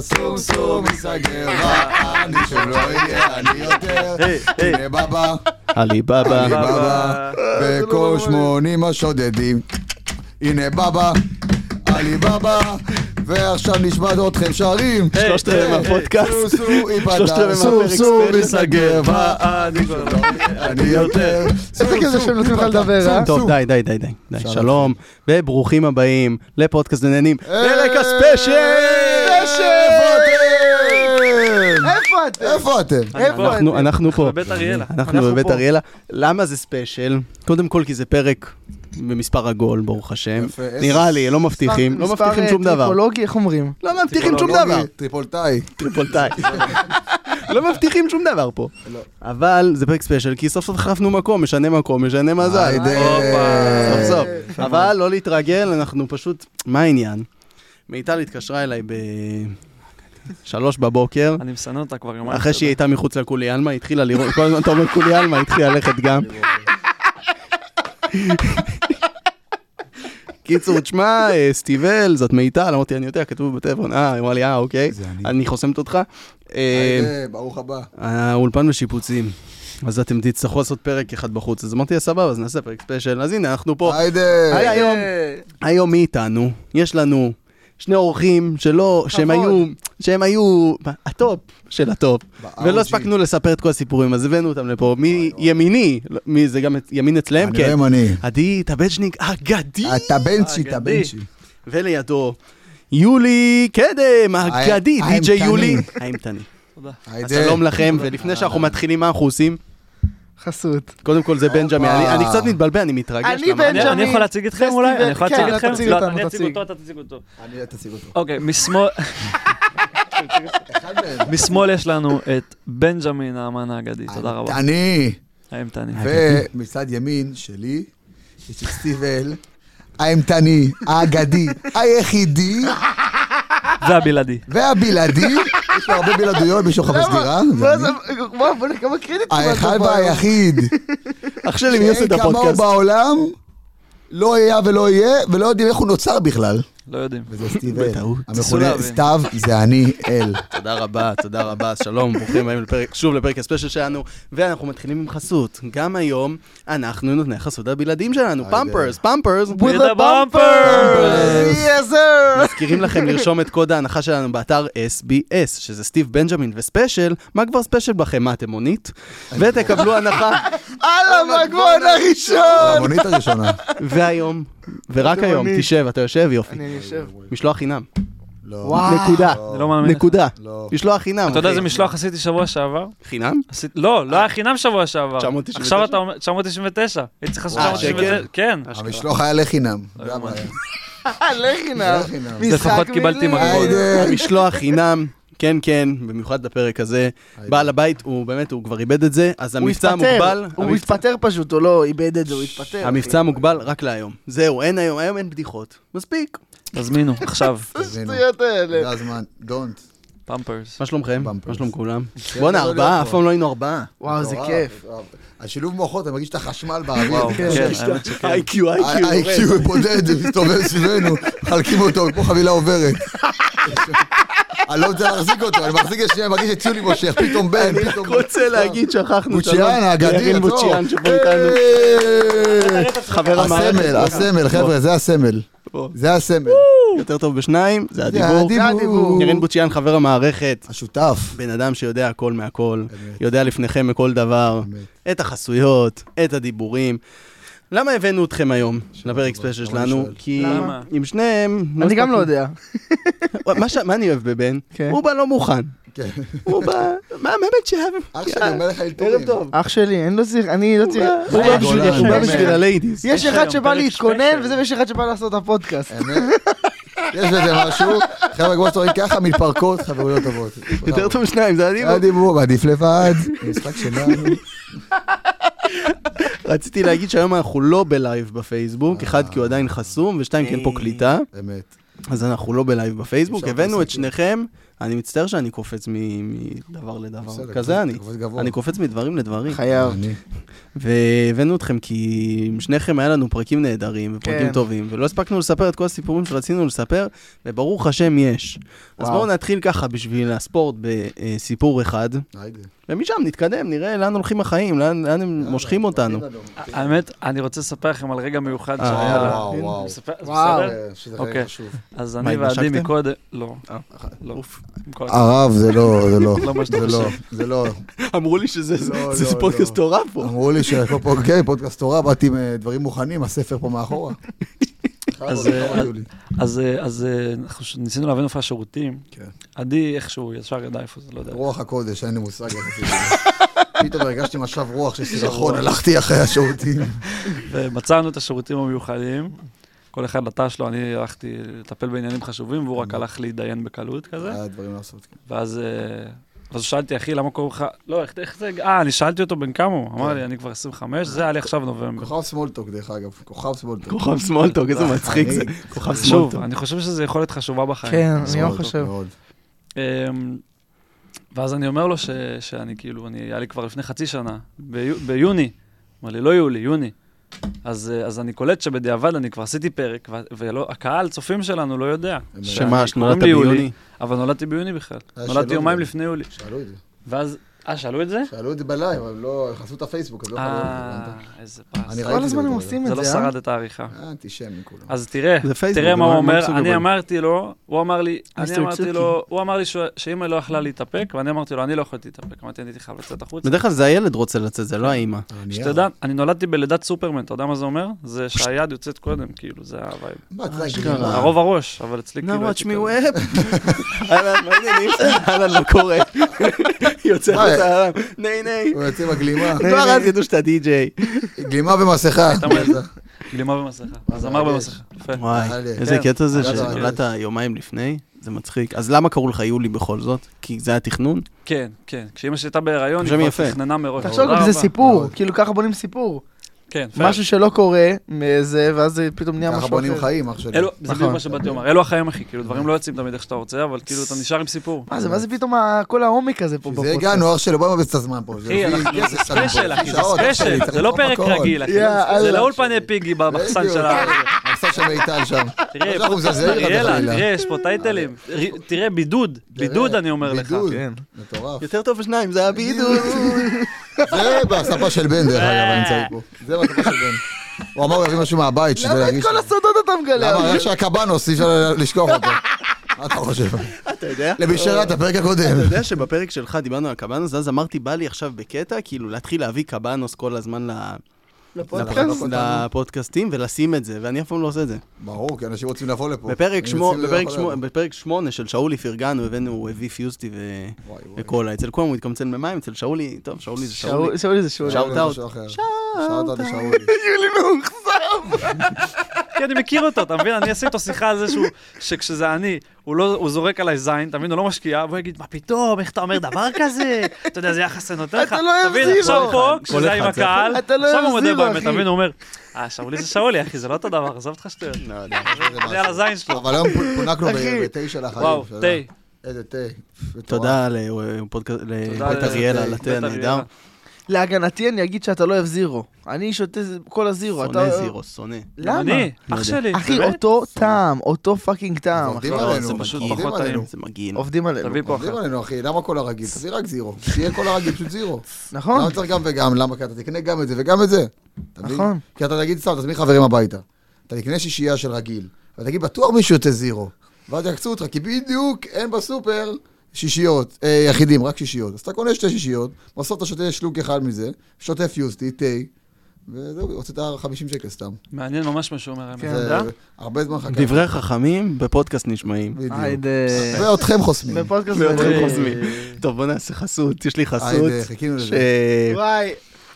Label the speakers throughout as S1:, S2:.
S1: סום סום ייסגר אני שם לא יהיה אני יותר, הנה בבא,
S2: עלי בבא.
S1: הנה בבא, בכל שמונים השודדים, הנה בבא, עלי בבא, ועכשיו נשמע אתכם שרים,
S2: שלושת רבעי מהפודקאסט.
S1: סום סום
S2: שלושת רבעי
S1: ייפתח, סום
S2: מהפרק
S1: סום
S2: ספיישל.
S1: ייסגר
S3: אני כבר לא...
S1: אני יותר.
S4: איזה כיף זה שהם נותנים לך לדבר, אה?
S2: טוב, די, די, די, די. די.
S1: שלום.
S2: שלום, וברוכים הבאים לפודקאסט עניינים. פרק
S1: אה,
S2: הספיישל!
S1: ספיישל!
S4: איפה אתם?
S1: איפה אתם?
S4: איפה
S2: אנחנו-
S4: אתם?
S2: אנחנו פה.
S3: בבית אריאלה.
S2: אנחנו בבית אריאלה. למה זה ספיישל? קודם כל כי זה פרק במספר עגול, ברוך השם.
S1: יפה, איזה-
S2: נראה לי, לא מבטיחים, לא
S4: מספר,
S2: מבטיחים
S4: אה,
S2: שום דבר.
S4: טריפולוגי, איך אומרים?
S2: לא מבטיחים שום דבר.
S1: טכנולוגי, טריפולטאי.
S2: טריפולטאי. לא מבטיחים שום דבר פה. אבל זה פרק ספיישל, כי סוף סוף החלפנו מקום, משנה מקום, משנה מזל.
S1: היידה.
S2: סוף סוף. אבל לא להתרגל, אנחנו פשוט... מה העניין? מיטל התקשרה אליי ב... שלוש בבוקר,
S3: אני משנא אותה כבר יומיים.
S2: אחרי שהיא הייתה מחוץ לקולי עלמה, היא התחילה לראות, כל הזמן אתה אומר קולי עלמה, היא התחילה ללכת גם. קיצור, תשמע, אה, סטיבל, זאת מיטל, אמרתי, אני יודע, כתוב בטלפון, אה, היא אמרה לי, אה, אוקיי,
S1: זה אני.
S2: אני חוסמת אותך. אה,
S1: היידה, ברוך הבא.
S2: האולפן בשיפוצים. אז אתם תצטרכו לעשות פרק אחד בחוץ. אז אמרתי לה, סבבה, אז נעשה פרק ספיישל. אז הנה, אנחנו פה.
S1: היידה.
S4: אה,
S2: היי, היום, אה, היום מי איתנו? יש לנו שני אורחים שלא, שהם
S4: כבוד.
S2: היו, שהם היו ב- הטופ של הטופ.
S1: ב-OG.
S2: ולא הספקנו לספר את כל הסיפורים, אז הבאנו אותם לפה. מימיני, מי זה גם את- ימין אצלם?
S1: אני לא
S2: כן.
S1: ימני.
S2: עדי טבצ'ניק אגדי.
S1: אתה בנצ'י, אתה
S3: אגדי.
S1: בנצ'י.
S2: ולידו יולי קדם, אגדי,
S1: האימתני.
S2: די.ג'יי יולי. האימתני. אז שלום לכם,
S4: אה,
S2: ולפני שאנחנו מתחילים, מה אנחנו עושים?
S4: חסות.
S2: קודם כל זה בנג'מי, אני אני קצת מתבלבל, אני מתרגש.
S4: אני
S2: למה?
S4: בנג'מי.
S3: אני יכול להציג אתכם אולי? אני יכול
S4: כן,
S3: להציג
S4: אתה
S3: אתכם?
S4: כן, תציג
S3: לא,
S4: אותנו,
S3: אני אציג
S4: תציג.
S3: אותו, אתה תציג אותו.
S1: אני תציג אותו.
S3: אוקיי, משמאל...
S1: אחד מהם.
S3: משמאל יש לנו את בנג'מין האמן האגדי, תודה רבה.
S1: אני,
S3: האימתני.
S1: ומצד ימין שלי, יש את סטיבל, האימתני, האגדי, היחידי
S3: והבלעדי.
S1: והבלעדי, יש לו הרבה בלעדויות, מי שוכב בסדירה, זה
S4: בוא,
S1: אני.
S4: זה- בוא, בוא, נראה כמה קרדיט
S2: אה,
S1: האחד והיחיד,
S2: אח שלי, מי עושה
S1: שאין
S2: את
S1: כמוהו
S2: הפודקאסט?
S1: בעולם, לא היה ולא יהיה, ולא יודעים איך הוא נוצר בכלל.
S3: לא יודעים.
S1: וזה סטיבל,
S2: בטעות.
S3: ניסו
S1: המכונה
S3: להבין.
S1: סתיו, זה אני אל.
S2: תודה רבה, תודה רבה, שלום, ברוכים הבאים לפרק- שוב לפרק הספיישל שלנו, ואנחנו מתחילים עם חסות. גם היום אנחנו נותני החסות הבלעדיים שלנו,
S1: היי,
S2: פמפרס, פמפרס.
S3: With a bumper!
S2: מזכירים לכם לרשום את קוד ההנחה שלנו באתר SBS, שזה סטיב בנג'מין וספיישל, מה כבר ספיישל בכם? מה, אתם מונית? ותקבלו
S4: לא.
S2: הנחה,
S4: הלאה, מגמון הראשון!
S1: המונית הראשונה.
S2: והיום, ורק
S4: אתם
S2: היום,
S4: מונית.
S2: תשב, אתה יושב, יופי.
S4: אני אה. יושב.
S2: משלוח חינם.
S1: לא.
S4: וואו.
S2: נקודה.
S3: אני לא מאמין. לך.
S2: נקודה.
S1: לא.
S2: משלוח חינם.
S3: אתה יודע
S2: אחי.
S3: איזה משלוח עשיתי שבוע שעבר?
S2: חינם?
S3: עשית- לא, לא היה חינם שבוע שעבר.
S2: 999?
S3: עכשיו אתה אומר, 999. הייתי צריך לעשות
S2: אה,
S3: 999.
S2: שקל?
S3: כן.
S1: המשלוח היה לחינם. זה
S3: יאומן.
S1: הבעיה.
S4: הלכי נא.
S1: הלכי נא.
S3: לפחות קיבלתי מכות.
S1: היידה.
S2: משלוח חינם. כן, כן, במיוחד לפרק הזה. בעל הבית, הוא באמת, הוא כבר איבד את זה, אז
S4: הוא
S2: המבצע
S4: התפטר.
S2: מוגבל.
S4: הוא
S2: המבצע-
S4: התפטר פשוט, או לא, איבד את זה, הוא התפטר. אחי.
S2: המבצע מוגבל רק להיום. זהו, אין היום, היום אין בדיחות. מספיק.
S3: תזמינו, עכשיו.
S4: איזה שטויות האלה.
S1: זה הזמן, דונט.
S3: פמפרס.
S2: מה שלומכם?
S1: Bumpers.
S2: מה שלום כולם?
S1: כיף
S2: בואנה,
S1: גדול
S2: ארבעה,
S1: להיות
S2: אף
S1: פה.
S2: פעם לא היינו ארבעה.
S4: וואו, זה כיף.
S1: אה, השילוב מוחות, אתה מרגיש את החשמל באוויר.
S3: וואו, כן, האמת שכן.
S2: איי קיו, איי קיו.
S1: ה-IQ בודד, מסתובב סביבנו, מחלקים אותו כמו חבילה עוברת. אני לא רוצה להחזיק אותו, אני מחזיק את שנייה, מרגיש את ציולי מושך, פתאום בן, פתאום...
S2: רוצה להגיד שכחנו
S1: בוצ'יאן, האגדי,
S2: ירין
S1: עצור.
S2: בוצ'יאן שבו איתנו.
S1: אה, היי!
S2: חבר המערכת.
S1: אה, הסמל, הסמל, חבר'ה, זה הסמל.
S2: בוא.
S1: זה הסמל.
S2: יותר טוב בשניים, זה
S1: זה
S2: הדיבור.
S1: הדיבור.
S2: ירין בוצ'יאן, חבר המערכת.
S1: השותף.
S2: בן אדם שיודע הכל מהכל, יודע לפניכם מכל דבר, את החסויות, את הדיבורים. למה הבאנו אתכם היום לפרק ספיישל
S1: למה
S2: שלנו?
S1: אני שואל?
S2: כי
S3: למה?
S2: עם שניהם...
S4: אני גם לא יודע.
S2: יודע. מה ש- מה אני אוהב בבן?
S4: כן.
S2: הוא בא לא מוכן.
S1: כן.
S2: הוא בא... מה באמת שאהב?
S1: אח שלי אומר לך
S2: ערב
S1: אלתורים.
S2: טוב.
S4: אח שלי, אין לו זיר, אני לא צריך...
S2: הוא בא בשביל-
S1: גולן,
S2: הוא בא
S1: באמת.
S2: בשביל הליידיז.
S4: יש
S3: יש
S4: אחד
S3: היום
S4: שבא
S3: פרק
S4: להתכונן,
S3: ספיישל.
S4: וזה ויש אחד שבא לעשות את הפודקאסט.
S1: אמת? יש בזה משהו. חבר'ה, כמו שאתה רואה ככה, מתפרקות חברויות טובות.
S2: יותר טוב שניים, זה לא- הדיבור.
S1: היה דיבור, עדיף לבד. משחק שלנו.
S2: רציתי להגיד שהיום אנחנו לא בלייב בפייסבוק, אחד
S1: אה.
S2: כי הוא עדיין חסום, ושתיים כי אין פה קליטה,
S1: אמת.
S2: אז אנחנו לא בלייב בפייסבוק.
S1: אפשר
S2: הבאנו את
S1: לעשות את זה.
S2: שניכם אני מצטער שאני קופץ מ-
S1: בסדר,
S2: מדבר לדבר. כזה אני.
S1: אתה קופץ גבוה.
S2: אני קופץ מדברים לדברים.
S4: חייב.
S1: אני-
S2: והבאנו אתכם כי עם שניכם היה לנו פרקים נהדרים ופרקים
S4: כן.
S2: טובים, ולא הספקנו לספר את כל הסיפורים שרצינו לספר, וברוך השם יש. אז
S4: וואו.
S2: בואו נתחיל ככה בשביל הספורט בסיפור אחד,
S1: היידה.
S2: ומשם נתקדם, נראה לאן הולכים החיים, לאן, לאן הם מושכים
S1: אה,
S2: אותנו.
S3: האמת, אני רוצה לספר לכם על רגע מיוחד
S2: אה,
S3: שהיה לה.
S1: וואו, וואו.
S3: מספר- אז
S4: וואו.
S3: בסדר?
S1: אה, שזה
S3: אוקיי.
S1: חשוב.
S3: אז
S2: מה,
S3: אני ועדי
S2: התנשקתם?
S3: מקודם... לא.
S2: אה.
S3: לא. עם כל הכבוד.
S1: הרב זה לא, זה לא,
S3: לא מה שאתה
S1: זה לא, זה לא,
S2: אמרו לי שזה
S1: לא,
S2: זה
S1: לא, לא.
S2: פודקאסט תורה פה.
S1: אמרו לי שהכל פה, כן, פודקאסט תורה, באתי עם אה, דברים מוכנים, הספר פה מאחורה.
S3: אז,
S1: לא
S3: אה,
S1: הודיעו לי.
S3: אז אה, אז, אה, אנחנו ש- ניסינו להבין איפה השירותים.
S1: כן.
S3: עדי איכשהו ישר ידע איפה זה, לא יודע.
S1: רוח הקודש, אין לי מושג איך עשיתי את זה. פתאום הרגשתי משב רוח של סירחון, נכון, הלכתי אחרי השירותים.
S3: ומצאנו את השירותים המיוחדים. כל אחד לתא שלו, אני הלכתי לטפל בעניינים חשובים, והוא רק
S1: אה.
S3: הלך להתדיין בקלות כזה.
S1: היה דברים לעשות. כן.
S3: ואז, אה, ואז שאלתי, אחי, למה קוראים לך... לא, איך, איך זה... אה, אני שאלתי אותו בן כמה הוא.
S1: כן.
S3: אמר לי, אני כבר 25, זה היה לי עכשיו נובמבר.
S1: כוכב סמולטוק, דרך אגב, כוכב סמולטוק.
S2: כוכב סמולטוק,
S1: לא,
S2: איזה מצחיק זה,
S1: חריג.
S2: כוכב
S3: שוב,
S2: סמולטוק.
S3: אני חושב שזו יכולת חשובה בחיים.
S4: כן, אני לא
S1: סמולטוק
S4: חושב.
S1: מאוד.
S3: אמ, ואז אני אומר לו ש, שאני כאילו, אני, היה לי כבר לפני חצי שנה, ביו, ביוני. אמר לי, לא יולי, יוני. אז, אה, אז אני קולט שבדיעבד אני כבר עשיתי פרק, ו- והקהל, צופים שלנו, לא יודע.
S1: אמת.
S3: שאני-
S2: שמה,
S3: קוראים
S2: שנולדת
S3: לי יולי,
S2: ביוני?
S3: אבל נולדתי ביוני בכלל.
S1: אה,
S3: נולדתי
S1: שלא
S3: יומיים
S1: זה.
S3: לפני יולי.
S1: שאלו את זה.
S3: ואז, אה, שאלו את זה?
S1: שאלו את זה בלייב, אבל לא, הם חסו את הפייסבוק, אז לא יכולו לראות
S3: אה,
S1: את זה.
S3: איזה פרס.
S1: אני ראיתי
S4: כל הזמן
S1: את
S4: הם
S1: זה,
S4: עושים
S3: זה
S4: את
S3: לא
S4: זה, אה?
S3: שרד את העריכה.
S1: אה, אנטישמים כולם.
S3: אז תראה,
S2: זה פייסבוק,
S3: תראה
S2: זה
S3: מה
S2: לא-
S3: הוא
S2: לא
S3: אומר,
S2: מסוגל.
S3: אני אמרתי לו, הוא אמר לי, אני
S4: מיסטר
S3: אמרתי
S4: צוקי.
S3: לו, הוא אמר לי ש- שאמא לא יכלה להתאפק, ואני אמרתי לו, אני לא יכולתי להתאפק, אמרתי, אני הייתי חייב לצאת החוצה.
S2: בדרך כלל זה הילד רוצה לצאת, זה לא האימא.
S3: אה, שתדע, אני נולדתי בלידת סופרמן, אתה יודע מה זה אומר? זה שהיד יוצאת קודם, כאילו, זה הווייב.
S1: מה, אתה יודע,
S2: אשכרה.
S1: גניבה.
S3: הרוב הראש, אבל אצלי
S2: Now
S3: כאילו...
S2: watch
S3: הייתי
S2: me
S3: כזה.
S2: web. אהלן, מה העניינים? אהלן, מה קורה? יוצא
S1: מה,
S2: החוצה, אהלן, ניי ניי.
S1: הוא יוצא עם הגלימה,
S2: כבר אז ידעו שאתה די-ג'יי.
S1: גלימה במסכה.
S3: אתה אומר, גלימה במסכה. אז אמר במסכה. יפה.
S2: וואי,
S1: אהלן.
S2: איזה
S3: כן.
S2: קטע זה
S1: אהלן,
S2: שנולדת יומיים לפני, זה מצחיק. אז למה קראו לך יולי בכל זאת? כי זה היה תכנון?
S3: כן, כן. כשאמא שלי הייתה בהיריון,
S2: שם
S3: היא
S2: יפה.
S3: כבר תכננה מראש.
S4: תחשוב
S3: תודה
S4: גם זה
S3: רבה.
S4: סיפור,
S1: מאוד.
S4: כאילו ככה בונים סיפור.
S3: כן, פייר.
S4: משהו שלא קורה, מאיזה, ואז זה פתאום נהיה
S1: ככה
S4: משהו
S1: בונים
S4: אחר.
S1: חיים, אח שלי.
S3: אלו, זה בדיוק
S4: נכון.
S3: מה שבאתי לומר, אלו החיים אחי, כאילו דברים לא יוצאים תמיד איך שאתה רוצה, אבל כאילו אתה נשאר עם סיפור.
S4: מה זה, מה זה פתאום ה- כל העומק הזה פה
S1: זה
S4: בפודקאסט?
S1: הגענו, אח שלי, בוא נבזבז את הזמן פה.
S3: אחי,
S1: לפי
S3: אנחנו-
S1: כסף
S3: זה
S1: שלנו פה.
S3: ספיישל, אחי, זה
S1: שעות, אח שלי,
S3: ספיישל,
S1: צריך
S3: זה לא
S1: לסחוב
S3: פרק
S1: הכל.
S3: רגיל, אחי.
S4: יא
S3: זה
S4: אללה.
S3: לא אולפני פיגי במחסן
S1: בדיוק.
S3: של ה...
S1: המחסן של מיטל שם. לא
S3: תראה,
S1: אנחנו
S3: פודקאסט
S1: מזלזלים אחד
S3: אריאלה,
S1: בחלילה.
S3: תראה, יש פה טייטלים. ר- תראה, בידוד, בידוד אני אומר לך.
S1: בידוד.
S4: כן.
S1: מטורף.
S2: יותר טוב שניים, זה היה בידוד.
S1: זה בספה של בן, דרך אגב, אני נמצא פה. זה בספה של בן. הוא אמר, הוא יביא משהו מהבית, שזה
S4: למה את
S1: להרגיש...
S4: כל הסודות אתה
S1: למה?
S4: מגלה?
S1: רק שהקבנוס, אי אפשר לשכוח אותו. מה אתה חושב?
S2: אתה יודע?
S1: לבישרה, את הפרק
S2: אתה
S1: הקודם.
S2: יודע שבפרק שלך דיברנו על קבנוס, אז אמרתי, בא לי עכשיו בקטע, כאילו להתחיל להביא קבנוס כל הזמן ל-
S4: לפודקאסט?
S2: לפודקאסטים ולשים את זה, ואני אף פעם לא עושה את זה.
S1: ברור, כי אנשים רוצים לבוא לפה.
S2: בפרק
S1: הם
S2: שמו-
S1: יוצאים
S2: בפרק
S1: לבוא
S2: שמו-
S1: לפה.
S2: בפרק שמונה של שאולי פרגנו, הבאנו, הוא הביא פיוסטי ו-
S1: וואי, וואי.
S2: וקולה. אצל כולם הוא התקמצן ממים, אצל שאולי, טוב, שאולי זה שאולי.
S4: שאול- שאולי זה שאולי.
S2: שאול- שאוט-אאוט.
S1: משהו אחר. שאוט-אאוט לשאולי.
S3: כי אני מכיר אותו, אתה מבין? אני אעשה איתו שיחה על זה שהוא, שכשזה אני, הוא לא- הוא זורק עליי זין, אתה מבין? הוא לא משקיע, והוא יגיד, מה פתאום, איך אתה אומר דבר כזה? אתה יודע, זה יחס אני נותן לך.
S4: אתה לא
S3: אתה מבין,
S4: יחזיר
S3: עכשיו
S4: לו.
S3: פה,
S2: כל
S3: כשזה היה עם
S2: אחד זה
S3: הקהל,
S4: אתה לא
S3: עכשיו הוא מודה
S4: יחזיר לו,
S3: באמת, אתה
S4: אחי.
S3: מבין? הוא אומר, אה, שאולי זה שאולי, אחי, זה לא אותו דבר, עזוב אותך שטויות.
S2: לא יודע.
S3: זה על הזין שלו.
S1: אבל היום פונקנו ב-
S4: אחי.
S1: בתשע לחיים.
S3: וואו,
S1: שאלה.
S3: תה.
S1: איזה תה. מטורף.
S2: תודה לפודקאסט, לבית אריאלה, על התה
S3: בית
S2: הנהדר.
S3: אריאלה.
S4: להגנתי אני אגיד שאתה לא אוהב זירו. אני שותה זה- כל הזירו.
S2: שונא
S4: אתה-
S2: זירו, שונא.
S3: גם
S4: למה?
S3: אני,
S2: לא
S3: אח שלי.
S4: אחי,
S3: באמת?
S4: אותו טעם, אותו פאקינג
S1: אז
S4: טעם. אחי.
S1: עובדים
S3: לא,
S1: עלינו.
S2: זה
S1: עובדים
S2: פשוט
S1: עלינו.
S3: פחות טעים.
S2: זה מגעיל.
S4: עובדים עלינו.
S3: תביא פה אחת.
S1: עובדים עלינו אחי, למה כל הרגיל? תביא רק זירו. שיהיה כל הרגיל פשוט זירו.
S4: נכון?
S1: למה צריך גם וגם? למה? כי אתה תקנה גם את זה וגם את זה. אתה מבין?
S4: נכון.
S1: כי אתה תגיד סתם, תזמין חברים הביתה. אתה תקנה שישייה של רגיל. ואתה תגיד, בטוח מישהו יוצא זירו. ואז יקצו אותך, כי בדיוק אין בסופר שישיות, אה, יחידים, רק שישיות. אז אתה קונה שתי שישיות, בסוף אתה שותה שלוק אחד מזה, שותה פיוסטי, תה, וזהו, הוצאת 50 שקל סתם.
S3: מעניין ממש מה שהוא אומר, האמת.
S4: כן.
S3: אתה
S1: זה
S3: יודע?
S1: הרבה זמן חכה.
S2: דברי חכמים בפודקאסט נשמעים. לא,
S1: בדיוק.
S4: היידה.
S1: ואותכם חוסמים.
S4: בפודקאסט
S2: ואותכם
S4: הזה.
S2: חוסמים. טוב, בוא נעשה חסות, יש לי חסות.
S1: היידה, אה, חיכינו
S2: ש-
S1: לזה.
S4: וואי,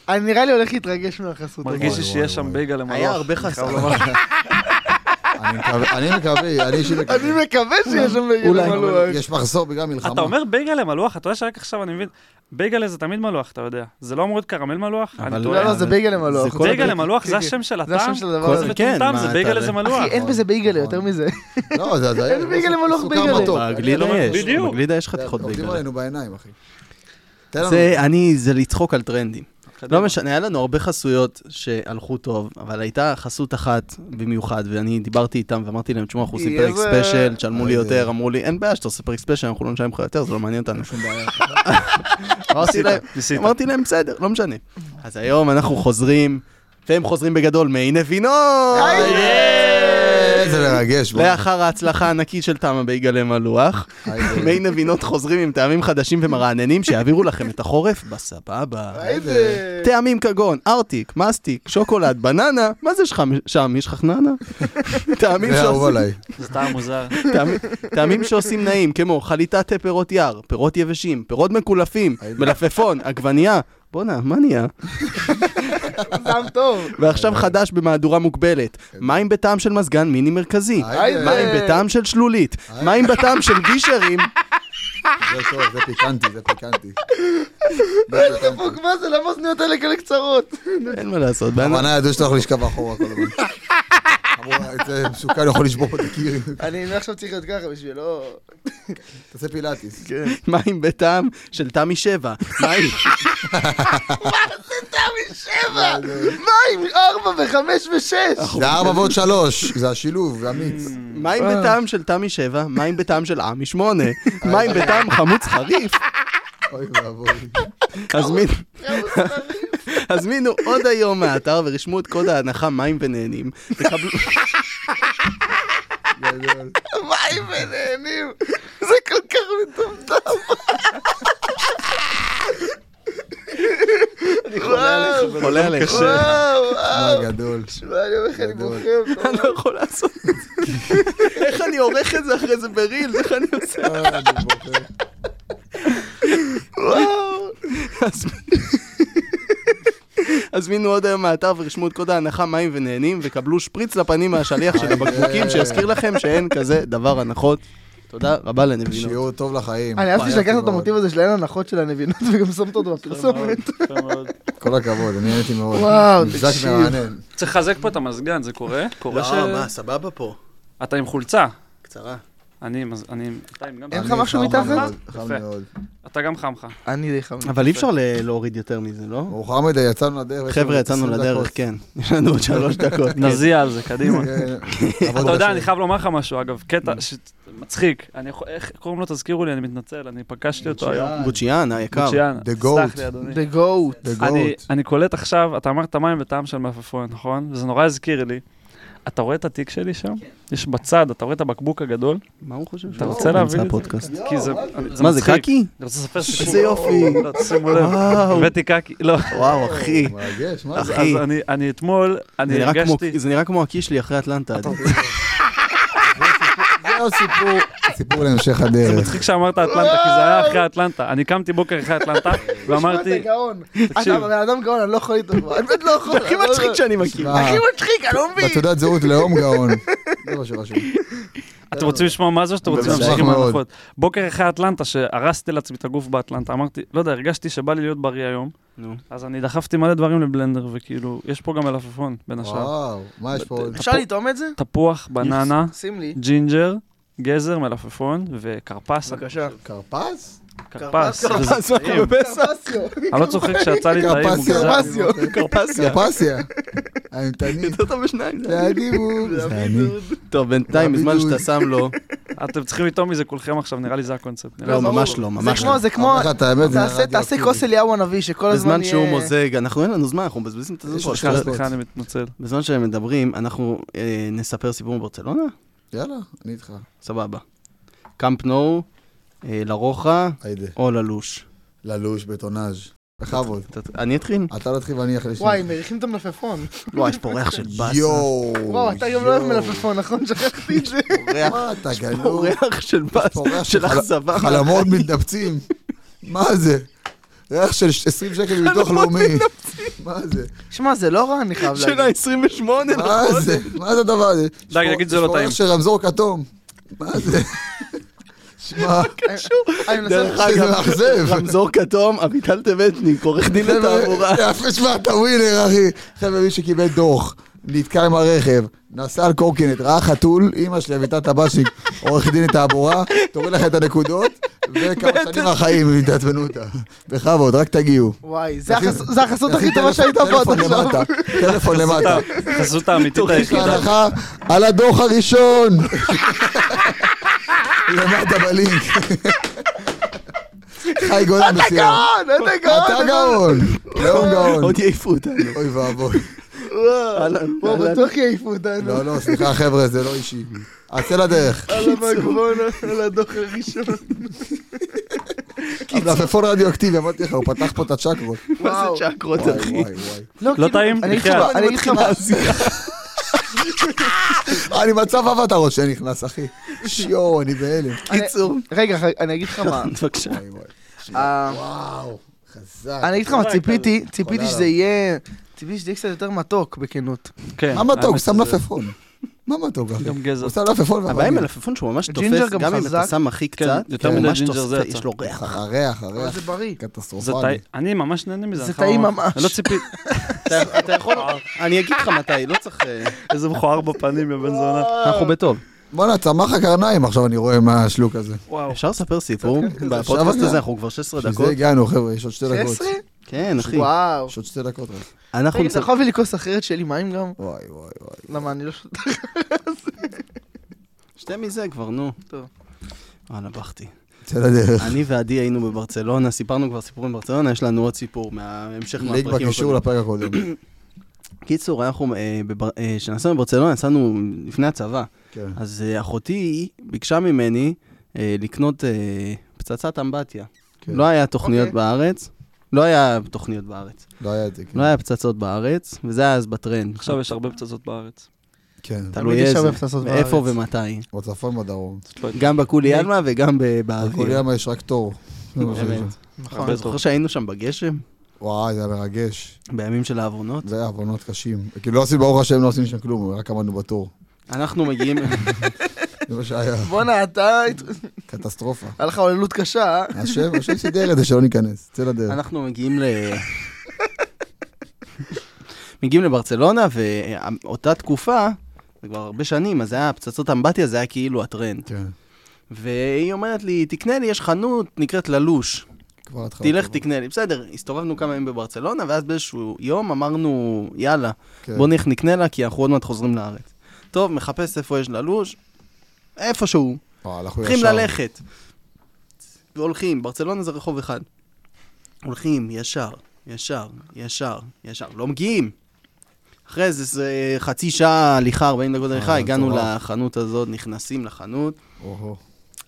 S4: אני נראה לי הולך להתרגש מהחסות.
S3: מרגיש
S1: וואי,
S3: לי
S1: וואי,
S3: שיש שם
S1: וואי.
S3: בייגה למלוח.
S2: היה הרבה
S3: אני חייב
S2: חסר.
S3: לומר.
S1: אני מקווה, אני מקווה, אני אישית מקווה.
S4: אני מקווה שיש שם בגלל
S2: אולי.
S4: מלוח.
S1: יש מחסור בגלל מלחמה.
S3: אתה אומר בייגה למלוח, אתה יודע שרק עכשיו אני מבין. בייגלה זה תמיד מלוח, אתה יודע. זה לא אמור להיות קרמל מלוח?
S2: אבל-
S3: אני
S4: לא,
S3: טועה.
S4: לא, זה בייגלה מלוח.
S2: זה כל
S3: בייגלה
S2: הבית-
S3: מלוח
S4: כן,
S3: זה השם של
S4: זה
S3: הטעם?
S4: השם של הדבר הזה.
S2: זה-
S3: זה מטומטם,
S2: כן,
S3: זה
S2: מה,
S3: בייגלה
S2: אתה-
S3: זה מלוח.
S4: אחי, אין בזה בייגלה יותר מזה.
S1: לא, זה זה
S4: אין בייגלה מלוח
S1: סוכר
S4: בייגלה.
S1: מתוק.
S2: בגלידה
S3: לא,
S2: יש,
S3: בדיוק.
S2: בגלידה יש חתיכות
S1: עובדים
S2: בייגלה.
S1: עלינו בעיניים, אחי. תן לנו. אה, אוקיי,
S2: זה, אני, זה לצחוק על טרנדים.
S3: קדימה.
S2: לא משנה, היה לנו הרבה חסויות שהלכו טוב, אבל הייתה חסות אחת במיוחד, ואני דיברתי איתם ואמרתי להם, תשמע, אנחנו עושים
S4: יהיה
S2: פרק
S4: זה-
S2: ספיישל, תשלמו לי
S1: אה,
S2: יותר, אמרו לי, אין בעיה שאתה עושה פרק ספיישל, אנחנו לא נשלם לך יותר, זה לא מעניין אותנו.
S1: שום בעיה.
S2: אמרתי להם,
S3: ניסית.
S2: אמרתי להם, בסדר, לא משנה. אז היום אנחנו חוזרים, והם חוזרים בגדול, מעי נבינות! אה,
S1: איזה מרגש, בוא. אה,
S2: לאחר ההצלחה הענקית של טעם הבייגלה מלוח,
S1: איי,
S2: מי נבינות חוזרים עם טעמים חדשים ומרעננים שיעבירו לכם את החורף בסבבה.
S1: אה,
S4: איזה...
S2: טעמים כגון ארטיק, מסטיק, שוקולד, בננה, מה זה שלך שם? יש לך ננה? טעמים
S1: זה אהוב
S2: שעושים-
S1: עליי.
S3: זה טעם מוזר.
S2: טעמים- טעמים שעושים נעים, כמו חליטת תה פירות יער, פירות יבשים, פירות מקולפים, מלפפון, עגבנייה. בואנה, מה נהיה?
S4: טעם טוב.
S2: ועכשיו חדש במהדורה מוגבלת. מים בטעם של מזגן מיני מרכזי.
S1: כן. היי,
S4: היי,
S2: מים בטעם של שלולית. מים בטעם של גישרים.
S1: זה טוב, זה פיקנטי, זה פיקנטי.
S4: פוק, מה זה? למה אוזניות האלה כאלה קצרות?
S2: אין מה לעשות.
S1: בכוונה ידעו שאתה יכול לשכב אחורה כל הזמן. אמרו, זה מסוכן, יכול לשבור פה את הקיר.
S4: אני עכשיו צריך להיות ככה בשביל לא...
S1: תעשה פילאטיס.
S2: מים בטעם של תמי שבע. מים...
S4: תמי שבע! מים ארבע וחמש ושש!
S1: זה ארבע ועוד שלוש, זה השילוב, זה המיקס.
S2: מים בטעם של תמי שבע, מים בטעם של עמי שמונה, מים בטעם חמוץ חריף.
S1: אוי ואבוי.
S2: הזמין- הזמינו עוד היום מהאתר ורשמו את קוד ההנחה מים ונהנים. תקבלו-
S1: גדול.
S4: מים ונהנים! זה כל כך מטומטם! אני חולה עליך.
S2: עולה עליך.
S4: וואו,
S1: מה
S4: וואו.
S1: גדול.
S4: שמע, אני אומר לך, אני
S1: גדול.
S4: בוכה.
S2: אני לא יכול לעשות את זה. איך אני עורך את זה אחרי זה ברילס? איך אני עושה?
S1: אה, אני בוכה.
S4: וואו.
S2: אז- הזמינו עוד היום מהאתר ורשמו את קוד ההנחה מים ונהנים וקבלו שפריץ לפנים מהשליח של הבקבוקים שיזכיר לכם שאין כזה דבר הנחות. תודה רבה לנבינות.
S1: שיעור טוב לחיים.
S4: אני אהבתי שלקחת את
S1: מאוד.
S4: המוטיב הזה של אין הנחות של הנבינות וגם שמת אותו בפרסומת.
S3: יפה מאוד.
S1: כל הכבוד, אני נהניתי מאוד.
S4: וואו,
S1: מבזק
S4: תקשיב.
S1: מרענן.
S3: צריך לחזק פה את המזגן, זה קורה?
S1: לא,
S3: קורה לא ש...
S2: סבבה פה.
S3: אתה עם חולצה.
S2: קצרה.
S3: אני, עם- אני, עם- אתה עם גם
S4: אין
S1: אני
S4: לך משהו
S1: חם
S4: מתחת?
S1: מאוד, חם
S3: יפה.
S1: מאוד.
S3: אתה גם חם לך.
S4: אני די חמוד.
S2: אבל אי אפשר ל- להוריד יותר מזה, לא?
S1: מאוחר מדי, יצאנו לדרך. יש
S2: חבר'ה,
S1: לנו
S2: יצאנו
S1: 20
S2: לדרך,
S1: דקות.
S2: כן. יש לנו עוד שלוש דקות. כן.
S3: נזיע על זה, קדימה.
S1: כן.
S3: אתה
S1: עבודה
S3: יודע,
S1: שלי.
S3: אני חייב לומר לך משהו, אגב, קטע ש- מצחיק. אני יכול- איך קוראים לו? תזכירו לי, אני מתנצל, אני פגשתי אותו היום.
S2: אה, בוצ'יאן, היקר.
S3: בוצ'יאן,
S1: The
S3: סלח
S1: goat.
S3: לי, אדוני.
S4: The goat.
S1: The
S3: אני-
S1: goat.
S3: אני קולט עכשיו, אתה אמרת מים וטעם של מלפפון, נכון? וזה נורא הזכיר לי. אתה רואה את התיק שלי שם?
S2: כן.
S3: יש בצד, אתה רואה את הבקבוק הגדול?
S2: מה הוא חושב?
S3: אתה
S2: שהוא
S3: רוצה
S2: באמצע
S3: להבין את זה?
S2: הפודקאסט?
S3: כי זה אני-
S2: מה זה,
S3: מצחיק.
S2: קקי?
S3: אני רוצה לספר סיפור.
S2: איזה יופי.
S3: לא, תשימו לב.
S2: וואו.
S3: הבאתי קקי, לא.
S2: וואו, אחי.
S1: מרגש, מה זה?
S2: אחי.
S3: אז אני- אני אתמול,
S2: זה
S3: אני
S2: נראה כמו-
S3: הרגשתי...
S2: זה נראה כמו הקי שלי אחרי אטלנטה.
S1: זה עוד סיפור- סיפור להמשך הדרך.
S3: מצחיק שאמרת אטלנטה, כי זה היה אחרי אטלנטה. אני קמתי בוקר אחרי אטלנטה,
S4: אתה
S3: ואמרתי,
S4: גאון.
S3: לא תקשיב.
S4: אתה בן אדם גאון, אני לא יכול איתו כבר. אני באמת לא יכול.
S2: הכי מצחיק שאני מכיר.
S3: אה,
S1: מה,
S4: הכי מצחיק, אני לא מבין.
S1: בתעודת זהות לאום גאון. זה מה שרשום.
S3: אתם רוצים לשמוע מה זה או שאתם רוצים
S1: בוודאי.
S3: להמשיך עם
S1: מאוד.
S3: ההנחות? בוקר אחרי אטלנטה, שהרסתי לעצמי את הגוף באטלנטה, אמרתי, לא יודע, הרגשתי שבא לי להיות בריא היום,
S2: נו.
S3: אז אני דחפתי מלא דברים לבלנדר, וכאילו, יש פה גם מלפפון, בין השאר.
S1: וואו, מה יש פה עוד?
S4: אפשר לטעום את זה?
S3: תפוח, בננה,
S4: שים לי.
S3: ג'ינג'ר, גזר, מלפפון וכרפס,
S4: בבקשה.
S1: כרפס?
S3: כרפס.
S4: כרפס,
S2: כרפס,
S3: וזה
S2: אנחנו
S3: טעים.
S2: בפסח.
S4: פסיו.
S3: אני לא צוחק שיצא לי טעים,
S1: כרפס,
S3: מוגזם.
S1: כרפס.
S4: פסיו.
S2: קרפסיה.
S1: כרפסיה. האימתני.
S2: יותר טוב בשניים.
S3: כן.
S2: זה אני.
S1: והדיבוב. זה אני.
S2: טוב, בינתיים,
S3: אה,
S2: בזמן
S1: הבידוד.
S2: שאתה שם לו,
S3: אתם צריכים לטעום מזה כולכם עכשיו, נראה לי זה הקונספט. נראה
S2: לא,
S3: לי.
S2: ממש לא,
S4: זה
S2: ממש לא.
S4: כמו, זה כמו,
S1: אומר לך את האמת, זה
S4: תעשה-
S1: רדיואקטיבי.
S4: תעשה כוס אליהו הנביא, שכל הזמן
S2: בזמן
S4: יהיה...
S2: שהוא מוזג, אנחנו אין לנו זמן, אנחנו מבזבזים את הזמן
S1: יש
S2: פה. על
S1: לך
S2: כל ה-
S1: שלוש-
S3: סליחה, אני מתנצל.
S2: בזמן שהם מדברים, אנחנו אה, נספר סיפור מברצלונה?
S1: יאללה, אני איתך.
S2: סבבה. קאמפ נו, אה, לרוחה
S1: היידה.
S2: או ללוש.
S1: ללוש, בטונאז'. בכבוד.
S2: אתה- אני אתחיל?
S1: אתה לא תתחיל ואני אחרי שנייה.
S4: וואי, הם מריחים את המלפפון.
S2: וואי, יש פה ריח של באסה.
S1: יואו.
S4: וואו, אתה גם לא אוהב
S1: יואו.
S4: מלפפון, נכון? שכחתי את זה.
S2: ריח-
S1: מה אתה
S2: יש פה
S1: גנוב?
S2: ריח של
S1: פה ריח
S2: באסה,
S1: של
S2: של
S1: חל-
S2: אכזבה.
S1: חלומות מתנפצים. מה זה? ריח של 20 שקל מביטוח לאומי. מה זה?
S4: שמע, זה לא רע, אני חייב
S2: של
S4: להגיד.
S2: ה-28
S4: נכון.
S1: מה זה? מה זה הדבר הזה?
S3: די,
S1: יש פה-
S3: תגיד, זה לא
S1: יש פה
S3: טעים.
S1: ריח של רמזור כתום. מה זה? שמע,
S4: אני מנסה...
S2: דרך
S1: זה מאכזב.
S2: אגב, רמזור כתום, אביטל טבטניק, עורך דין לתעבורה.
S1: להפריש מה אתה ווינר, אחי. חבר'ה, מי שקיבל דוח, נתקע עם הרכב, נסע על קורקינט, ראה חתול, אימא שלי, אביטל טבשיק, עורך דין לתעבורה, תוריד לכם את הנקודות, וכמה שנים מהחיים אם תעצבנו אותה. בכבוד, רק תגיעו.
S4: וואי, זה
S1: אחי,
S4: החס- זה החסות
S1: אחי,
S4: הכי טובה שהייתה
S1: טלפון
S4: פה עד עכשיו.
S1: למטה, טלפון למטה.
S3: החסות האמיתית
S1: יש לך
S3: היחידה.
S1: הנחה על הדוח הראשון. למטה בלינק. חי גולן
S4: אתה
S1: בשיאה.
S4: גאון, אתה אה, לא גאון.
S1: אתה גאון, לאום גאון.
S2: עוד יעיפו אותנו.
S1: אוי ואבוי.
S2: אהלן,
S4: וואו,
S2: אהלן.
S4: בטוח אה, יעיפו אותנו.
S1: לא, לא, סליחה חבר'ה, זה לא אישי. עצה לדרך.
S4: על המגרון, על הדוח הראשון.
S1: המלפפון רדיואקטיבי, אמרתי לך, הוא פתח פה את הצ'קרות.
S2: מה
S4: וואו.
S2: זה צ'קרות,
S1: וואי,
S2: אחי?
S1: וואי, וואי.
S3: לא טעים?
S4: כאילו, אני אגיד לך
S3: בחייאת.
S4: מה, כן, אני אגיד לך מה,
S1: אני מצב אבטרות שנכנס, אחי. שיואו, אני בהלם.
S4: אני-
S2: קיצור.
S4: רגע, ח- אני אגיד לך מה,
S2: בבקשה.
S1: וואי, וואי.
S4: אה,
S1: וואו, חזק.
S4: אני אגיד לך מה, ציפיתי, ציפיתי
S1: עליו.
S4: שזה יהיה, ציפיתי שזה יהיה קצת יותר מתוק, בכנות.
S3: כן.
S1: מה מתוק? הוא
S3: האמת
S1: שם
S3: שזה-
S1: מלפפון. מה מתוק, אחי?
S3: גם גזע.
S1: הוא שם מלפפון
S2: הבעיה עם
S1: ואמר
S2: מלפפון שהוא ממש
S4: ג'ינג'ר
S2: תופס,
S4: גם
S2: גם אם אתה
S4: חזק.
S2: שם הכי
S3: כן,
S2: קצת,
S3: יותר
S2: הוא
S3: מדי
S2: ממש
S3: ג'ינג'ר זה
S2: תופס,
S3: יצא.
S2: יש לו ריח.
S1: הריח,
S4: אבל
S1: הריח.
S4: זה בריא.
S3: זה
S1: קטסטרופלי.
S3: טעים. אני ממש נהנה מזה.
S4: זה
S3: נכון?
S4: טעים ממש.
S3: אני לא ציפיתי.
S2: אתה- אתה יכול, אני אגיד לך מתי, לא צריך... אה,
S3: איזה מכוער בפנים, יא בן זונה.
S2: אנחנו בטוב.
S1: בואנה, צמח הקרניים עכשיו אני רואה מהשלוק הזה.
S3: וואו.
S2: אפשר לספר סיפור? בפודקאסט הזה אנחנו כבר 16
S1: בשביל זה
S2: דקות.
S1: הגענו, חבר'ה, יש עוד שתי דקות.
S4: 16?
S2: כן, אחי.
S4: וואו.
S1: יש עוד שתי דקות רק.
S2: אנחנו
S4: רגע, אתה
S2: מספ-
S4: יכול להביא לי כוס אחרת שלי מים גם?
S1: וואי, וואי, וואי.
S4: למה אני לא שותה?
S2: שתי מזה כבר, נו.
S4: טוב.
S2: וואלה, בכתי.
S1: צא לדרך.
S2: אני ועדי היינו בברצלונה, סיפרנו כבר סיפורים בברצלונה, יש לנו עוד סיפור מההמשך
S1: לינק
S2: מהפרקים
S1: בקישור
S2: הקודמים.
S1: לפרק הקודם.
S2: קיצור, אנחנו, אה, בבר- אה, כשנסענו לברצלונה, נסענו לפני הצבא.
S1: כן.
S2: אז אה, אחותי ביקשה ממני אה, לקנות אה, פצצת אמבטיה.
S1: כן.
S2: לא היה תוכניות
S4: אוקיי.
S2: בארץ. לא היה תוכניות בארץ.
S1: לא היה את זה, כן.
S2: לא היה פצצות בארץ, וזה היה אז בטרנד.
S3: עכשיו יש הרבה פצצות בארץ.
S1: כן.
S2: תלוי
S4: יש
S2: איזה,
S4: הרבה פצצות
S2: איפה
S4: בארץ.
S2: ומתי.
S1: בצפון בדרום.
S3: לא-
S2: גם בקולי עלמא וגם ב-
S1: בכל
S2: באוויר.
S1: ימה יש רק תור. זה מה שיש.
S2: באמת.
S4: נכון.
S2: אתה זוכר שהיינו שם בגשם?
S1: וואי, זה היה מרגש.
S2: בימים של העוונות?
S1: זה היה עוונות קשים. כאילו, לא עשינו, ברוך השם, לא עשינו שם כלום, רק עמדנו בתור.
S2: אנחנו מגיעים...
S1: זה מה שהיה.
S4: בואנה, אתה...
S1: קטסטרופה.
S4: היה לך עוללות קשה, אה?
S1: השם, השם סידר את זה שלא ניכנס. צא לדרך.
S2: אנחנו מגיעים ל... מגיעים לברצלונה, ואותה תקופה, זה כבר הרבה שנים, אז זה היה פצצות אמבטיה, זה היה כאילו הטרנד.
S1: כן.
S2: והיא אומרת לי, תקנה לי, יש חנות, נקראת ללוש.
S1: כבר התחלת.
S2: תלך, תקנה לי. בסדר, הסתובבנו כמה ימים בברצלונה, ואז באיזשהו יום אמרנו, יאללה,
S1: כן.
S2: בוא נלך נקנה לה, כי אנחנו עוד מעט חוזרים לארץ. טוב, מחפש איפה יש ללוש, איפשהו.
S1: וואי, הלכנו
S2: הולכים
S1: ישר.
S2: ללכת. והולכים, ברצלונה זה רחוב אחד. הולכים ישר, ישר, ישר, ישר, לא מגיעים. אחרי איזה זה אה, חצי שעה הליכה, 40 דקות הליכה,
S1: אה,
S2: הגענו
S1: מטורף.
S2: לחנות הזאת, נכנסים לחנות,
S1: אוהו.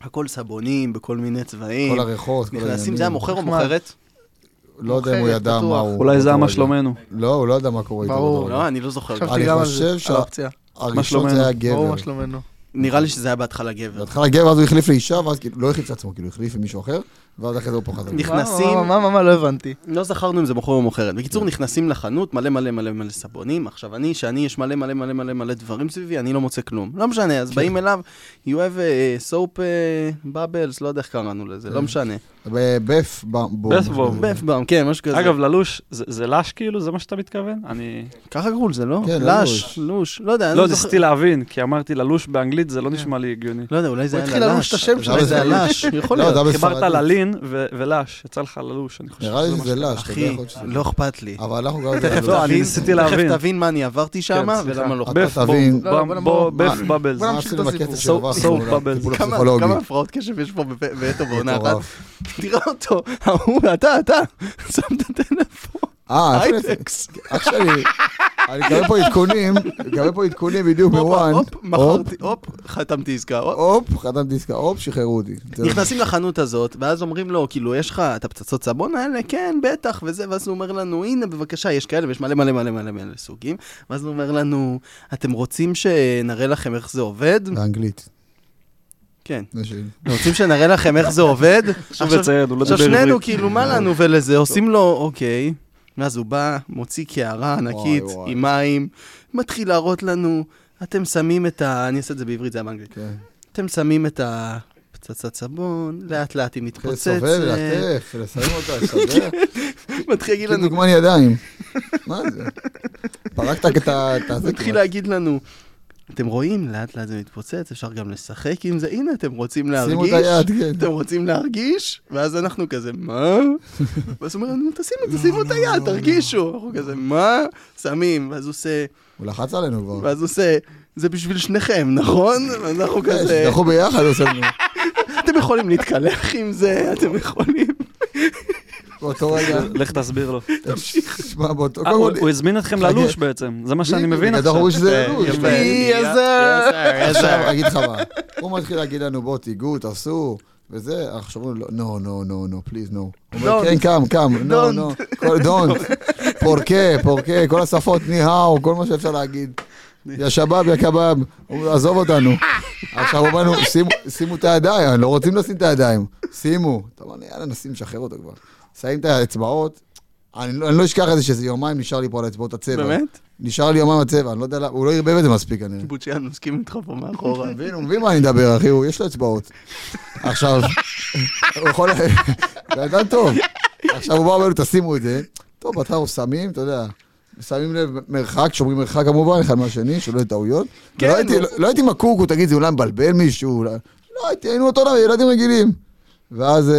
S2: הכל סבונים בכל מיני צבעים.
S1: כל הריחות, כל
S2: נכנסים, זה היה מוכר או
S4: נחמד.
S2: מוכרת?
S1: לא יודע אם הוא
S4: מוכרת,
S1: ידע
S4: בטוח.
S1: מה הוא...
S3: אולי זה היה
S1: מה
S3: מה
S1: קורה
S3: שלומנו.
S1: איתו. לא, הוא לא ידע מה קורה איתו.
S4: ברור.
S1: באותו רגע.
S2: לא, אני לא זוכר.
S4: חשבתי
S1: אני
S4: גם על
S1: חושב
S4: זה,
S1: שה-
S4: על האופציה.
S1: הראשון
S3: שלומנו?
S1: זה היה
S4: ברור
S1: גבר.
S4: מה שלומנו.
S2: נראה לי שזה היה בהתחלה גבר.
S1: בהתחלה גבר, אז הוא החליף לאישה, ואז כאילו, לא החליף את עצמו, כאילו, החליף עם מישהו אחר, ואז אחרי זה הוא פה חזר.
S2: נכ- נכנסים-
S4: מה, מה, מה, מה, לא הבנתי.
S2: לא זכרנו אם זה מוכר או מוכרת.
S1: כן.
S2: בקיצור, נכנסים לחנות, מלא מלא מלא מלא סבונים. עכשיו, אני, שאני, יש מלא מלא מלא מלא מלא דברים סביבי, אני לא מוצא כלום. לא משנה,
S1: כן.
S2: אז באים אליו, you have uh, soap uh, bubbles, לא יודע איך קראנו לזה,
S1: אה.
S2: לא משנה.
S1: בבף בום. לא,
S3: בף בום.
S2: בף בם, כן, משהו כזה.
S3: אגב, ללוש, זה- זה לש כאילו? זה מה שאתה מתכוון? אני...
S2: ככה קראו לזה, לא?
S1: כן,
S2: לש, לוש, לא יודע, אני
S3: לא,
S2: זוכר-
S3: ניסיתי להבין, כי אמרתי ללוש באנגלית, זה לא נשמע לי הגיוני.
S2: לא יודע, אולי זה
S4: הוא
S2: היה ללש.
S4: התחיל ללוש את השם
S1: שלו.
S2: אולי זה היה לש, יכול
S1: לא,
S2: להיות.
S1: זה היה
S3: חיברת
S1: בספרדית.
S3: ללין ו- ולש, יצא לך ללוש, אני חושב.
S1: נראה לי
S3: שזה מה
S1: שזה
S3: ש-
S1: לש, אתה יודע,
S2: אחי,
S1: יכול להיות שזה-
S2: לא אכפת לי.
S1: אבל אנחנו גם...
S2: תכף
S3: לא,
S2: תבין-
S3: אני ניסיתי להבין.
S2: תכף תבין מה אני עברתי שם,
S3: כן, סליחה.
S2: ולמה לא.
S1: אתה
S3: בף
S1: תבין.
S3: בום,
S4: לא, לא, בוא
S3: בום,
S4: נעבור-
S3: בוא, בף
S1: מה-
S3: בבלס.
S4: בוא
S1: מה
S4: נמשיך
S1: עשינו
S4: את
S1: בקצב
S4: הסיפור.
S1: שהרווחנו?
S3: סופ בבל.
S1: טיפול
S2: כמה-
S1: הפסיכולוגי.
S2: כמה הפרעות קשב יש פה בפה- בטו בעונה אחת?
S1: מטורף.
S2: תראה אותו, ההוא, אתה, אתה, שם את הטלפון,
S1: אה, איפה נעשה?
S2: אייפקס.
S1: אח שלי, אני מקבל פה עדכונים, מקבל פה עדכונים בדיוק בוואן.
S2: הופ, מכרתי, הופ, חתמתי עסקה. הופ.
S1: הופ, חתמתי עסקה, הופ, שחררו אותי. זה-
S2: נכנסים לחנות הזאת, ואז אומרים לו, כאילו, יש לך את הפצצות סבון האלה? כן, בטח, וזה, ואז הוא אומר לנו, הנה, בבקשה, יש כאלה, ויש מלא מלא מלא מלא מלא סוגים. ואז הוא אומר לנו, אתם רוצים שנראה לכם איך זה עובד?
S1: באנגלית.
S2: כן.
S1: זה שלי.
S2: אתם רוצים שנראה לכם איך זה עובד?
S3: חשוב לציין, הוא לא
S2: עכשיו
S3: דיבר עברית.
S2: שנינו כאילו, מה לנו ולזה? עושים לו, אוקיי. ואז הוא בא, מוציא קערה ענקית
S1: וואי.
S2: עם מים, מתחיל להראות לנו, אתם שמים את ה... אני אעשה את זה בעברית, זה היה באנגלית.
S1: כן.
S2: אתם שמים את ה... פצצת סבון, לאט לאט היא
S1: אחרי
S2: מתפוצצת.
S1: לסובב, ללטף, כן, לסיים אותה, לסדר.
S2: מתחיל להגיד
S1: אה. כאילו
S2: לנו,
S1: דוגמן ידיים. מה זה? פרקת את ה... את הזה
S2: מתחיל
S1: כמעט.
S2: להגיד לנו, אתם רואים, לאט לאט זה מתפוצץ, אפשר גם לשחק עם זה, הנה, אתם רוצים
S1: שימו את
S2: להרגיש?
S1: היד, כן.
S2: אתם רוצים להרגיש? ואז אנחנו כזה, מה? ואז הוא אומר לנו, תשימו,
S1: לא,
S2: תשימו את היד, תרגישו. אנחנו כזה, מה? שמים, ואז הוא עושה,
S1: הוא לחץ עלינו כבר.
S2: ואז הוא עושה, זה בשביל שניכם, נכון? ואז אנחנו
S1: כן,
S2: כזה,
S1: שתדחו ביחד, הוא עושה לנו.
S2: אתם יכולים להתקלח עם זה, אתם יכולים.
S1: באותו רגע.
S3: לך תסביר לו.
S1: תמשיך. שמע, באותו...
S3: אה,
S1: קודם
S3: הוא
S1: כאילו- כל-
S3: הוא הזמין אתכם
S1: חכה.
S3: ללוש בעצם, זה מה שאני
S1: בדיוק,
S3: מבין
S1: בגלל זה כן.
S3: עכשיו. אה,
S1: אנחנו אומרים שזה ללוש.
S2: כן, יפה.
S4: מי הזה?
S1: עכשיו, אגיד לך מה. הוא מתחיל להגיד לנו, בוא, תיגעו, תעשו, וזה, אנחנו שומעים לו, נו, נו, נו, נו, פליז, נו. הוא אומר,
S4: Don't.
S1: כן, קם, קם, נו, נו, דונט, פורקה, פורקה, כל השפות, ניהאו, כל מה שאפשר להגיד. יא שבאב, יא קבאב, הוא אומר, עזוב אותנו. עכשיו אמרנו, "שימו- שימו את הידיים, לא רוצים לשים את הידיים, שימו. אתה אומר, יאללה, נשים, לשחרר אותו כבר. שמים את האצבעות, אני לא אני לא אשכח את זה שזה יומיים נשאר לי פה על האצבעות הצבע.
S2: באמת?
S1: נשאר לי יומיים הצבע, אני לא יודע למה, הוא לא ערבב את זה מספיק כנראה.
S2: בוצ'יאן מסכים איתך פה מאחורה.
S1: מבין, הוא מבין מה אני מדבר, אחי, הוא, יש לו אצבעות. עכשיו, הוא יכול... בן אדם טוב. עכשיו הוא בא ואומר, תשימו את זה. טוב, אנחנו שמים, אתה יודע, שמים לב מרחק, שומרים מרחק כמובן, אחד מהשני, שלא יהיו טעויות.
S2: כן,
S1: ולא הייתי-
S2: הוא-
S1: לא- לא הייתי מקורקו, תגיד, זה אולי מבלבל מישהו? אולי- לא, הייתי, היינו אותו דבר, ילדים רגילים. ואז אה,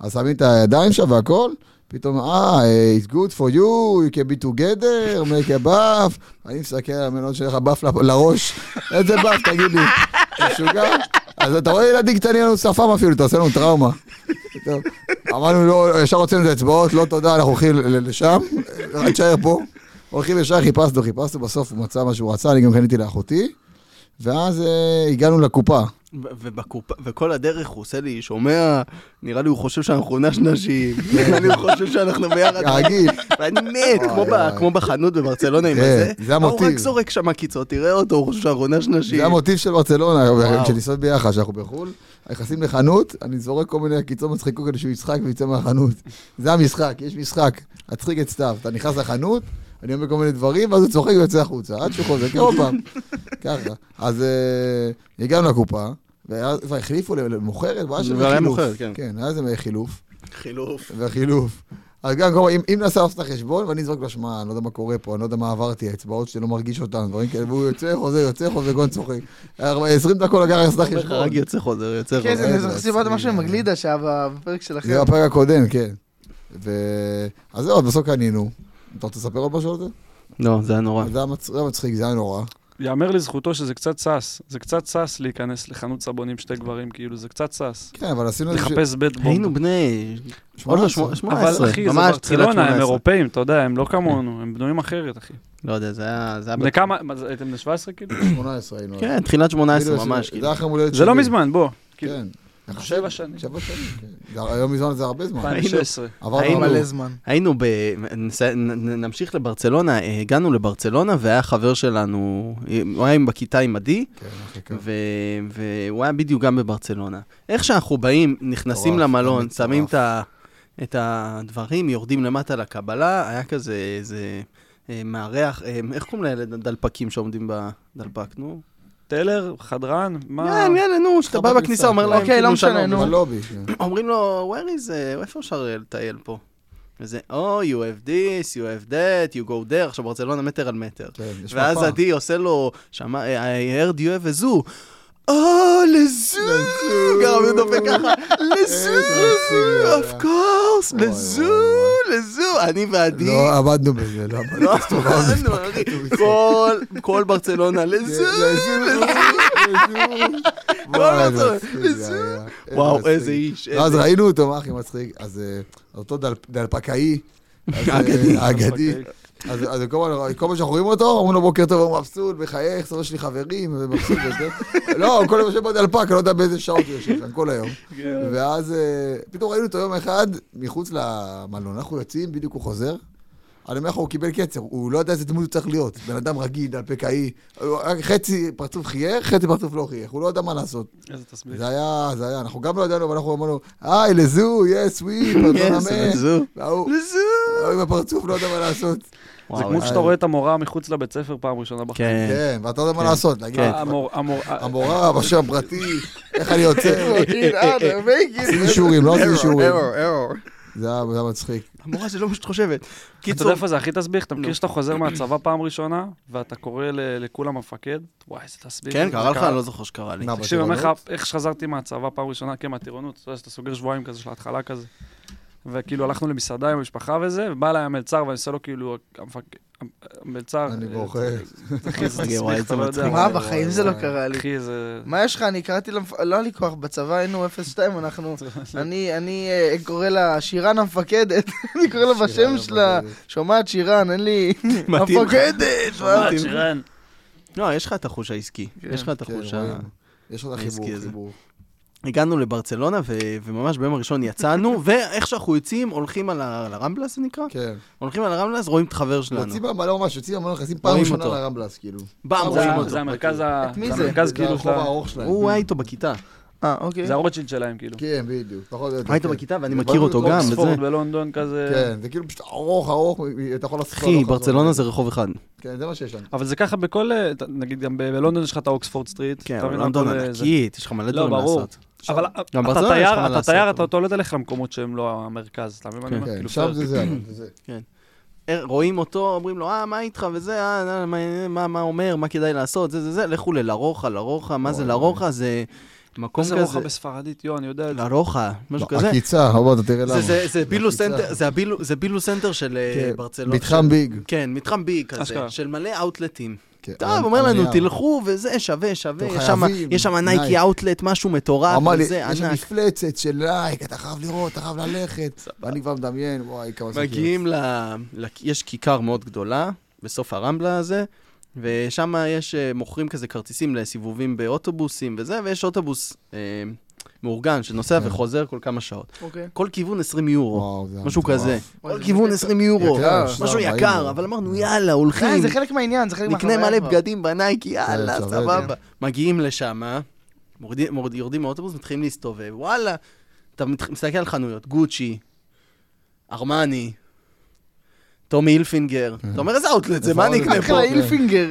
S1: אז שמים את הידיים שם והכל, פתאום, אה, אה, it's good for you, you can be together, make a buff, אני מסתכל על המלון שלך, באף ל- לראש, איזה באף, תגיד לי, אתה משוגע? אז אתה רואה ילדים קטנים, אין לנו שפם אפילו, אתה עושה לנו טראומה. טוב, אמרנו, לא, ישר הוצאנו את האצבעות, לא תודה, אנחנו הולכים ל- ל- לשם, רק תשאר פה. הולכים ישר, חיפשנו, חיפשנו, בסוף הוא מצא מה שהוא רצה, אני גם קניתי לאחותי, ואז אה, הגענו לקופה.
S2: ו- ובקופה, וכל הדרך הוא עושה לי, שומע, נראה לי הוא חושב שאנחנו נש נשים, נראה לי הוא חושב שאנחנו ביחד.
S1: כרגיל,
S2: ואני מת,
S1: אוי,
S2: כמו ב-
S1: אוי.
S2: כמו בחנות בברצלונה עם
S1: כן,
S2: הזה.
S1: זה
S2: הוא
S1: המוטיב.
S2: רק זורק שם עקיצות, תראה אותו, הוא חושב שאנחנו נש נשים.
S1: זה המוטיב של ברצלונה,
S2: וואו.
S1: כשניסות ביחד, כשאנחנו בחו"ל, נכנסים לחנות, אני זורק כל מיני קיצות מצחיקות כדי שהוא יצחק ויצא מהחנות. זה המשחק, יש משחק. הצחיק את סתיו, אתה נכנס לחנות, אני אומר כל מיני דברים, ואז הוא צוחק ויוצא החוצה, עד שהוא חוזר, כן, עוד פעם. ככה. אז אה, הגענו לקופה, ואז כבר החליפו למוכרת, ואז
S2: כבר היה
S1: חילוף.
S2: מוכרת, כן.
S1: כן, היה איזה חילוף.
S2: חילוף.
S1: והחילוף. אז גם כלומר, אם, אם נעשה לעשות את החשבון, ואני אזרוק לו, שמע, אני לא יודע מה קורה פה, אני לא יודע מה עברתי, האצבעות שלי לא מרגיש אותן, דברים כאלה, והוא יוצא, חוזר, יוצא, חוזר, גון צוחק. ארבע- 20 דקות לקח לעשות את
S2: אומר לך,
S1: החשבון.
S2: רק יוצא חוזר, יוצא
S4: כן,
S2: חוזר.
S4: זה זה סיבת משהו עם הגלידה שהיה בפרק שלכם.
S1: זה בפרק הקודם, כן. ו... אז זהו, אז בסוף קנינו. אתה רוצה לספר עוד משהו על זה?
S2: לא, זה היה נורא.
S1: זה היה מצ- זה היה מצחיק, זה היה נורא.
S3: יאמר לזכותו שזה קצת שש. זה קצת שש להיכנס לחנות סבונים שתי גברים, כאילו, זה קצת שש.
S1: כן, אבל עשינו איזה...
S3: לחפש בית בונד.
S2: לא, היינו בני... עוד לא
S1: שמונה
S2: שמונה-
S1: עשרה.
S2: 18,
S3: אבל אחי, זה
S2: ממש תחילת כן.
S3: ברצלונה, הם
S2: 18.
S3: אירופאים, אתה יודע, הם לא כמונו, הם בנויים אחרת, אחי.
S2: לא יודע, זה היה... זה היה
S3: בני
S2: בת-
S3: כמה, מה זה, הייתם בני 17 כאילו?
S1: 18 היינו.
S2: כן, תחילת
S1: כאילו,
S2: 18
S1: עשינו-
S2: ממש. כאילו.
S1: זה היה חמור להיות
S3: זה לא מזמן, בוא. כאילו,
S1: כן.
S3: שבע שנים.
S1: שבע שנים, כן. זה- היום מזמן זה הרבה זמן.
S3: 2016.
S1: עברנו
S2: היינו-
S1: הרבה.
S4: מלא זמן.
S2: היינו ב... נס- נ- נ- נמשיך לברצלונה, אה, הגענו לברצלונה והיה חבר שלנו, אה, הוא היה עם- בכיתה עם עדי,
S1: כן, אחי, כן.
S2: ו... והוא היה בדיוק גם בברצלונה. איך שאנחנו באים, נכנסים
S1: מטורף,
S2: למלון,
S1: מטורף.
S2: שמים את ה- את הדברים, יורדים למטה לקבלה, היה כזה איזה אה, מארח, אה, איך קוראים לילד הדלפקים שעומדים בדלפק, נו?
S3: טלר, חדרן, מה?
S2: יאללה, יאללה, נו, שאתה בא
S1: בכניסה,
S2: בכניסה, אומר
S1: כן.
S2: להם,
S4: אוקיי, לא
S2: כאילו,
S4: משנה,
S2: שלום.
S4: נו.
S1: בלובי, כן.
S2: אומרים לו, where is, uh, איפה אפשר לטייל פה? וזה, או, oh, you have this, you have that, you go there, עכשיו ברצלונה מטר על מטר.
S1: כן, יש
S2: ואז
S1: מפה.
S2: עדי עושה לו, שמע, I heard you have a zoo. אה, לזוג!
S1: לזוג.
S2: גם הוא דופק ככה, לזוג!
S1: מצחיק זה
S2: of course,
S1: וואי,
S2: לזוג,
S1: וואי,
S2: לזוג. אני ועדי,
S1: לא עבדנו בזה, לא עבדנו.
S2: לא הבנו, אחי. כל- כל
S1: כן,
S2: ברצלונה,
S1: לא,
S2: לזוג!
S1: וואי, מצחיק
S2: מצחיק לא, זה
S1: זה
S2: היה.
S1: היה.
S2: וואו,
S1: מצחיק.
S2: איזה איש,
S1: ואז
S2: איזה...
S1: ראינו אותו, מה הכי מצחיק? אז אה, אותו דל- דלפקאי, אז, אה,
S2: אגדי.
S1: האגדי, אז אז כל הזמן- כל פעם שאנחנו רואים אותו, אומרים לו בוקר טוב, הוא מבסוט, מחייך, סבבה שלי חברים, ומבסוט וזה. לא, הוא כל היום יושב בדלפק, אני לא יודע באיזה שעות הוא יושב שם, כל היום. ואז אה, פתאום ראינו אותו יום אחד מחוץ למלון, אנחנו יוצאים, בדיוק הוא חוזר, אני אומר לך, הוא קיבל קצר, הוא לא יודע איזה דמות הוא צריך להיות. בן אדם רגיל, דלפקאי, הוא- רק חצי פרצוף חייך, חצי פרצוף לא חייך, הוא לא יודע מה לעשות.
S3: איזה תסביך.
S1: זה היה, זה היה, אנחנו גם לא ידענו, אבל אנחנו אמרנו, היי, לזו, יס, ווי, פרדון אמן.
S2: זו.
S1: וההוא
S2: זו.
S1: ההוא עם הפרצוף לא יודע מה לעשות.
S3: זה כמו שאתה רואה את המורה מחוץ לבית ספר פעם ראשונה בחיים.
S2: כן.
S1: כן, ואתה לא יודע מה
S2: כן.
S1: לעשות, להגיד,
S2: כן.
S3: המור- המור-
S1: המורה, בשם הפרטי, איך אני יוצא? עשיתי שיעורים, לא עשיתי שיעורים. זה היה זה היה מצחיק.
S2: המורה שלא מה שאת חושבת.
S3: אתה
S2: קיצור,
S3: יודע איפה זה הכי תסביך? אתה מכיר שאתה חוזר מהצבא פעם ראשונה, ואתה קורא ל- לכולם מפקד? וואי, איזה תסביך.
S2: כן, קרה לך? אני לא זוכר שקרה לי.
S1: מה,
S3: תקשיב, אני אומר לך,
S1: בטירונות?
S3: איך שחזרתי מהצבא פעם ראשונה, כן, מהטירונות, אתה יודע שאתה סוגר שבועיים כזה של ההתחלה כזה. וכאילו הלכנו למסעדה עם המשפחה וזה, ובא אליי המלצר ואני עושה לו כאילו, המפק- המלצר...
S1: אני
S3: אה,
S1: בוכה.
S3: זה אחי, זה
S2: וואי, וואי,
S3: תסביך,
S2: זה
S3: אתה לא
S2: מצחיק.
S3: יודע.
S4: מה, בחיים זה לא קרה לי.
S3: אחי, זה...
S4: מה יש לך? אני קראתי למפ... לא היה לי כוח, בצבא היינו 0-2, אנחנו... אני, אני אה, קורא לה שירן המפקדת, אני קורא לה
S1: כן,
S4: בשם שלה, שומעת שירן, אין לי...
S2: מתאים לך.
S4: המפקדת! מה?
S3: אה, שירן.
S2: לא, יש לך את החוש העסקי.
S4: כן.
S2: יש לך את
S1: כן,
S2: החוש ה...
S1: רואים. יש עוד
S2: אני
S1: חיבור,
S2: אזכיר את זה.
S1: חיבור.
S2: הגענו לברצלונה, ו- וממש ביום הראשון יצאנו, ואיך שאנחנו יוצאים, הולכים על ה- על הרמבלס, זה נקרא?
S1: כן.
S2: הולכים על הרמבלס, רואים את החבר שלנו.
S1: יוצאים מהמלון ממש, יוצאים מהמלון, נכנסים פעם
S2: רואים
S1: ראשונה
S2: אותו.
S1: לרמבלס, כאילו.
S2: פעם
S1: זה-
S2: רואים אותו.
S3: זה המרכז ה...
S4: את מי
S3: זה
S4: זה?
S3: המרכז
S1: זה
S3: כאילו של
S1: הרחוב
S3: ה...
S1: הארוך שלהם.
S2: הוא היה איתו בכיתה.
S4: אה, אוקיי.
S3: זה הרוטשילד שלהם, כאילו.
S1: כן, בדיוק. פחות או יותר,
S2: היית
S1: כן.
S2: בכיתה ואני
S1: זה
S2: מכיר אותו
S1: בדיוק
S2: גם,
S1: אוקספורד.
S3: אוקספורד בלונדון כזה.
S1: כן, זה כאילו פשוט ארוך, ארוך, אתה יכול לעשות...
S2: אחי,
S1: הלוך, חזור.
S2: ברצלונה זה רחוב אחד.
S1: כן, זה מה שיש לנו.
S3: אבל זה ככה בכל, אה, ת- נגיד גם ב- בלונדון יש לך את האוקספורד סטריט.
S2: כן,
S3: אתה
S2: אבל
S3: מבין,
S2: לונדון
S3: הכל, אה, זה-
S2: ענקית, יש לך מלא
S3: לא,
S2: דברים
S3: ברור.
S2: לעשות.
S3: אבל
S2: גם
S3: אתה
S2: ברצלונה יש לך מה
S3: תייר, אתה
S2: לעשות,
S3: תייר,
S2: אבל-
S3: אתה אתה לא הולך למקומות שהם לא המרכז, אתה מבין מה אני אומר?
S1: כן,
S3: כאילו,
S1: שם זה זה, אבל, זה זה.
S2: אה, רואים אותו, אומרים לו, אה, מה איתך וזה, אה, אה, מה- מה- מה אומר, מה כדאי לעשות, זה, זה, זה, לכו ללרוחה, לרוחה, מה זה
S1: וואי,
S2: לרוחה? זה מקום
S3: זה רוחה
S2: כזה.
S3: בספרדית, יו, אני יודע את זה.
S2: לרוחה, משהו
S1: לא,
S2: כזה.
S1: עקיצה, אבל אתה תראה
S2: זה-
S1: למה.
S2: זה- זה בילוס
S1: עקיצה.
S2: סנטר, זה הבילו- זה בילוס סנטר של אה,
S1: כן,
S2: ברצלונה.
S1: מתחם
S2: של-
S1: ביג.
S2: כן, מתחם ביג כזה,
S3: אשכרה.
S2: של מלא אאוטלטים.
S1: כן,
S2: טוב,
S1: על-
S2: אומר
S1: על
S2: לנו,
S1: הנייר.
S2: תלכו וזה, שווה, שווה,
S1: אתם
S2: יש שם-
S1: חייבים,
S2: יש שם
S1: נייק.
S2: נייקי אאוטלט, משהו מטורף,
S1: הוא אמר לי,
S2: וזה
S1: יש שם
S2: ענק.
S1: מפלצת של לייק, אתה חייב לראות, אתה חייב ללכת. ואני כבר מדמיין, וואי, כמה שקיות.
S2: מגיעים ל... ל... יש כיכר מאוד גדולה, בסוף הרמבלה הזה, ושם יש, אה, מוכרים כזה כרטיסים לסיבובים באוטובוסים וזה, ויש אוטובוס אה, מאורגן שנוסע
S1: כן.
S2: וחוזר כל כמה שעות.
S4: אוקיי.
S2: כל כיוון 20 יורו,
S1: וואו, זה היה
S2: משהו
S1: מטורף.
S2: כזה.
S4: וואי,
S2: כל
S4: זה
S2: כיוון
S4: מגניב.
S2: 20 יורו,
S1: יקר,
S2: משהו
S1: 40
S2: כן, לא- יקר,
S1: יורו.
S2: אבל אמרנו, יאללה, הולכים,
S4: די, אה, זה חלק מהעניין, זה חלק
S2: נקנה
S4: מהחוויה.
S2: מלא
S4: כבר.
S2: בגדים בנייק, יאללה,
S1: שווה,
S2: סבבה. מגיעים לשם, מורדים- מורד- יורדים מהאוטובוס, מתחילים להסתובב, וואלה. אתה מת- מסתכל על חנויות, גוצ'י, ארמני, טומי הילפינגר. אתה אומר, איזה אאוטלט זה, מה אני
S1: איפה
S2: אקנה
S1: האוטלט?
S2: פה?
S4: אחלה הילפינגר.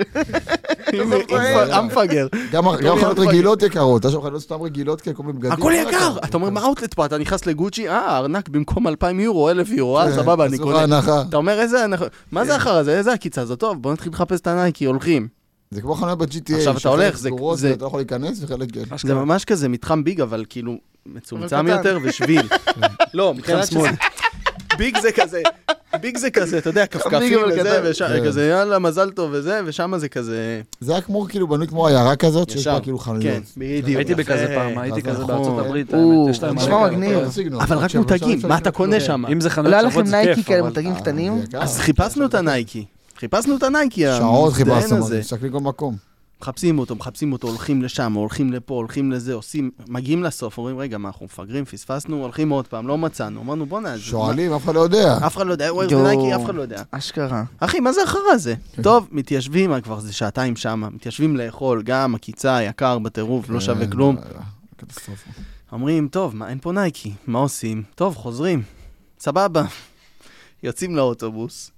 S2: אמפגר.
S1: גם גם
S2: טוב,
S1: חנות
S2: יאללה,
S1: רגילות יקרות, יש שם חנות סתם רגילות, כן, כל מיני בגדים.
S2: הכל יקר. אתה אומר, מה האאוטלט פה? אתה נכנס לגוצ'י, אה, הארנק במקום 2,000 יורו, 1,000
S1: כן,
S2: יורו, אה, סבבה, אני
S1: עשו לך
S2: קונה.
S1: הנחה.
S2: אתה אומר, איזה, אנחנו- מה
S3: כן.
S2: זה אחר הזה? איזה עקיצה הזאת? טוב, בוא נתחיל לחפש את הנייקי, הולכים.
S1: זה כמו חנויות ב-GTA.
S2: עכשיו אתה
S1: שחלק
S2: הולך, זה-
S1: סגורות,
S2: זה- אה.
S1: אתה לא יכול להיכנס וחלק כן.
S2: זה
S3: אשכרה.
S2: ממש כזה מתחם ביג, אבל כאילו מצומצם
S4: קטן.
S2: יותר ושביל.
S3: כן.
S2: לא, מבחינת שמאל. ביג זה כזה, ביג זה כזה, אתה יודע, כפכפים
S4: אבל
S2: וזה,
S4: קטן.
S2: וש-
S1: כן.
S2: כזה יאללה, מזל טוב וזה, ושם זה כזה
S1: זה היה כמו, כאילו, בנוי כמו עיירה כזאת, שיש
S2: ישר.
S1: בה כאילו חנויות.
S2: כן, בדיוק.
S3: הייתי
S2: יפה.
S3: בכזה פעם, הייתי
S1: נכון.
S3: כזה בארצות הברית,
S4: או,
S3: האמת, יש להם...
S4: נשמע
S3: מלא כאלה.
S4: מגניב.
S1: זה סגנון.
S2: אבל רק
S1: עכשיו,
S2: מותגים,
S1: עכשיו,
S2: מה
S1: עכשיו, כאילו-
S2: אתה קונה
S1: כלום.
S2: שם?
S3: אם זה
S4: לא היה
S3: חנויות
S4: לכם
S3: שוות, זה
S4: נייקי
S3: כיף,
S4: כאלה
S3: אבל-
S4: מתגים
S1: אה,
S4: קטנים?
S1: זה יקר.
S2: אז חיפשנו את הנייקי. חיפשנו את הנייקי,
S1: שעות
S2: המזדיין
S1: חיפשנו,
S2: הזה.
S1: מסתכלים כל מקום.
S2: מחפשים אותו, מחפשים אותו, הולכים לשם, הולכים לפה, הולכים לזה, עושים, מגיעים לסוף, אומרים, רגע, מה, אנחנו מפגרים, פספסנו, הולכים עוד פעם, לא מצאנו, אמרנו, בואנה, אז מה-
S1: שואלים, אף אחד לא יודע.
S2: אף אחד לא יודע, where's the
S4: יואו.
S2: Nike, אף אחד לא יודע.
S4: אשכרה.
S2: אחי, מה זה החרא הזה? טוב, מתיישבים, אה, כבר זה שעתיים שמה, מתיישבים לאכול, גם עקיצה, יקר, בטירוף, לא שווה
S1: כן,
S2: כלום.
S1: אה, קטסטרופה.
S2: אומרים, טוב, מה, אין פה נייקי, מה עושים? טוב, חוזרים, סבבה. יוצאים לאוטובוס,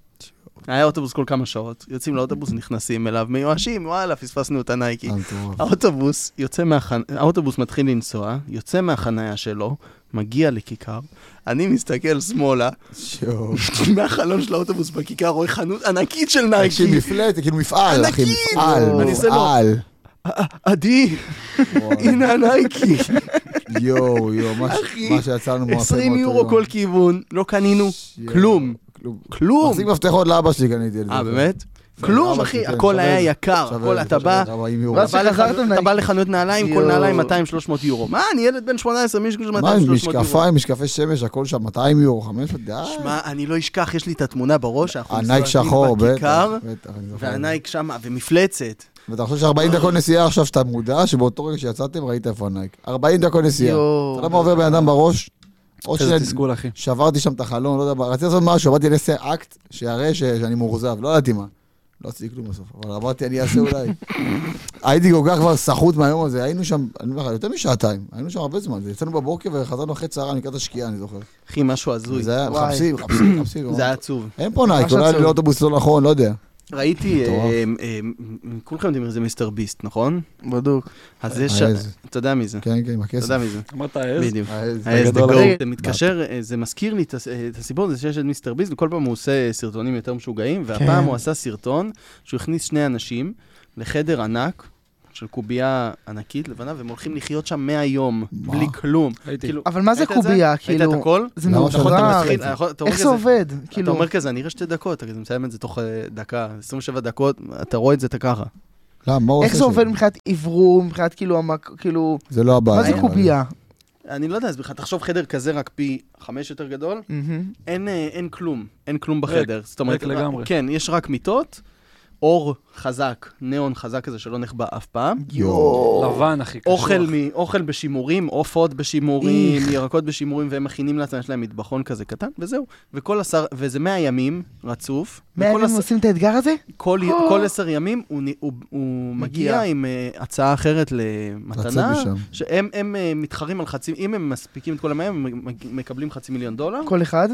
S2: היה אוטובוס כל כמה שעות, יוצאים לאוטובוס, נכנסים אליו, מיואשים, וואלה, פספסנו את הנייקי.
S1: מטורף.
S2: האוטובוס יוצא מהחניה, האוטובוס מתחיל לנסוע, יוצא מהחניה שלו, מגיע לכיכר, אני מסתכל שמאלה, אה,
S1: שואו.
S2: מהחלון של האוטובוס בכיכר רואה חנות ענקית של
S1: תקשיב,
S2: נייקי.
S1: מפלט, זה כאילו מפעל, אחי,
S2: ענקית.
S1: מפעל,
S2: אני עושה לו.
S1: מפעל.
S2: עדי, הנה הנייקי,
S1: יואו, יואו, מה ש-
S2: אחי,
S1: מה שיצאנו מהפה.
S2: 20
S1: באותו
S2: יורו
S1: יום.
S2: כל כיוון, לא קנינו
S1: שיואו,
S2: כלום.
S1: כלום.
S2: כלום.
S1: מחזיק מפתחות לאבא שלי קניתי את זה.
S2: אה, באמת?
S1: כן,
S2: כלום,
S1: אבא
S2: אחי,
S1: שלי, כן,
S2: הכל
S1: שווה
S2: היה
S1: את זה.
S2: יקר,
S1: שווה
S2: הכל
S1: את זה,
S2: אתה בא,
S1: שווה את זה, 40 יורו.
S4: ואז
S2: אתה בא
S4: שחזרתם
S2: לחנות- אתה בא לחנות נעליים, כל
S4: יואו.
S2: נעליים 200-300 יורו. מה, אני ילד בן 18, מישהו של 200-300
S1: מה, עם
S2: יורו.
S1: משקפיים, משקפי שמש, הכל שם, 200 יורו, 500, די.
S2: שמע, אני לא אשכח, יש לי את התמונה בראש, אנחנו
S1: הנייק
S2: מסתובבים
S1: שחור, בטח.
S2: בכיכר,
S1: בטח, אני זוכר.
S2: והנייק שמה, ומפלצת.
S1: ואתה חושב ש-40 דקות נסיעה עכשיו, שאתה מודע שבאותו רגע שיצאתם, ראית איפה הנייק. 40 דקות נסיעה.
S4: יואו.
S1: אתה יודע מה עובר בן אדם בראש? או
S3: איזה
S1: ש-
S3: תסכול, אחי.
S1: שברתי שם את החלון, לא יודע, מה, רציתי לעשות משהו, אמרתי, אני אעשה אקט שיראה ש- שאני מאוכזב, לא ידעתי מה. לא עשיתי כלום בסוף, אבל אמרתי, אני אעשה אולי. הייתי כל כך כבר סחוט מהיום הזה, היינו שם, אני אומר לך, יותר משעתיים, היינו שם הרבה זמן, יצאנו בבוקר וחזרנו אחרי צהריים לקראת השקיעה, אני זוכר.
S2: אחי, משהו הזוי.
S1: זה היה,
S4: וואי.
S1: מחפשים, מחפשים, מחפשים.
S2: זה היה עצוב.
S1: אין פה נייק,
S4: ממש
S1: אולי
S4: עצוב.
S1: לא אוטובוס לא נכון, לא יודע.
S2: ראיתי,
S1: מטורף.
S2: אה, אה, אה, כולכם יודעים מי זה מיסטר ביסט, נכון?
S4: בדוק.
S2: אז יש...
S1: העז.
S2: אתה יודע מי זה.
S1: כן, כן, עם
S2: אתה
S1: הכסף. אה,
S2: יודע מי זה.
S3: אמרת העז?
S2: בדיוק.
S1: העז.
S2: העז דה
S3: הגדול.
S2: גו.
S1: אוקיי.
S4: רגע.
S2: זה מתקשר, אה, זה מזכיר לי את הס- אה, את הסיפור הזה שיש את מיסטר ביסט, וכל פעם הוא עושה סרטונים יותר משוגעים, והפעם
S1: כן.
S2: הוא עשה סרטון שהוא הכניס שני אנשים לחדר ענק. של קובייה ענקית לבנה, והם הולכים לחיות שם 100 יום,
S1: מה?
S2: בלי כלום.
S3: הייתי.
S2: כאילו,
S4: אבל מה זה
S2: ראית את
S4: קובייה?
S2: ראית את
S4: כאילו,
S2: הכל?
S4: זה
S1: למה
S2: אתה יכול, אתה
S4: מעובר.
S1: שאתה
S2: מתחיל, אתה יכול- אתה אומר
S4: איך זה
S2: כזה,
S4: עובד?
S2: אתה
S4: כאילו,
S2: אומר כזה, אני אראה שתי דקות, אתה כזה מסיים את זה תוך אה, דקה, 27 דקות, אתה רואה את זה, אתה ככה.
S1: למה, מה הוא עושה
S4: איך זה
S1: שם?
S4: עובד מבחינת אוורור, מבחינת כאילו, המק- כאילו,
S1: זה לא הבעיה.
S4: מה זה
S1: אבל-
S4: קובייה?
S2: אני לא יודע, אז בכלל, תחשוב חדר כזה רק פי חמש יותר גדול,
S4: מהמם.
S2: אין, אה, אין כלום, אין כלום בחדר. זאת אומרת,
S3: ריק לגמרי.
S2: כן, יש רק מיטות, אור חזק, ניאון חזק כזה שלא נכבה אף פעם. לא,
S1: יואו.
S3: לבן, אחי, קשוח.
S2: אוכל, מ, אוכל בשימורים, עופות בשימורים,
S4: איך.
S2: ירקות בשימורים, והם מכינים לעצמם, יש להם מטבחון כזה קטן, וזהו. וכל עשר, וזה 100 ימים רצוף.
S4: מאה
S2: וכל
S4: ימים
S2: עשר-
S4: עושים את האתגר הזה?
S2: כל, כל עשר ימים הוא, נ- הוא, הוא
S4: אה. מגיע.
S2: מגיע, עם uh, הצעה אחרת
S1: לצאת
S2: למתנה,
S1: משם.
S2: שהם הם, uh, מתחרים על חצי, אם הם מספיקים את כל המאה, הם מג- מקבלים חצי מיליון דולר.
S4: כל אחד?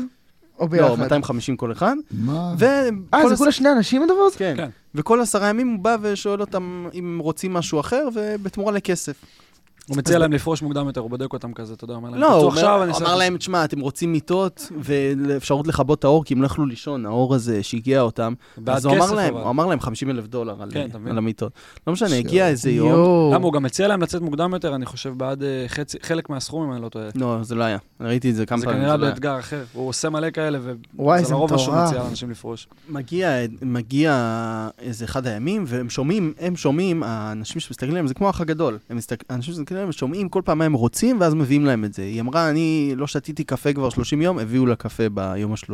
S4: או
S2: לא,
S4: ביחד?
S2: 250 כל אחד.
S1: מה?
S2: ו...
S4: אה, זה כולה שני אנשים הדבר הזה?
S2: כן.
S3: כן.
S2: וכל עשרה ימים הוא בא ושואל אותם אם הם רוצים משהו אחר, ובתמורה לכסף.
S3: הוא מציע להם לפרוש מוקדם יותר, הוא בודק אותם כזה, אתה יודע, אומר להם,
S2: לא, הוא
S3: "תצאו
S2: אומר,
S3: עכשיו, אני
S2: הוא
S3: אעשה
S2: אמר
S3: לכם
S2: להם, תשמע, אתם רוצים מיטות ואפשרות לכבות את האור, כי הם לא יכלו לישון, האור הזה שהגיע אותם.
S3: בעד
S2: אז הוא אמר
S3: כסף,
S2: להם,
S3: אבל."
S2: הוא אמר להם 50 אלף דולר על-
S3: כן, אתה מבין?
S2: על המיטות. לא משנה,
S1: שיו.
S2: הגיע איזה יום.
S4: יואו.
S3: למה הוא גם הציע להם לצאת מוקדם יותר, אני חושב, בעד אה, חצי- חלק מהסכום, אם אני לא טועה.
S2: לא, זה לא היה. ראיתי את זה כמה
S3: זה
S2: פעמים.
S3: כנראה
S2: לא היה.
S3: באתגר אחר. הוא עושה מלא כאלה,
S4: וואי, זה
S3: וזה לרוב מה שהוא
S4: מטורף.
S3: מציע לאנשים לפרוש.
S2: מגיע, מגיע איזה אחד הימים, והם שומעים, הם שומעים, האנשים שמסתכלים עליהם, זה כמו האח הגדול. הם מסתכל, האנשים שמסתכלים עליהם שומעים כל פעם מה הם רוצים, ואז מביאים להם את זה. היא אמרה, אני לא שתיתי קפה כבר 30 יום, הביאו לה קפה ביום ה-30.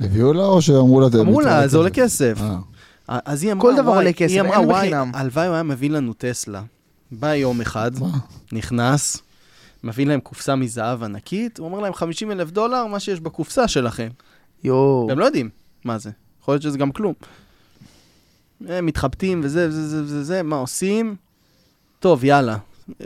S1: הביאו לה או שאמרו לה?
S2: אמרו לה,
S1: "תתראה
S2: זה עולה
S1: כסף"?
S2: כסף.
S1: אה.
S2: אז היא אמרה,
S4: כל דבר
S2: "וואי",
S4: עולה כסף,
S2: היא אמרה,
S4: אין
S2: "וואי,
S4: בחינם."
S2: הלוואי הוא היה מביא לנו טסלה. בא יום אחד,
S1: מה?
S2: נכנס, מביא להם קופסה מזהב ענקית, הוא אומר להם 50 אלף דולר, מה שיש בקופסה שלכם.
S4: יואו.
S2: והם לא יודעים מה זה. יכול להיות שזה גם כלום. הם מתחבטים וזה, וזה, זה, זה, זה, מה עושים? טוב, יאללה.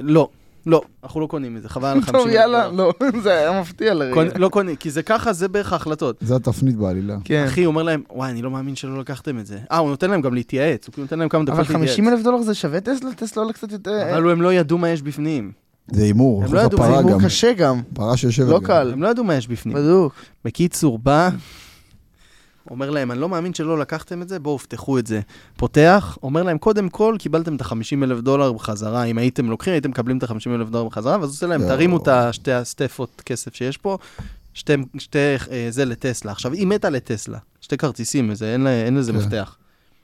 S2: לא, לא, אנחנו לא קונים את זה, חבל על 50
S4: טוב,
S2: אלף
S4: יאללה,
S2: דולר.
S4: לא, זה היה מפתיע לרגע.
S2: קונ- לא קונים, כי זה ככה, זה בערך ההחלטות.
S1: זה התפנית בעלילה.
S4: כן.
S2: אחי, הוא אומר להם, וואי, אני לא מאמין שלא לקחתם את זה. אה, הוא נותן להם גם להתייעץ, הוא כאילו נותן להם כמה דקות
S4: אבל
S2: להתייעץ.
S4: 50 אלף דולר זה שווה טסלה? טסלה עולה קצת יותר...
S2: אבל הם לא ידעו מה יש בפנים.
S1: זה הימור,
S2: הם
S1: אחוז
S2: לא ידעו, זה
S1: הפרה
S4: הוא
S1: אה, גם.
S4: קשה גם,
S1: פרה שיושבת.
S4: לא
S1: גם.
S4: קל.
S2: הם לא ידעו מה יש בפנים.
S4: בדוק.
S2: בקיצור, בא, אומר להם, אני לא מאמין שלא לקחתם את זה, בואו, פתחו את זה. פותח, אומר להם, קודם כל, קיבלתם את ה-50 אלף דולר בחזרה, אם הייתם לוקחים, הייתם מקבלים את ה-50 אלף דולר בחזרה, ואז עושה להם,
S1: יואו.
S2: תרימו את השתי הסטפות כסף שיש פה, שתי, שתי אה, זה לטסלה. עכשיו, היא מתה לטסלה, שתי כרטיסים, זה, אין, לה- אין לזה
S1: כן.
S2: מפתח.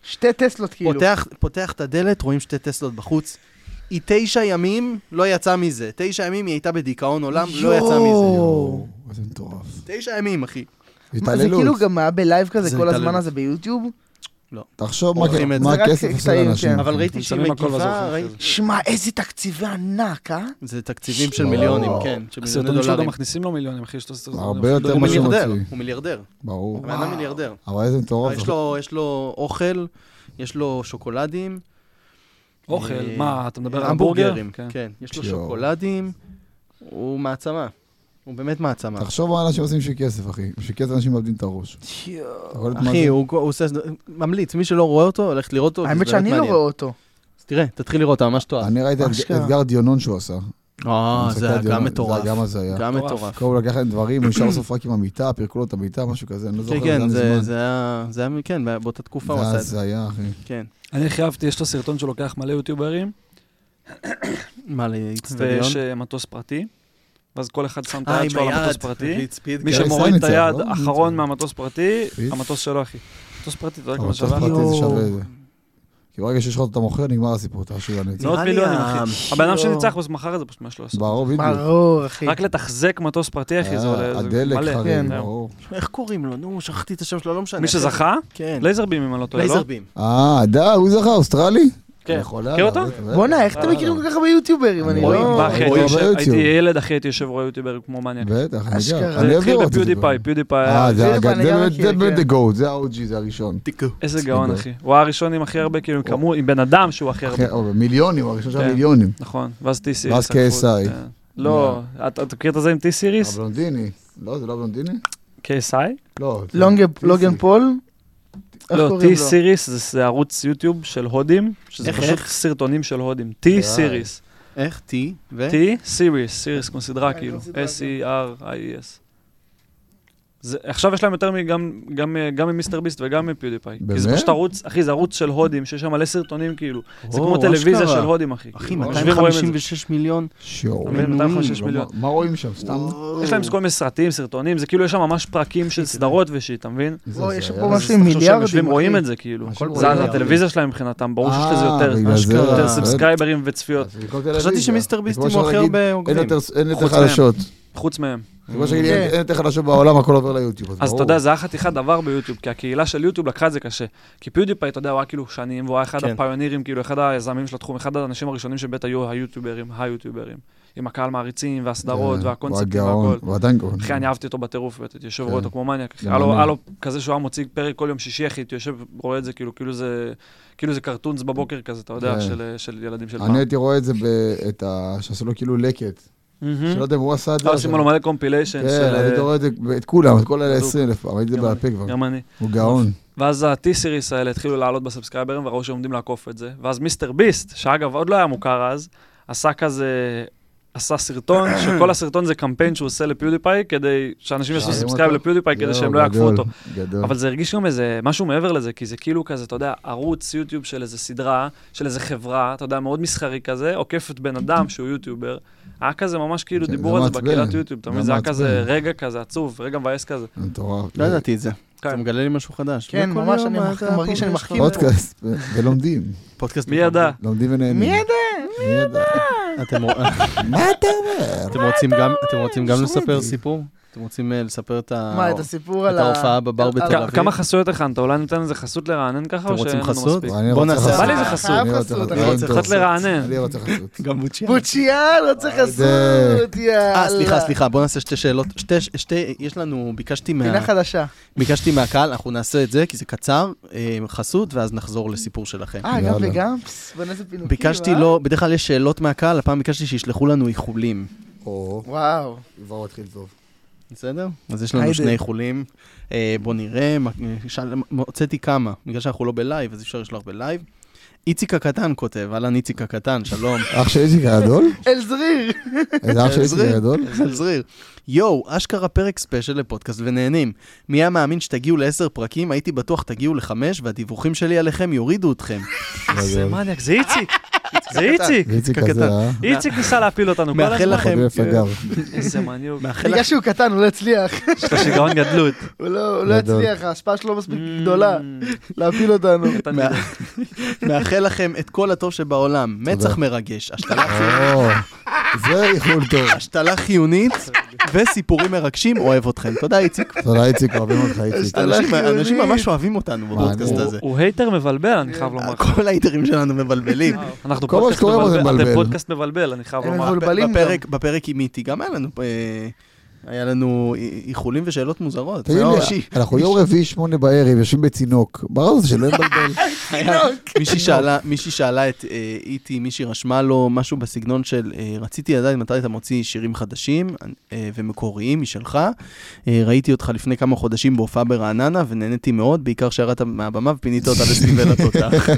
S4: שתי טסלות כאילו.
S2: פותח, פותח את הדלת, רואים שתי טסלות בחוץ. היא תשע ימים לא יצאה מזה. תשע ימים היא הייתה בדיכאון עולם, לא יצאה מזה.
S1: יואו, איזה מטורף.
S2: תשע ימים, אחי.
S4: מה, זה
S1: התעללות.
S4: כאילו גם היה בלייב כזה
S2: זה
S4: כל הזמן
S2: התעללות.
S4: הזה ביוטיוב?
S1: תחשוב מה-
S2: עורכים את
S1: מה
S4: זה. זה
S1: הכסף
S4: רק
S1: עושה
S4: קטעים,
S1: לאנשים.
S4: כן.
S2: אבל ראיתי
S3: הם
S2: שהיא
S3: שמים הכל ואז
S2: מגיבה,
S3: הולכים
S2: ראיתי...
S3: אחרי זה.
S4: שמע, איזה תקציבי ענק, אה?
S2: זה תקציבים של
S1: לא.
S2: מיליונים, כן, של מיליוני
S3: הסרטונים שלו גם
S2: דולרים.
S3: מכניסים לו מיליונים, אחי, שאתה עושה...
S1: הרבה יותר
S2: הוא
S1: מה שהוא
S2: מיליארדר,
S1: מוציא.
S2: הוא מיליארדר.
S1: ברור.
S2: הבן אדם מיליארדר.
S1: אבל איזה מטורף.
S2: יש לו- יש לו אוכל, יש לו שוקולדים.
S3: אוכל,
S2: אה,
S3: מה, אתה מדבר על המבורגר?
S2: המבורגרים,
S3: כן.
S2: כן. יש לו
S1: יואו.
S2: שוקולדים, הוא מעצמה. הוא באמת מעצמה.
S1: תחשוב מה אנשים עושים בשביל כסף, אחי. בשביל כסף אנשים מאבדים את הראש. אתה יכול להיות מה
S2: אחי,
S1: זה-
S2: הוא הוא עושה... ממליץ, מי שלא רואה אותו, ללכת לראות אותו.
S4: האמת
S2: זה באמת
S4: שאני לא
S2: מעניין.
S4: רואה אותו.
S2: אז תראה, תתחיל לראות, אתה ממש תאהב.
S1: אני ראיתי את
S4: אשכרה.
S1: אתגר דיונון שהוא עשה.
S2: אה,
S1: המשחקי
S2: זה היה
S1: הדיונון,
S2: גם מטורף.
S1: זה היה גם הזיה.
S2: גם
S3: מטורף.
S2: מטורף.
S1: כל הוא לקח להם דברים, הוא נשאר בסוף רק עם המיטה, פירקו לו את המיטה, משהו כזה, אני לא זוכר,
S2: כן,
S1: היה
S2: כן, זה-
S1: מזמן.
S2: זה היה... זה היה, כן, באותה תקופה
S1: זה
S2: הוא עשה
S1: היה
S2: את זה.
S1: הזיה, אחי.
S2: כן.
S3: אני הכי אהבתי, יש לו סרטון שלוקח מלא יוטיוברים,
S2: מה, לאיצטדיון?
S3: ויש אה, מטוס פרטי, ואז כל אחד שם את
S2: אה,
S3: היד
S2: עם
S3: שלו על המטוס
S2: היד.
S3: פרטי.
S2: ספיד,
S3: מי
S1: כן,
S3: שמוריד
S1: ניצן
S3: את היד
S1: ניצן, לא?
S3: האחרון
S1: ניצן.
S3: מהמטוס פרטי,
S1: ספיד?
S3: המטוס שלו, אחי. מטוס פרטי, אתה יודע
S1: אבל
S3: כמה
S1: צריך אה,
S3: שווה?
S1: פרטי זה
S4: יואו.
S1: שווה את זה. כי ברגע שיש לך אותו אתה מוכר, נגמר הסיפור, אתה עשיר לנצח.
S3: מאות
S2: נראה לי
S3: מיליונים,
S2: ה-
S3: אחי. הבן אדם
S4: יואו.
S3: שניצח, אז מכר את זה פשוט מה יש לו לעשות.
S1: ברור, בדיוק. אה,
S4: ברור, אחי.
S3: רק לתחזק מטוס פרטי, אחי, זה עולה... זה
S1: הדלק
S3: מלא.
S1: חריג,
S4: כן.
S1: ברור.
S2: איך קוראים לו? נו, שכחתי את השם שלו, לא משנה.
S3: מי שזכה?
S2: כן.
S3: לייזרבים, אם אני לא טועה, לא?
S2: לייזרבים.
S1: אה, די, הוא זכה, אוסטרלי?
S3: כן.
S1: יכול
S3: מכיר אותו?
S4: בואנה, איך
S2: לא,
S4: אתם מכירים כל כך הרבה יוטיוברים? אני
S1: רואים,
S4: לא...
S3: מה, אחי,
S1: רואים
S3: הייתי יושב-
S1: ביוטיוב.
S3: הייתי ילד, אחי, הייתי יושב רואה יוטיובר כמו מניאק.
S1: כן. בטח, אני
S4: אשכרה.
S1: יודע.
S4: זה
S1: אני
S3: זה
S1: אוהב
S3: התחיל
S1: לראות את זה.
S3: בפיודיפיי, פיודיפיי היה...
S1: אה, זה היה-
S4: פיודיפיי
S1: זה
S4: אני גם
S1: באמת-
S4: מכיר,
S1: זה באמת
S4: כן.
S1: the goat, זה ה-OG, זה כן. הראשון.
S3: כן.
S2: תיקו.
S3: איזה גאון, אחי. הוא היה הראשון עם הכי הרבה, כאילו, עם כמות, עם בן אדם שהוא הכי הרבה.
S1: אחי, או, מיליונים, הוא הראשון שהיה
S3: כן.
S1: מיליונים.
S3: נכון, ואז T-Series.
S1: כן. ואז
S3: לקחו את זה.
S1: KSI.
S3: כן. לא, אתה אתה מכיר את זה עם T-Series?
S1: הבלונדיני. לא, זה לא הבלונדיני?
S3: KSI?
S1: לא. זה-
S4: לונגן-
S1: טיסי.
S4: לוגן פול? איך
S3: לא,
S4: קוראים לו?
S3: T-Series זה- זה ערוץ יוטיוב של הודים, שזה
S2: איך,
S3: פשוט
S2: איך?
S3: סרטונים של הודים. T-Series.
S2: איך? T ו...
S3: T-Series, סיריס כמו סדרה
S1: אה,
S4: כן,
S3: כאילו,
S1: כן.
S4: כמו סדרה,
S3: S-E-R-I-E-S. E זה- עכשיו יש להם יותר מגם גם, אה, גם ממיסטר ביסט וגם מפיודיפיי. כי זה
S1: באמת?
S3: פשוט ערוץ, אחי, זה ערוץ של הודים, שיש שם מלא סרטונים כאילו. זה
S2: וואו,
S3: כמו טלוויזיה
S2: אשכרה.
S3: של הודים, אחי.
S2: אחי,
S3: כאילו, אנשים רואים את זה.
S2: 256 מיליון.
S1: שיעור.
S3: אתה מבין? 256
S1: לא,
S3: מיליון.
S1: מה- מה רואים שם? סתם?
S3: יש להם כל מיני סרטים, סרטונים, זה כאילו יש שם ממש פרקים של סדרות ושיט, אתה מבין?
S1: זה-
S4: אוי,
S1: זה
S4: יש
S1: היה-
S4: פה משהו
S3: אז
S4: עם
S3: תחשוב שהם יושבים,
S4: מיליארדים,
S3: רואים
S4: אחי.
S3: את זה כאילו.
S1: אנשים
S3: זה
S1: רואים
S3: הטלוויזיה שלהם מבחינתם, ברור שיש לזה
S1: אה,
S3: יותר-
S1: בגלל זה.
S3: יותר
S1: אה,
S3: סאבסקייברים וצפיות,
S1: אז מכל טלוויזיה.
S2: חשבתי שמיסטר ביסט
S1: זה כמו
S2: הוא הכי
S1: שנגיד,
S2: הרבה
S1: אין
S2: עוקבים.
S1: יותר- אין יותר
S2: חוץ מהם.
S1: חדשות.
S3: חוץ מהם.
S1: זה כמו שגיד, אין
S4: כן.
S1: אין יותר חדשות בעולם, הכל עובר ליוטיוב.
S3: אז אתה
S1: ברור.
S3: יודע, זה היה חתיכת דבר ביוטיוב, כי הקהילה של יוטיוב לקחה את זה קשה. כי פיודיפיי, אתה יודע, הוא היה כאילו שנים, והוא היה אחד
S2: כן.
S3: הפיונירים, כאילו, אחד היזמים של התחום, אחד האנשים הראשונים שבאמת היו היוטיוברים, היוטיוברים. עם הקהל מעריצים, והסדרות,
S1: כן,
S3: והקונספטים
S1: הוא היה גאון,
S3: והכל.
S1: הוא עדיין גאון.
S3: אחי, אני אהבתי אותו בטירוף, באמת, הייתי יושב
S1: כן.
S3: רואה אותו כמו מניאק. אחי.
S1: זה
S3: היה לו-
S1: מעניין.
S3: היה לו כזה שהוא היה מוציא פרק כל יום שישי, אחי, הייתי יושב, רואה את זה, כאילו, כאילו זה, כאילו זה קרטונס בבוקר כזה, אתה יודע,
S1: כן.
S3: של- של ילדים של פעם.
S1: אני הייתי רואה את זה, ב- את ה... שעשו לו כאילו לקט.
S3: מהמם.
S1: שלא יודע אם הוא עשה את זה.
S3: Mm. לא,
S1: או
S3: עושים
S1: ש-
S3: לו מלא קומפיליישן
S1: כן, אני הייתי
S3: של... אה,
S1: רואה את זה, את כולם, את כל אלה
S3: בדוק.
S1: 20 אלף פעם, ראיתי את זה
S3: גם אני,
S1: בעל פה כבר.
S3: גם אני.
S1: הוא גאון.
S3: ואז ה-T-Series האלה התחילו לעלות בסאבסקייברים וראו שעומדים לעקוף את זה. ואז מיסטר ביסט, שאגב עוד לא היה מוכר אז, עשה כזה, עשה סרטון, שכל הסרטון זה קמפיין שהוא עושה לפיודיפיי, כדי שאנשים יעשו
S1: שואלים
S3: סאבסקייב
S1: אותו?
S3: לפיודיפיי, כדי
S1: זהו,
S3: שהם לא יעקפו
S1: גדול,
S3: אותו.
S1: גדול.
S3: אבל זה הרגיש גם איזה משהו מעבר לזה, כי זה כאילו כזה, אתה יודע, ערוץ יוטיוב של איזה סדרה, של איזה חברה, אתה יודע, מאוד מסחרי כזה, עוקף את בן אדם שהוא יוטיובר. היה כזה ממש כאילו
S1: כן,
S3: דיבור
S1: זה
S2: לא
S3: על זה
S1: מעצבן.
S3: בקהילת יוטיוב, אתה
S1: זה
S3: מבין? זה היה
S1: מעצבן.
S3: כזה רגע כזה עצוב, רגע מבאס כזה.
S1: מטורף.
S2: לא ידעתי את זה. אתה
S3: כן.
S2: מגלה לי משהו חדש.
S4: כן,
S2: וכל
S4: ממש,
S2: יום
S4: אני
S2: אתה
S4: מרגיש
S2: פה
S4: שאני
S2: ויש
S4: מחכים.
S2: לך.
S1: פודקאסט, ו- ולומדים.
S2: פודקאסט.
S3: מי ידע?
S1: לומדים ונהנים.
S4: מי ידע?
S1: מי ידע?
S2: אתם
S1: מה אתה אומר?
S2: אתם רוצים גם- אתם רוצים גם
S1: שומע
S2: לספר
S1: אותי.
S2: סיפור? אתם רוצים אה, לספר את ה...
S4: מה, את הסיפור
S2: את
S4: על ה... אה,
S2: ההופעה בבר
S4: על-
S2: בתל
S4: על-
S2: אביב?
S3: כ- כמה חסויות הכנת? אולי ניתן איזה חסות לרענן ככה,
S2: אתם
S3: או שאין
S2: רוצים
S3: לנו
S2: חסות? לא
S3: מספיק?
S1: אני
S2: בוא
S1: רוצה
S2: נעשה-
S1: חסות.
S3: בא לי איזה חסות.
S1: אני רוצה
S4: חייב חסות,
S1: חסות.
S4: אני
S1: אין
S3: קצת
S1: טוב.
S3: לרענן.
S1: אני רוצה חסות.
S2: גם בוצ'י.
S4: בוצ'יאן, לא רוצה
S1: אה,
S4: חסות, יאללה.
S2: אה, סליחה, סליחה, בוא נעשה שתי שאלות. שתי, שתי, יש לנו, ביקשתי, מה,
S4: פינה חדשה.
S1: כן,
S2: ביקשתי מהקהל, אנחנו נעשה את זה, כי זה קצר, אה, חסות, ואז נחזור לסיפור שלכם.
S4: אה, גם
S1: יאללה.
S4: וגם? פס, בוא נעשה
S1: כאילו,
S4: פינוקים,
S2: ביקשתי
S4: אה?
S2: לא, בדרך כלל יש שאלות מהקהל, הפעם ביקשתי שישלחו לנו איחולים.
S1: או,
S4: וואו.
S1: כבר התחיל טוב.
S2: בסדר? אז יש לנו
S4: היידה.
S2: שני איחולים. אה, בוא נראה, מה- אה, שאל- הוצאתי כמה, בגלל שאנחנו לא בלייב, אז אי אפשר לשלוח בלייב. איציק הקטן כותב, אהלן איציק הקטן, שלום.
S1: אח של איציק הגדול?
S4: אלזריר.
S1: איזה אח של איציק
S2: עזרי.
S1: הגדול?
S2: על זריר. יואו, אשכרה פרק ספיישל לפודקאסט ונהנים. מי היה מאמין שתגיעו לעשר פרקים, הייתי בטוח תגיעו לחמש, והדיווחים שלי עליכם יורידו אתכם.
S3: זה מניאק, זה איציק. זה איציק.
S1: ואיציק
S2: הקטן.
S1: הזה, אה?
S3: איציק ניסה להפיל אותנו כל
S2: מאחל
S3: הזמן.
S2: לכם-
S1: חביב פגר.
S3: איזה מניוק.
S2: מאחל
S4: בגלל
S2: לך...
S4: שהוא קטן, הוא לא הצליח.
S3: יש לו שיגעון גדלות.
S4: הוא לא הוא לא
S1: גדול.
S4: הצליח, ההשפעה שלו לא מספיק
S3: Mm.
S4: גדולה להפיל אותנו.
S3: קטן
S2: מה-
S3: מדי.
S2: מאחל לכם את כל הטוב שבעולם. מצח מרגש, השתלה
S1: או, זה איחול טוב.
S2: השתלה חיונית וסיפורים מרגשים, אוהב אתכם. תודה, איציק.
S1: תודה איציק, אוהבים אותך איציק.
S4: השתלה
S2: אנשים-
S4: חיונית.
S2: אנשים ממש אוהבים אותנו בפודקאסט
S1: הוא-
S2: הזה.
S3: הוא הייטר מבלבל, אני חייב לומר.
S2: כל ההיטרים שלנו מבלבלים.
S3: אנחנו
S1: כל מה
S3: פודקאסט
S1: שקורה פה זה
S3: מבלבל. אתם
S1: מבלבל.
S3: פודקאסט מבלבל, אני חייב
S4: הם
S3: לומר.
S4: מבולבלים. מבלבלים
S2: בפרק- בפרק עם איטי גם היה לנו... אה, היה לנו איחולים ושאלות מוזרות.
S1: תגיד
S2: זה היה
S1: לי,
S2: אישי.
S1: אנחנו יום רביעי שמונה בערב, יושבים בצינוק. ברור זה שלא יבלבל.
S2: היה-
S4: לא.
S2: מישהי שאלה- מישהי שאלה את אה, איטי, מישהי רשמה לו משהו בסגנון של אה, רציתי לדעת מתי אתה מוציא שירים חדשים אה, ומקוריים משלך. אה, ראיתי אותך לפני כמה חודשים בהופעה ברעננה ונהניתי מאוד, בעיקר שירדת מהבמה ופינית אותה לסביבל התותח.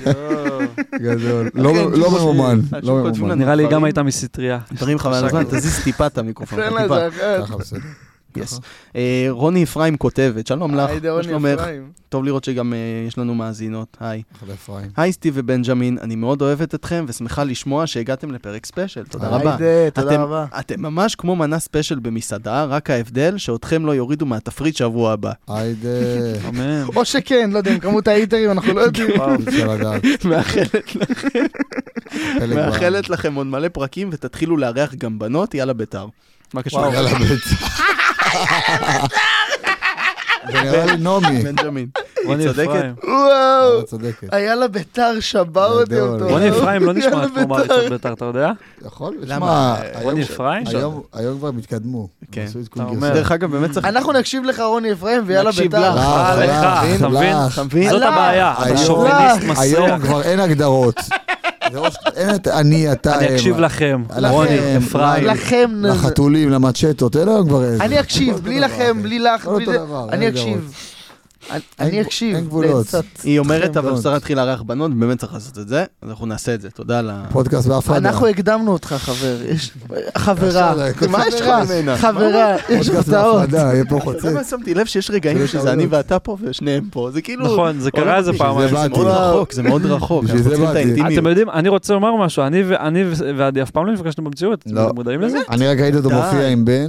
S1: גדול. לא לא ממומן,
S2: כן, אנשים
S1: לא
S2: כותבים
S1: ממומן.
S2: לנו
S3: נראה לי
S2: דברים-
S3: גם הייתה מסטריה.
S2: דברים חבל על הזמן, תזיז טיפה את המיקרופון.
S4: תן לה
S2: טיפה.
S4: איזה אחת.
S1: ככה בסדר.
S2: Yes. אה, רוני אפרים כותבת, שלום לך,
S4: היי,
S2: מה
S4: דורון
S2: שלומך?
S4: אפרים.
S2: טוב לראות שגם אה, יש לנו מאזינות, היי.
S1: אחלה אפרים.
S2: היי סטיב ובנג'מין, אני מאוד אוהבת אתכם ושמחה לשמוע שהגעתם לפרק ספיישל, תודה
S1: היי,
S2: רבה.
S4: היידה,
S2: אתם-
S4: תודה רבה.
S2: אתם ממש כמו מנה ספיישל במסעדה, רק ההבדל שאותכם לא יורידו מהתפריט שבוע הבא.
S1: היידה,
S3: אמן.
S4: או שכן, לא יודע, עם כמות ההיטרים אנחנו לא יודעים.
S1: אי אפשר לדעת.
S2: מאחלת,
S1: פלג בעם.
S2: מאחלת לכם עוד מלא פרקים ותתחילו לארח גם בנות, יאללה בית"ר. מה קשור?
S1: יאללה בית. זה נראה לי נעמי.
S2: בנג'מין. היא צודקת.
S4: וואו,
S1: את צודקת.
S4: היה לה ביתר, שבר
S1: לא גדול.
S4: אותי אותו.
S3: רוני אפרים לא
S4: היה
S3: נשמע
S4: לה
S3: כמו
S4: בית"ר.
S3: מעריצות בית"ר, אתה יודע?
S1: יכול?
S2: למה?
S1: למה?
S3: רוני אפרים?
S1: היום כבר הם התקדמו.
S2: כן.
S1: הם עשו עדכון
S3: אתה
S1: גרסה.
S3: אומר.
S2: דרך אגב, באמת צריך...
S4: אנחנו נקשיב לך, רוני אפרים, ויאללה
S2: נקשיב
S4: ביתר.
S2: לך.
S1: לך,
S2: לך,
S1: לך,
S3: אתה מבין?
S1: לך.
S2: אתה מבין?
S3: זאת
S4: הלך.
S3: הבעיה, אתה
S1: היום-
S3: שוביניסט
S1: היום
S3: מסריח.
S1: כבר אין הגדרות. זה או ש- אין את אני, אתה, הם.
S3: אני אקשיב לכם,
S1: לכם,
S3: רוני, אפרים.
S4: לכם,
S1: לחתולים, למצ'טות, אין היום כבר איזה.
S4: אני אקשיב, בלי לכם, בלי לך,
S1: לא
S4: בלי
S1: אותו
S4: זה.
S1: דבר,
S4: אני
S1: אין
S4: אקשיב. אני-
S1: אין
S4: אני
S1: גבול-
S4: אקשיב.
S1: אין גבולות.
S4: בעצת-
S2: היא אומרת, אבל
S1: מאוד.
S2: אפשר להתחיל לארח בנות, באמת צריך לעשות את זה, אז אנחנו נעשה את זה, תודה על ה...
S1: פודקאסט בהפרדה.
S4: אנחנו הקדמנו אותך, חבר. יש- חברה.
S1: אפשר להקוד
S4: מה יש לך?
S2: חברה ממנה.
S4: חברה, יש
S1: פודקאסט
S4: הפתעות.
S1: בהפרדה, יהיה פה חוצץ.
S2: למה שמתי לב שיש רגעים
S1: שלא
S2: שזה
S1: שאלו
S2: אני
S1: אותי.
S2: ואתה פה ושניהם פה, זה כאילו...
S3: נכון, זה
S2: עולם
S3: קרה איזה
S2: בשביל
S3: פעמיים.
S1: זה
S2: זה
S1: באתי.
S2: מאוד רחוק, זה מאוד רחוק,
S1: בשביל
S2: אנחנו
S1: זה
S2: צריכים את
S1: באתי.
S2: האינטימיות.
S3: אתם יודעים, אני רוצה לומר משהו, אני ו- אני ו- ועדי אף פעם לא נפגשנו במציאות,
S1: לא.
S3: אתם מודעים לזה?
S1: אני רק ראיתי אותו
S2: די.
S1: מופיע עם בן,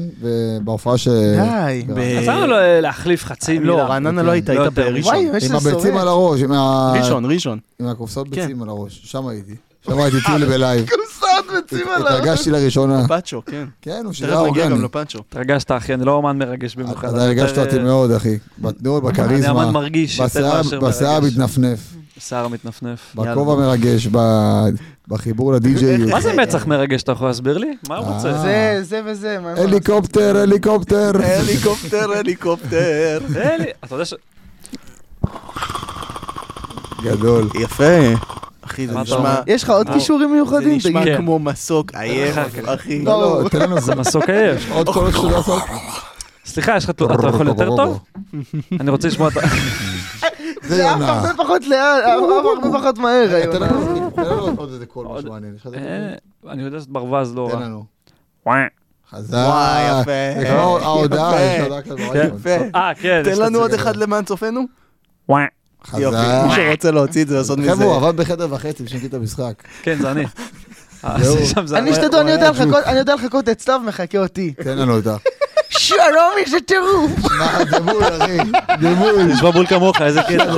S1: בהופעה ש...
S4: די.
S1: אה,
S2: ב-
S3: אז למה לא להחליף חצי מילה?
S2: אה, לא, רעננה לא היית,
S3: לא
S2: היית
S3: יותר.
S2: בראשון.
S4: וואי, יש
S1: עם
S4: לי
S1: הביצים
S4: סורק.
S1: על הראש, עם ה-
S2: ראשון, ראשון.
S1: עם הקופסאות
S2: כן.
S1: ביצים על הראש, שם הייתי. שם הייתי טיולי בלייב.
S4: קופסאות ביצים על הראש.
S1: התרגשתי לראשונה.
S2: פאצ'ו, כן.
S1: כן, הוא שירה
S2: תכף נגיע גם
S1: אורגני.
S2: לפאצ'ו.
S3: התרגשת, אחי, אני לא אומן מרגש במיוחד. אה,
S1: אתה הרגשת אותי מאוד, אחי. בתנועות,
S3: אני
S1: בכריזמה.
S3: אמן מרגיש, יותר
S1: בשיער-
S3: מאשר
S1: בשיער
S3: מרגש.
S1: מתנפנף,
S3: שיער מתנפנף.
S1: בכובע מרגש, ב- בחיבור לדי-ג'ייות.
S3: מה זה מצח מרגש, אתה יכול להסביר לי? מה הוא
S1: אה.
S3: רוצה? זה-
S4: זה, זה וזה, מה אני יכול
S1: הליקופטר, הליקופטר.
S2: הליקופטר, הליקופטר.
S3: זה לי- אתה יודע ש...
S1: גדול.
S2: יפה. אחי, זה
S3: מה אתה
S2: נשמע...
S3: אומר?
S4: לעשות? יש לך עוד
S3: אה.
S4: כישורים
S2: זה
S4: מיוחדים?
S2: נשמע
S3: תגיד.
S2: כמו מסוק עייף, אחי.
S1: לא, לא, תן לנו
S3: זה
S1: זמן.
S3: מסוק עייף.
S1: עוד קולות שאתה יודע לעשות.
S3: סליחה, יש לך... אתה יכול יותר טוב? אני רוצה לשמוע את ה...
S1: זה
S4: זה אף
S1: יונה.
S4: הרבה פחות לאט, אף הרבה פחות מהר. היום.
S1: תן לנו- תן לנו עוד איזה קול
S3: עוד-
S1: משהו מעניין. יש לך איזה
S3: אה, אני יודע שאת ברווז לא
S1: קול? תן
S3: רע.
S1: לנו.
S3: וואי.
S1: חזק.
S2: וואי, יפה.
S1: זה כמו ההודעה,
S2: יפה.
S1: יש הודעה כזאת. ברדיו.
S2: יפה.
S3: אה, כן. יש
S2: תן
S3: את
S2: לנו
S3: זה.
S2: עוד אחד למען צופינו.
S3: וואי.
S2: יופי. מי
S1: חזק.
S2: שרוצה להוציא את זה, לעשות מזה.
S1: חבר'ה, הוא עבד בחדר וחצי בשביל להגיד את המשחק.
S3: כן, זה אני. אה,
S1: זהו.
S3: שם זה
S4: אני
S3: אני.
S4: שתדעו, אני
S1: היה
S4: יודע
S1: ג'וק.
S4: לחכות- אני יודע לחכות את סתיו מחכה אותי.
S1: תן לנו אותה.
S4: שלום, איזה טירוף.
S1: מה, דמול, אחי. דמול.
S3: נשמע בול כמוך, איזה קטע.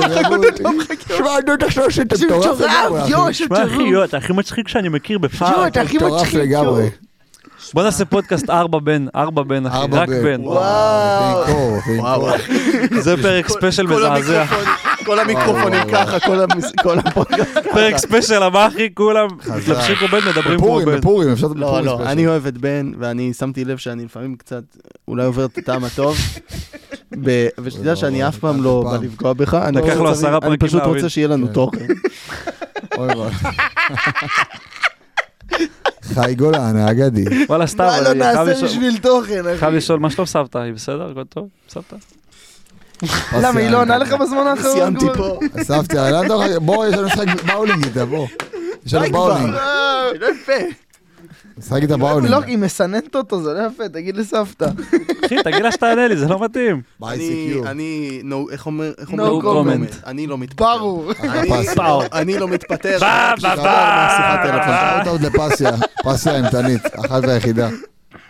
S1: שמע, לא נו, תחשוב שאתה
S4: זה
S1: מטורף
S4: מטורף,
S1: לגמרי,
S4: אה, יואו,
S1: אחי.
S4: איזה
S3: תשמע, אחי,
S4: טירוף.
S3: יואו, אתה הכי מצחיק שאני מכיר
S4: יואו,
S3: בפעם.
S4: אתה הכי
S1: מטורף
S4: מצחיק.
S1: לגמרי.
S4: יואו.
S3: בוא נעשה פודקאסט ארבע בן, ארבע בן, אחי,
S1: ארבע
S3: רק בן.
S1: וואו. תנקור, תנקור.
S2: וואו.
S3: זה פרק ספיישל מזעזע.
S2: כל המיקרופונים
S1: וואו,
S2: ככה, כל המס- כל הפודקאסט.
S3: פרק ספיישל הבא, אחי, כולם מתלבשים כמו בן, מדברים כמו
S1: בפורים,
S3: בן.
S1: בפורים, אפשר לעשות
S2: לא,
S1: בפורים
S2: לא,
S1: ספיישל.
S2: אני אוהב את בן, ואני שמתי לב שאני לפעמים קצת, אולי עובר את הטעם הטוב. ב- ושתדע
S1: לא,
S2: שאני אף פעם
S1: אף
S2: לא
S1: פעם.
S2: בא לפגוע בך, אני
S3: לקח
S2: פשוט
S3: לו
S2: צריך-
S3: עשרה
S2: אני
S3: פרקים
S2: פשוט
S3: להבין.
S2: רוצה שיהיה לנו
S1: כן.
S2: תוכן.
S1: אוי ואבוי. חי גולן, האגדי.
S3: וואלה, סתם,
S4: מה לא
S3: אני חייב
S4: נעשה
S3: לשאול-
S4: בשביל תוכן,
S3: חייב
S4: אחי?
S3: לשאול, מה שלום סבתא? היא בסדר? הכל טוב? סבתא?
S4: למה, היא לא עונה לך בזמן האחרון?
S2: סיימתי
S4: כבר?
S2: פה.
S1: אספתי, עלה דוח, בוא, יש לנו משחק באולינג איתה, בוא. יש לנו
S2: די כבר.
S1: באולינג.
S4: אה, לא יפה.
S1: משחק איתה
S4: לא,
S1: באולינג.
S4: היא מסננת אותו, זה לא יפה, תגיד לסבתא.
S3: אחי, תגיד לה שתענה לי, זה לא מתאים.
S2: אני,
S1: ב-ICQ.
S2: אני, no- איך אומר, איך
S4: No
S2: אומר,
S3: comment.
S2: אני לא מתפטר.
S4: ברור.
S2: אני-
S1: פסיה.
S2: לא, אני לא מתפטר.
S3: בא,
S1: שאלה
S3: בא, בא.
S2: מהשיחת טלפון.
S1: שאלת עוד לפסיה, פסיה אימתנית, אחת והיחידה.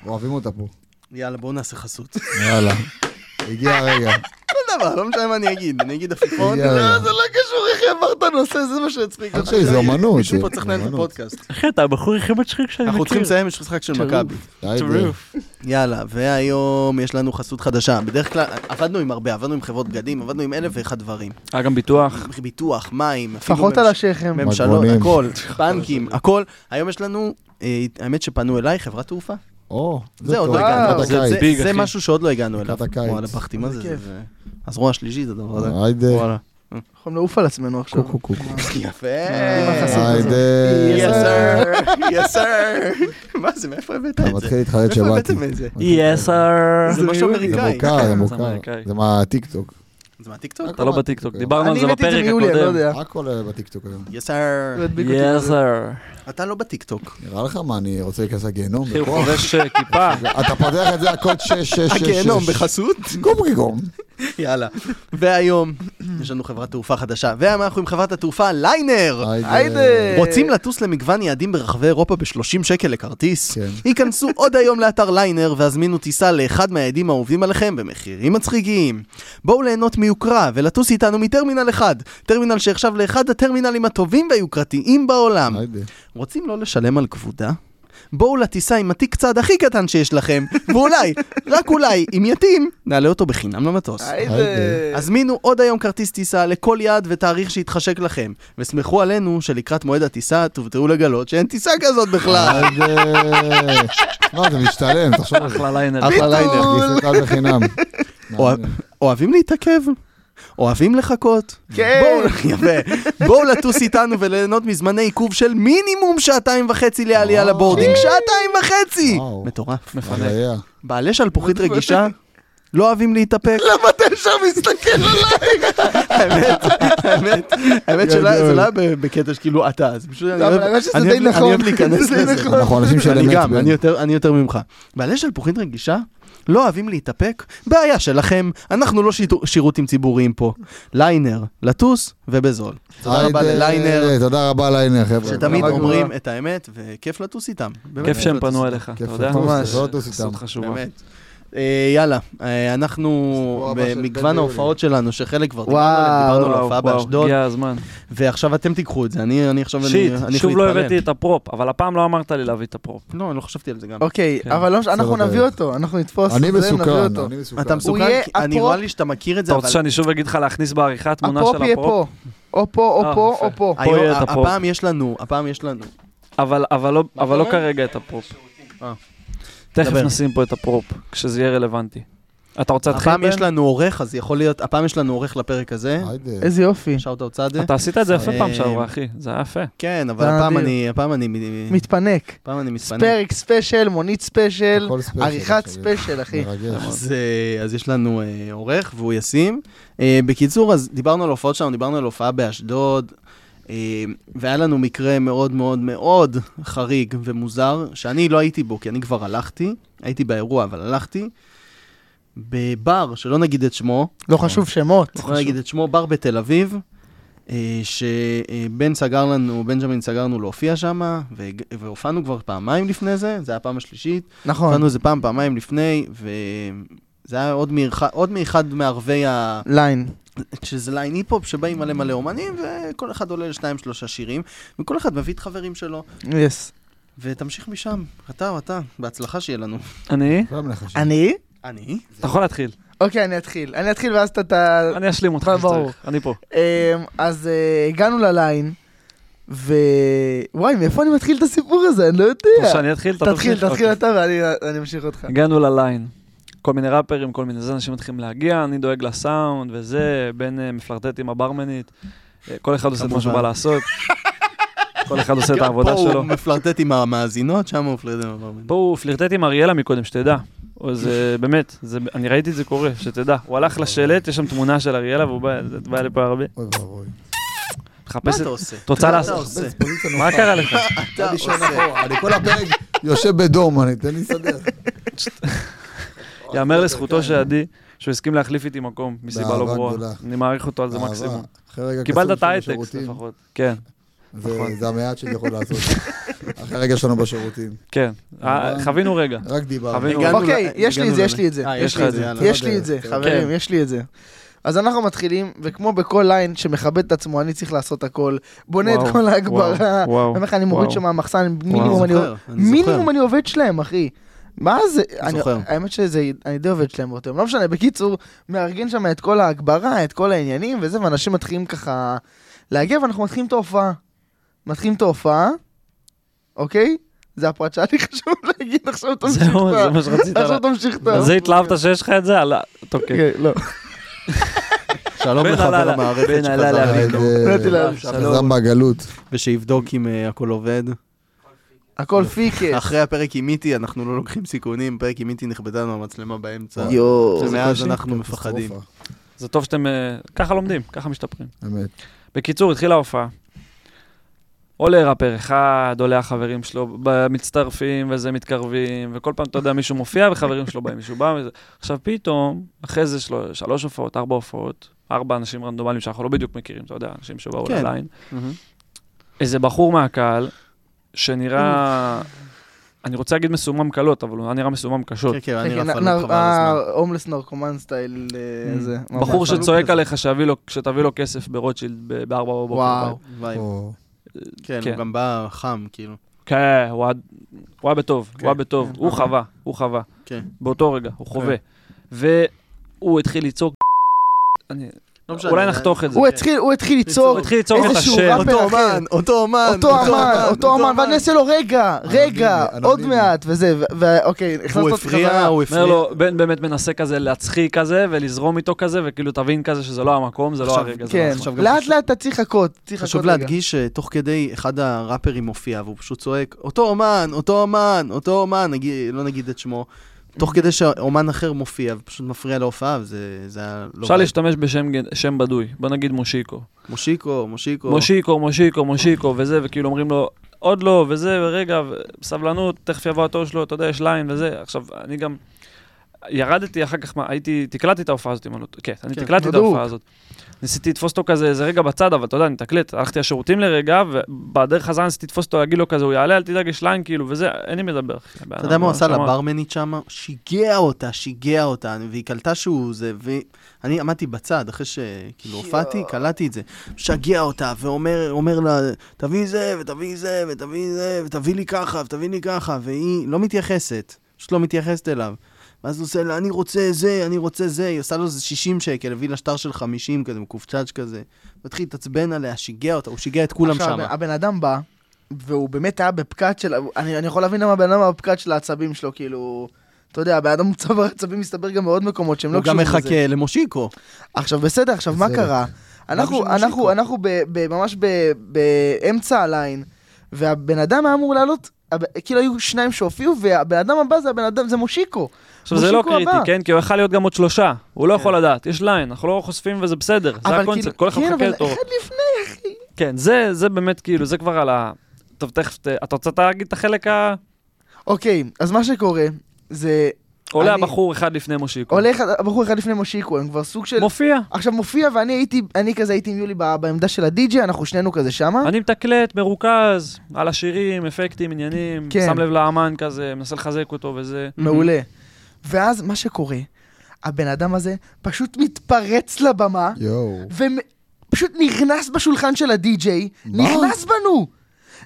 S1: אוהבים אותה פה.
S2: יאללה, בואו נעשה חסות.
S1: יאללה. הגיע הרגע.
S2: כל דבר, לא משנה מה אני אגיד, אני אגיד עפיפון.
S1: הגיע הרגע.
S4: זה לא קשור איך העברת נושא, זה מה שהצחיק
S1: אני
S4: אותך.
S1: חושב שזה אומנות.
S2: מישהו פה
S1: לא, זה
S2: צריך לנהל את
S1: אומנות.
S2: הפודקאסט.
S3: אחי, אתה הבחור הכי מצחיק שאני מכיר.
S2: אנחנו צריכים לסיים, יש משחק של
S4: טירוף.
S2: מכבי.
S1: די, ב-
S3: טירוף.
S2: יאללה, והיום יש לנו חסות חדשה. בדרך כלל עבדנו עם הרבה, עבדנו עם חברות בגדים, עבדנו עם אלף ואחד דברים.
S3: היה אה, גם ביטוח.
S2: ביטוח, מים, אפילו
S4: לפחות
S2: ממש-
S4: על השכם.
S2: ממשלות,
S1: מגבונים.
S2: הכל, בנקים, הכל. היום יש לנו, אה, האמת שפנו אליי, חברת תעופה.
S1: או,
S2: זה עוד
S1: טוב, אה,
S2: לא הגענו,
S1: לקראת
S2: זה-
S1: הקיץ.
S2: זה-
S3: ביג,
S2: זה
S3: אחי.
S2: משהו שעוד לא הגענו אליו.
S1: לקראת הקיץ. אה,
S2: וואלה, בכתי, מה זה?
S4: איזה כיף.
S2: זה- הזרוע השלישית, הדבר הזה.
S1: היידה.
S2: וואלה.
S4: אנחנו נעוף על עצמנו עכשיו.
S1: קוקו קוקו.
S2: יפה. אה,
S4: החסות הזאת.
S1: היידה.
S4: Yes, sir.
S2: יס סר. מה זה, מאיפה הבאת
S1: אה, אתה
S2: את
S1: מתחיל
S2: זה?
S1: להתחרט
S2: מאיפה
S1: שבאתי.
S2: הבאתם את זה?
S3: יס סר.
S2: זה משהו
S1: זה
S2: אמריקאי.
S1: מוכר, זה
S3: זה
S1: מוכר.
S3: אמריקאי.
S1: זה מהטיקטוק.
S2: זה מהטיקטוק?
S3: אתה לא בטיקטוק, דיברנו על
S4: אני
S3: זה
S4: הבאתי את זה
S3: בפרק
S4: מיולי, אני לא
S3: הקודם.
S4: יודע.
S1: הכל אה, בטיקטוק היום.
S2: יס סר.
S4: הוא הדביק אותי
S3: יס
S4: בזה.
S3: סר.
S2: אתה לא בטיקטוק.
S1: נראה לך מה, אני רוצה להיכנס לגיהנום?
S3: אחי, הוא
S1: בכוח?
S3: חובש אה, כיפה.
S1: אתה פותח את זה הקוד 6666.
S2: הגיהנום בחסות?
S1: גומריגום.
S2: יאללה. והיום יש לנו חברת תעופה חדשה, והיום אנחנו עם חברת התעופה ליינר.
S4: היידה.
S2: רוצים לטוס למגוון יעדים ברחבי אירופה ב-30 שקל לכרטיס?
S1: כן.
S2: היכנסו עוד היום לאתר ליינר והזמינו טיסה לאחד מהיעדים האהובים עליכם במחירים מצחיקים. בואו ליהנות מיוקרה ולטוס איתנו מטרמינל 1, טרמינל שנחשב לאחד הטרמינלים הטובים והיוקרתיים בעולם.
S1: היידה.
S2: רוצים לא לשלם על כבודה? בואו לטיסה עם התיק צעד הכי קטן שיש לכם, ואולי, רק אולי, אם יתאים, נעלה אותו בחינם למטוס.
S4: איזה...
S2: הזמינו עוד היום כרטיס טיסה לכל יעד ותאריך שיתחשק לכם, וסמכו עלינו שלקראת מועד הטיסה תופתעו לגלות שאין טיסה כזאת בכלל.
S1: עד, אה, מה, זה משתלם, תחשוב על זה.
S3: אחלה ליינר.
S1: אחלה ליינר,
S4: ביטול.
S1: גיסתך בחינם.
S2: אוה- אוהבים להתעכב? אוהבים לחכות?
S4: כן.
S2: בואו- יפה. בואו לטוס איתנו וליהנות מזמני עיכוב של מינימום שעתיים וחצי לעלייה
S1: וואו.
S2: לבורדינג. שעתיים וחצי!
S1: וואו.
S2: מטורף.
S3: מפנק.
S1: חוויה.
S2: בעלי שלפוחית רגישה? לא אוהבים להתאפק?
S4: למה אתה ישר מסתכל עליי?
S2: האמת, האמת, האמת שלא זה לא היה בקטע שכאילו אתה, זה פשוט, אני
S4: אבל
S2: אוהב-
S4: האמת שזה
S2: אני
S4: די
S2: אוהב- אני
S4: נכון.
S2: אוהב להיכנס
S4: זה
S2: לזה.
S4: נכון.
S1: אנחנו אנשים של אמת. כן.
S2: אני גם,
S1: בן.
S2: אני יותר- אני יותר ממך. בעלי שלפוחית רגישה? לא אוהבים להתאפק? בעיה שלכם, אנחנו לא שיטו- שירותים ציבוריים פה. ליינר, לטוס ובזול. תודה רבה
S1: היי,
S2: לליינר,
S1: אה, תודה רבה ליינר, חבר'ה.
S2: שתמיד
S1: תודה רבה.
S2: אומרים את האמת, וכיף לטוס איתם. באמת,
S3: כיף שהם
S2: לטוס
S3: פנו
S2: איתם.
S3: אליך, אתה
S1: כיף,
S3: יודע?
S1: ממש.
S3: ממש.
S1: לא לטוס איתם.
S3: חסות חשובה.
S2: באמת. אה, יאללה, אה, אנחנו
S1: סיפור הבא של בן
S2: במגוון
S1: ביולי.
S2: ההופעות שלנו, שחלק כבר דיברנו
S4: וואו,
S2: עליהם, דיברנו על
S3: וואו,
S2: ההופעה
S3: וואו,
S2: באשדוד,
S3: הגיע הזמן.
S2: ועכשיו אתם תיקחו את זה, אני אני עכשיו, אני
S3: שיט,
S2: אני הולך
S3: שוב לא
S2: להתפלל.
S3: הבאתי את הפרופ, אבל הפעם לא אמרת לי להביא את הפרופ.
S2: לא, אני לא חשבתי על זה גם.
S4: אוקיי,
S3: כן.
S4: אבל לא, מש- אנחנו
S1: בסדר.
S4: נביא אותו, אנחנו נתפוס.
S1: אני
S4: את זה, "לא נביא
S1: מסוכן,
S4: אותו.
S1: אני מסוכן.
S2: אתה
S4: הוא
S2: מסוכן,
S4: יהיה
S2: כי אני
S4: הפרופ-
S2: רואה לי שאתה מכיר את זה,
S3: אתה
S2: אבל
S3: רוצה שאני שוב אגיד לך להכניס בעריכה תמונה
S4: הפרופ
S3: של
S4: יהיה
S3: הפרופ?
S4: פה. או פה, או
S3: אה,
S4: פה,
S3: יפה.
S4: או פה.
S3: פה יהיה
S2: היום-
S3: את הפרופ.
S2: הפעם יש לנו, הפעם יש לנו.
S3: אבל- אבל לא- אבל לא
S2: אומר?
S3: כרגע את הפרופ.
S2: אה.
S3: תכף
S2: דבר.
S3: נשים פה את הפרופ, כשזה יהיה רלוונטי. אתה רוצה להתחיל?
S2: הפעם
S3: בן?
S2: יש לנו עורך, אז יכול להיות, הפעם יש לנו עורך לפרק הזה.
S1: אה,
S4: אה,
S1: היידה.
S4: איזה יופי.
S2: שאוט אאוט צאדה.
S3: אתה עשית את זה יפה
S2: אה,
S3: פעם שעברה, אחי. זה היה יפה.
S2: כן, אבל
S4: זה
S2: הפעם
S4: אדיר.
S2: אני, הפעם אני, מ-
S4: מתפנק.
S2: הפעם אני מתפנק.
S4: פרק ספיישל, מונית ספיישל,
S1: הכל ספיישל,
S4: עריכת
S1: עכשיו.
S4: ספיישל, אחי.
S1: מרגש.
S2: אז, אה, אז יש לנו אה, עורך והוא ישים. אה, בקיצור, אז דיברנו על הופעות שלנו, דיברנו על הופעה באשדוד, אה, והיה לנו מקרה מאוד מאוד מאוד חריג ומוזר, שאני לא הייתי בו, כי אני כבר הלכתי, הייתי באירוע, אבל הלכתי, בבר, שלא נגיד את שמו,
S4: לא חשוב שמות.
S2: לא נגיד את שמו, בר בתל אביב. אה, שבן סגר לנו, בנג'מין סגרנו להופיע שם, והופענו כבר פעמיים לפני זה, זה היה הפעם השלישית,
S4: נכון.
S2: הופענו איזה פעם, פעמיים לפני, וזה היה עוד, מאח... עוד מאחד מערבי ה...
S4: ליין.
S2: שזה ליין היפ-הופ, שבאים מלא מלא אומנים, וכל אחד עולה לשניים שלושה שירים, וכל אחד מביא את חברים שלו,
S4: יס.
S2: ותמשיך משם, אתה או אתה, בהצלחה שיהיה לנו.
S3: אני?
S1: לא מנחש.
S4: אני?
S2: אני?
S3: אתה יכול להתחיל.
S4: אוקיי, אני אתחיל. אני אתחיל ואז אתה-
S2: אה,
S4: אתה...
S3: אני אשלים אותך
S4: מה,
S3: אם
S4: ברור.
S3: צריך. אני פה.
S4: אמ, אז אה, הגענו לליין, ו... וואי, מאיפה אני מתחיל את הסיפור הזה? אני לא
S3: אתה רוצה
S4: יודע.
S3: שאני אתחיל? אתה טוב
S4: תתחיל,
S3: שלי?
S4: תתחיל
S3: אוקיי.
S4: אתה ואני אני אמשיך אותך.
S3: הגענו לליין. כל מיני ראפרים, כל מיני זה, אנשים מתחילים להגיע, אני דואג לסאונד וזה, בן אה, מפלרטט עם הברמנית. אה, כל אחד עושה את מה שהוא בא
S2: כמובן.
S3: לעשות. כל אחד עושה את
S2: פה
S3: העבודה שלו.
S2: הוא מפלרטט עם המאזינות, שם הוא מפלרטט עם המאזינות.
S3: פה הוא פלירטט עם אריאלה מקודם, שתדע. או זה באמת, זה, אני ראיתי את זה קורה, שתדע. הוא הלך לשלט, יש שם תמונה של אריאלה והוא בא, זה בא לפה הרבה.
S1: אוי ואבוי.
S2: מה
S3: מחפש את...
S2: אתה עושה?
S3: תוצאה
S2: מה
S3: לעשות.
S2: אתה עושה?
S1: פוזיציה
S3: מה
S1: נוחה.
S3: קרה לך?
S2: אתה עושה.
S1: אחורה, אני כל הפרק יושב בדום, אני- תן לי לסדר.
S3: יאמר לזכותו של עדי, שהוא הסכים להחליף איתי מקום, מסיבה לא
S1: באהבה
S3: ברורה.
S1: גדולה.
S3: אני מעריך אותו על זה
S1: אהבה.
S3: מקסימום.
S1: אחרי רגע
S3: קיבלת
S1: קסום
S3: את
S1: שלנו
S3: ההייטקס
S1: בשירותים,
S3: לפחות. כן,
S1: זה-
S3: נכון.
S1: זה המעט שאני יכול לעשות. אחרי רגע שלנו בשירותים.
S3: כן. אה,
S1: אהבה.
S3: חבינו רגע.
S1: רק דיברנו.
S3: חבינו
S2: הגענו
S3: רגע.
S4: אוקיי,
S2: ל-
S4: יש לי
S2: הגענו
S4: את זה,
S2: ל-
S4: יש לי את זה. אוקיי.
S2: אה,
S3: יש
S2: יש
S3: לך
S2: לי את
S3: את
S2: זה,
S3: זה.
S2: יאללה.
S4: יש לי את זה,
S1: כן.
S4: חברים, יש לי את זה. אז אנחנו מתחילים, וכמו בכל ליין שמכבד את עצמו, אני צריך לעשות הכל. בונה את
S3: וואו,
S4: כל ההגברה.
S3: וואו, וואו,
S4: אני אומר לך, אני מוריד
S3: וואו.
S4: שם מהמחסן, מינימום
S2: וואו,
S4: אני...
S2: אני זוכר, אני
S4: מינימום
S2: זוכר.
S4: אני עובד שלהם, אחי. מה זה? אני-
S2: זוכר.
S4: האמת שזה, אני די עובד שלהם באותו יום. לא משנה, בקיצור, מארגן שם את כל ההגברה, את כל העניינים וזה, ואנשים מתחילים ככה להגיע, ואנחנו מתחילים את ההופעה. מתחילים את ההופעה, אוקיי? זה הפרט שהיה לי חשוב להגיד, עכשיו תמשיך
S3: זהו,
S4: אתה.
S3: זה מה שרצית.
S4: עכשיו תמשיך אתה.
S3: על זה התלהבת שיש לך את זה? על ה- טוב, כן.
S4: אוקיי, לא.
S2: שלום
S3: בן
S2: לחבר
S3: עלה-
S2: המערכת
S3: בן עלה
S2: שחזר
S3: לאביב.
S2: אלינו,
S1: אה,
S4: נתתי לה-
S1: חזר מהגלות.
S2: ושיבדוק אם אה, הכל עובד.
S4: הכל פיקס.
S2: אחרי הפרק עם מיטי, אנחנו לא לוקחים סיכונים, פרק עם מיטי נכבדה לנו המצלמה באמצע.
S4: יואו.
S2: ומאז אנחנו מפחדים.
S1: קטסטרופה,
S3: זה טוב שאתם... אה, ככה לומדים, ככה משתפרים.
S1: אמת.
S3: בקיצור, התחילה ההופעה. עולה ראפר אחד, עולה החברים שלו, ב- מצטרפים וזה מתקרבים, וכל פעם, אתה יודע, מישהו מופיע וחברים שלו באים, מישהו בא וזה. עכשיו פתאום, אחרי זה של... שלוש הופעות, ארבע הופעות, ארבע אנשים רנדומליים שאנחנו לא בדיוק מכירים, אתה יודע, אנשים שבאו
S2: כן.
S3: כן. לליין. איזה בחור מהקהל, שנראה... אני רוצה להגיד מסומם קלות, אבל הוא היה נראה מסומם קשות.
S2: כן, כן, אני רפלנו
S4: כן, נ-
S2: חבל
S4: נ-
S2: על הזמן.
S4: אה, הומלס נרקומן סטייל אה, זה. ממש.
S3: בחור
S2: אבל-
S3: שצועק
S2: כזה.
S3: עליך שיביא לו- שתביא לו כסף ברוטשילד ב- בארבע בבוקר.
S4: וואו.
S1: או,
S2: וואי, כן,
S3: כן.
S2: הוא גם בא חם, כאילו.
S3: כן, הוא היה- הוא היה בטוב, הוא היה בטוב,
S4: כן.
S3: הוא חווה, הוא חווה.
S2: כן.
S3: באותו רגע, הוא חווה. והוא התחיל ליצור... אני-
S2: לא משנה.
S3: אולי נחתוך את זה.
S4: הוא התחיל- הוא התחיל ליצור
S3: הוא התחיל ליצור את
S4: איזשהו
S3: השם.
S4: ראפר
S2: אותו
S4: אחר.
S2: אמן, אותו אמן,
S4: כן, אותו אמן, אותו אמן, ואני אעשה לו רגע, רגע,
S1: אנונימי,
S4: עוד
S1: אנונימי.
S4: מעט, וזה, ו- ואוקיי, הכנסת
S2: הוא
S4: אותי
S2: הפריע,
S4: חזרה.
S2: הוא
S3: אומר
S2: הפריע.
S3: לו, בן באמת מנסה כזה להצחיק כזה, ולזרום איתו כזה, וכאילו תבין כזה שזה לא המקום, זה לא
S2: עכשיו,
S3: הרגע, זה לא
S4: כן,
S3: הזמן.
S2: גם
S4: לאט
S2: חשוב-
S4: לאט אתה צריך לחכות, צריך לחכות
S2: חשוב
S4: רגע.
S2: להדגיש שתוך כדי אחד הראפרים מופיע, והוא פשוט צועק, אותו אומן, אותו אומן, אותו אומן, נגיד- לא נגיד את שמו. תוך כדי שאומן אחר מופיע, ופשוט מפריע להופעה, וזה זה היה לא...
S3: אפשר
S2: רע.
S3: להשתמש בשם גן- שם בדוי, בוא נגיד מושיקו.
S2: מושיקו, מושיקו.
S3: מושיקו, מושיקו, מושיקו, וזה, וכאילו אומרים לו, עוד לא, וזה, ורגע, ו- סבלנות, תכף יבוא התור שלו, אתה יודע, יש ליין וזה. עכשיו, אני גם ירדתי אחר כך, מה, הייתי, תקלטתי את ההופעה הזאת, אם אני לא... כן, אני
S2: כן,
S3: תקלטתי את
S4: בדוק.
S3: ההופעה הזאת. ניסיתי לתפוס אותו כזה איזה רגע בצד, אבל אתה יודע, אני מתקלט, הלכתי לשירותים לרגע, ובדרך חזרה ניסיתי לתפוס אותו, להגיד לו כזה, הוא יעלה, אל תדאג, יש ליין, כאילו, וזה, אין לי מדבר.
S2: אתה יודע מה הוא עשה לברמנית שמה? שיגע אותה, שיגע אותה, והיא קלטה שהוא זה, ואני עמדתי בצד, אחרי שכאילו הופעתי, קלטתי את זה. שגע אותה, ואומר אומר לה, תביא זה, ותביא זה, ותביא זה, ותביא לי ככה, ותביא לי ככה, והיא לא מתייחסת, פשוט לא מתייחסת אליו. ואז הוא עושה לה, אני רוצה זה, אני רוצה זה, היא עושה לו איזה 60 שקל, הביא לה שטר של 50 כזה, מקופצ'אץ' כזה. מתחיל להתעצבן עליה, שיגע אותה, הוא שיגע את כולם
S4: עכשיו,
S2: שם.
S4: הבן אדם בא, והוא באמת היה בפקק של... אני אני יכול להבין למה הבן אדם היה בפקק של העצבים שלו, כאילו... אתה יודע, הבן אדם צבר עצבים מסתבר גם בעוד מקומות שהם לא
S2: הוא גם
S4: קשורים לזה.
S2: מחכה למושיקו.
S4: עכשיו, בסדר, עכשיו, מה
S1: בסדר.
S4: קרה?
S2: בשביל
S4: אנחנו,
S2: מושיקו.
S4: אנחנו, אנחנו ב, ב, ממש ב, באמצע הליין, והבן אדם היה אמור לעלות, הב- כאילו היו שניים שהופיעו, והבן אדם הבא זה הבן אדם, זה מושיקו.
S3: עכשיו, זה לא
S4: מושיקו
S3: קריטי,
S4: הבא.
S3: כן? כי הוא יכול להיות גם עוד שלושה. הוא לא יכול לדעת, יש ליין, אנחנו לא חושפים וזה בסדר. זה
S4: אבל
S3: הקונספט,
S4: כאילו-
S3: כל אחד
S4: כן,
S3: מחכה
S4: אבל
S3: לתורו.
S4: אחד לפני, אחי.
S3: כן, זה, זה באמת כאילו, זה כבר על ה... טוב, תכף, ת- אתה רוצה להגיד את החלק ה...
S4: אוקיי, אז מה שקורה, זה
S3: עולה
S4: אני-
S3: הבחור אחד לפני מושיקו.
S4: עולה אחד- הבחור אחד לפני מושיקו, הם כבר סוג של...
S3: מופיע.
S4: עכשיו מופיע, ואני הייתי, אני כזה הייתי עם יולי ב- בעמדה של הדי-ג'יי, אנחנו שנינו כזה שמה.
S3: אני מתקלט, מרוכז, על השירים, אפקטים, עניינים,
S4: כן. לא
S3: שם לב לאמן כזה, מנסה לחזק אותו וזה.
S4: מעולה.
S3: Mm-hmm.
S4: ואז מה שקורה, הבן אדם הזה פשוט מתפרץ לבמה,
S1: יואו.
S4: ופשוט נכנס בשולחן של הדי-ג'יי,
S1: מה?
S4: נכנס בנו!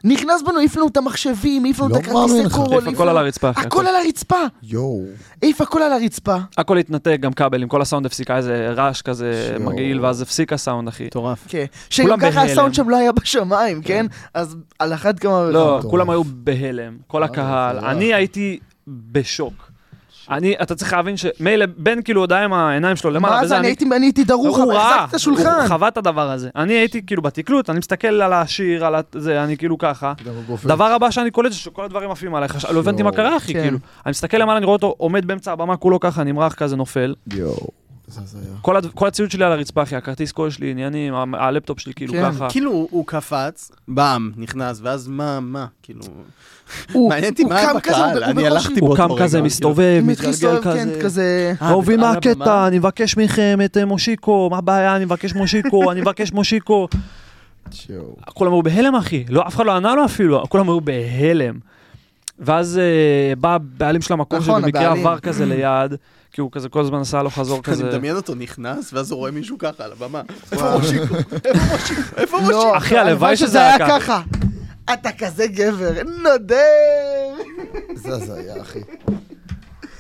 S4: נכנס בנו, העיף לנו את המחשבים, העיף לנו
S1: לא
S4: את הכרטיסי
S1: מאמין לך.
S4: קורול,
S3: העיף הכל על הרצפה, כן, אחי, הכל.
S4: הכל על הרצפה!
S1: יואו.
S4: העיף הכל על הרצפה.
S3: הכל התנתק, גם כבל, עם כל הסאונד הפסיקה, איזה רעש כזה
S1: שיו.
S3: מגעיל, ואז הפסיק הסאונד, אחי.
S2: מטורף.
S4: כן. שגם ככה
S3: בהלם.
S4: הסאונד שם לא היה בשמיים, כן? אז על אחת כמה
S3: לא,
S1: מטורף.
S3: כולם היו בהלם, כל
S4: אה,
S1: מה זה
S3: הקהל.
S4: לא
S1: מטורף?
S3: אני הייתי בשוק. אני, אתה צריך להבין שמילא, בן כאילו עוד היה עם העיניים שלו למעלה,
S4: מה
S3: וזה,
S4: זה, אני הייתי- אני הייתי דרוך,
S3: הוא
S4: אבל
S3: ראה,
S4: החזקתי את השולחן.
S3: הוא חווה את הדבר הזה. אני הייתי כאילו בתקלוט, אני מסתכל על השיר, על ה- זה, אני כאילו ככה.
S1: גם הוא גופף.
S3: דבר הבא שאני קולט זה שכל הדברים עפים עליי, חש- לא הבנתי מה קרה אחי,
S4: כן.
S3: כאילו. אני מסתכל למעלה, אני רואה אותו עומד באמצע הבמה, כולו ככה, נמרח כזה, נופל.
S1: יואו. זה הזיה.
S3: כל הד- כל הציוד שלי על הרצפה, אחי, הכרטיס קול שלי, עניינים, ה- הלפטופ שלי כאילו
S4: כן,
S3: ככה.
S2: כאילו הוא- הוא קפץ, באם, נכנס, ואז מה, מה, כאילו...
S4: הוא-
S2: מעניין אותי
S4: הוא
S2: מה היה
S4: קם כזה,
S2: בקהל,
S4: הוא- הוא
S2: אני
S4: בקושי-
S2: הלכתי
S3: הוא
S2: באותו
S3: קם
S2: רגע,
S3: כזה,
S2: כאילו.
S3: מסתובב,
S4: מתחיל
S3: מתגלגל
S4: להסתובב, כן,
S3: כזה.
S4: כזה...
S2: אה,
S3: לא מבין מה
S2: על הבמה.
S3: הקטע, אני מבקש מכם את אה, מושיקו, מה הבעיה, אני מבקש מושיקו, אני מבקש מושיקו.
S1: יואו.
S3: כולם היו בהלם אחי, לא, אף אחד לא ענה לו אפילו, כולם היו בהלם. ואז אה, בא הבעלים של המקום
S4: נכון,
S3: שבמקרה
S4: הבעלים.
S3: עבר כזה ליד, כי הוא כזה כל הזמן עשה לו חזור
S2: אני
S3: כזה.
S2: מדמיין אותו נכנס, ואז הוא רואה מישהו ככה על הבמה. איפה מושיקו? איפה מושיקו? איפה מושיקו?
S4: לא,
S3: אחי, הלוואי שזה היה ככה.
S4: אתה כזה גבר, נודם.
S1: זה הזיה, אחי.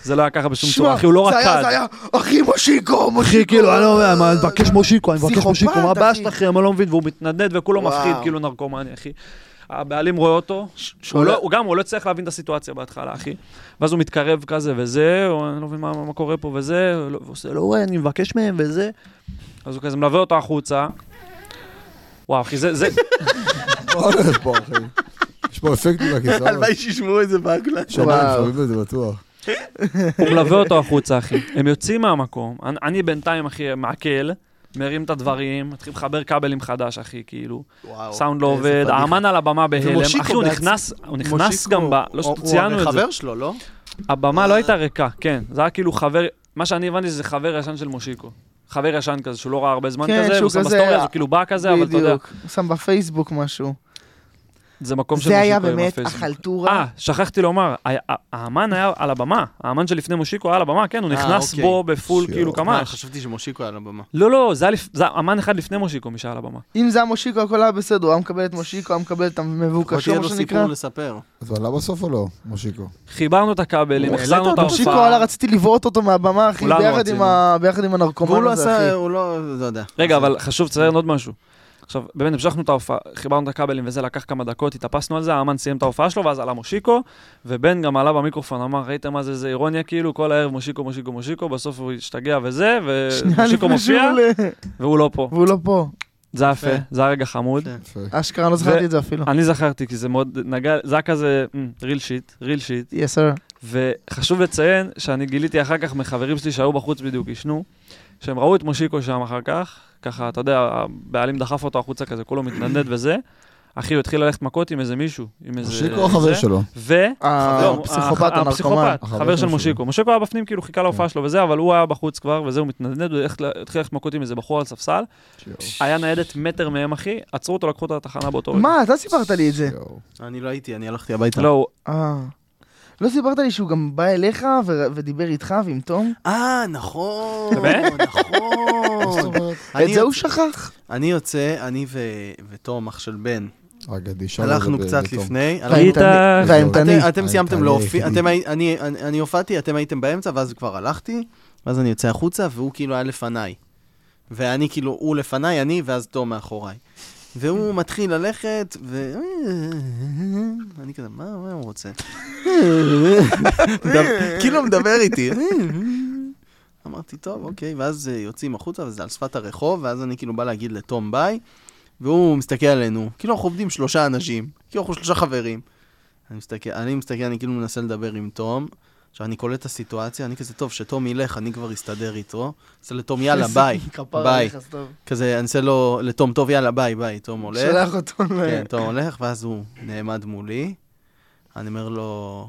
S3: זה לא היה ככה בשום צורה, אחי, הוא לא
S4: זה היה-
S3: רקד.
S4: זה היה, אחי, מושיקו, מושיקו.
S3: אחי, כאילו, אני לא יודע, מה, אני מבקש מושיקו, אני מבקש
S4: אה, פסיכופת,
S3: מושיקו, מה הבעיה
S4: אחי.
S3: שלכם, אני לא מבין, והוא מתנדנד וכולו
S4: וואו.
S3: מפחיד, כאילו נרקומני, אחי. הבעלים רואה אותו, הוא לא- הוא גם, הוא לא הצליח להבין את הסיטואציה בהתחלה, אחי. ואז הוא מתקרב כזה וזה, הוא- אני לא מבין מה- מה מה קורה פה וזה, הוא לא- הוא עושה לו, "וואי, אני מבקש מהם וזה. אז הוא כזה מלווה אותו החוצה. וואו, אחי, זה, זה,
S1: מה הולך פה, אחי? יש פה אפקטים מהכיסאות.
S2: הלוואי שישמעו את זה בהקלט.
S1: שמיים,
S4: וואו.
S1: שומעים את זה בטוח.
S3: הוא מלווה אותו החוצה, אחי. הם יוצאים מהמקום, אני, אני בינתיים, אחי, מעכל, מרים את הדברים, מתחיל לחבר כבלים חדש, אחי, כאילו.
S2: וואו,
S3: סאונד לא
S2: איזה
S3: עובד,
S2: פדיחה.
S3: האמן על הבמה בהלם.
S2: ומושיקו
S3: אחי, הוא
S2: בעצ-
S3: נכנס, הוא נכנס
S2: מושיקו,
S3: גם ב... לא
S2: הוא-
S3: שציינו
S2: הוא
S3: את זה.
S2: חבר שלו, לא?
S3: הבמה לא הייתה ריקה, כן. זה היה כאילו חבר... מה שאני הבנתי שזה חבר ישן של מושיקו. חבר ישן כזה, שהוא לא ראה הרבה זמן
S4: כן,
S3: כזה,
S4: שהוא
S3: הוא שם
S4: כזה-
S3: בסטורי, אז הוא כאילו בא כזה, אבל אתה יודע...
S4: בדיוק, הוא שם בפייסבוק משהו.
S3: זה מקום
S4: זה היה
S3: שמושיקו עם
S4: באמת
S3: הפייסבוק.
S4: החלטורה.
S3: אה, שכחתי לומר, ה- ה- האמן היה על הבמה, האמן שלפני מושיקו היה על הבמה, כן, הוא
S2: אה,
S3: נכנס
S2: אוקיי.
S3: בו בפול
S1: שיו.
S3: כאילו
S2: מה,
S3: קמ"ש.
S2: אה, חשבתי שמושיקו היה על הבמה.
S3: לא, לא, זה היה לפ- זה היה אמן אחד לפני מושיקו, מי שהיה על הבמה.
S4: אם זה היה מושיקו, הכל היה בסדר, הוא היה מקבל את מושיקו, היה מקבל את
S2: לפחות
S4: המבוקשו,
S2: יהיה
S4: מה
S2: לו
S4: שנקרא.
S2: סיפור לספר.
S1: אז הוא עלה בסוף או לא, מושיקו?
S3: חיברנו את הכבלים,
S2: הוא
S3: החזרנו את
S4: מושיקו עלה,
S3: ההופעה.
S4: רציתי לבעוט אותו מהבמה, אחי,
S3: כולנו
S4: ביחד
S3: רצינו.
S4: עם ה- ביחד עם
S2: והוא
S4: הנרקומן
S2: לא
S4: הזה, אחי.
S2: עשה, הוא לא, לא יודע.
S3: רגע, אבל חשוב לציין עוד משהו. עכשיו, באמת המשכנו את ההופעה, חיברנו את הכבלים וזה, לקח כמה דקות, התאפסנו על זה, האמן סיים את ההופעה שלו, ואז עלה מושיקו, ובן גם עלה במיקרופון, אמר, ראיתם מה זה, זה אירוניה כאילו, כל הערב מושיקו, מושיקו, מושיקו, בסוף הוא השתגע וזה,
S4: שנייה
S3: ומושיקו
S4: לפני שהוא
S3: אה, מופיע,
S4: עולה.
S3: והוא לא פה.
S4: והוא לא פה.
S3: זה היה יפה,
S2: יפה.
S3: זה היה רגע חמוד.
S2: יפה.
S1: יפה.
S4: אשכרה, לא זכרתי את זה אפילו.
S3: אני זכרתי, כי זה מאוד נגע, זה היה כזה "אמ, ריל שיט, ריל שיט.
S4: יס, סר.
S3: וחשוב לציין שאני גיליתי אחר כך מחברים שלי שהיו בחוץ בדיוק, עישנו, שהם ראו את מושיקו שם אחר כך, ככה, אתה יודע, הבעלים דחף אותו החוצה כזה, כולו מתנדנד וזה. אחי, הוא התחיל ללכת מכות עם איזה מישהו, עם איזה...
S1: מושיקו או החבר
S3: זה.
S1: שלו? אה,
S3: ו... לא,
S4: הפסיכופת,
S3: הח-
S4: אה, הנרקומן.
S3: הפסיכופת,
S1: החבר כן.
S3: חבר של
S1: של
S3: מושיקו.
S1: מושיקו.
S3: מושיקו היה בפנים, כאילו חיכה להופעה שלו וזה, אבל הוא היה בחוץ כבר, וזה, הוא מתנדנד, הוא הלך- התחיל ללכת מכות עם איזה בחור על ספסל. היה ניידת מטר מהם, אחי, עצרו אותו, לקחו אותו לתחנה באותו רגע.
S4: מה, אתה סיפרת לי את זה.
S1: יואו.
S2: אני לא הייתי, אני הלכתי הביתה.
S3: לא, הוא-
S4: אה. לא סיפרת לי שהוא גם בא אליך ו- ודיבר איתך ועם תום?
S2: אה, נכון,
S3: באמת?
S1: מה זאת
S2: נכון.
S1: אומרת?
S2: אני
S4: את זה הוא
S2: יוצא-
S4: שכח.
S2: אני יוצא, אני ו- ותום, אח של בן,
S1: אגדי, שם
S2: הלכנו
S1: זה ב-
S2: קצת
S1: בטוב.
S2: לפני. הלכנו-
S3: ראית?
S4: והאימתני- והאימתני.
S2: אתם- אתם סיימתם
S1: אני
S2: להופיע,
S1: היחידי.
S2: אתם הי- אני- אני אני הופעתי, אתם הייתם באמצע, ואז כבר הלכתי, ואז אני יוצא החוצה, והוא כאילו היה לפניי. ואני כאילו, הוא לפניי, אני, ואז תום מאחוריי. והוא מתחיל ללכת, ו... אני כזה, מה מה הוא רוצה? מדבר- כאילו מדבר איתי. אמרתי, טוב, אוקיי, ואז אה, יוצאים החוצה, וזה על שפת הרחוב, ואז אני כאילו בא להגיד לתום ביי, והוא מסתכל עלינו, כאילו אנחנו עובדים שלושה אנשים, כאילו אנחנו שלושה חברים. אני מסתכל, אני מסתכל, אני כאילו מנסה לדבר עם תום. עכשיו, אני קולט את הסיטואציה, אני כזה, טוב, שתום ילך, אני כבר אסתדר איתו. עושה לתום, יאללה, ביי,
S4: כפרה
S2: ביי.
S4: עליך, סתיו.
S2: כזה, אני עושה לו, לתום, טוב, יאללה, ביי, ביי, תום הולך.
S4: שלח אותו ל...
S2: כן, תום הולך, ואז הוא נעמד מולי. אני אומר לו,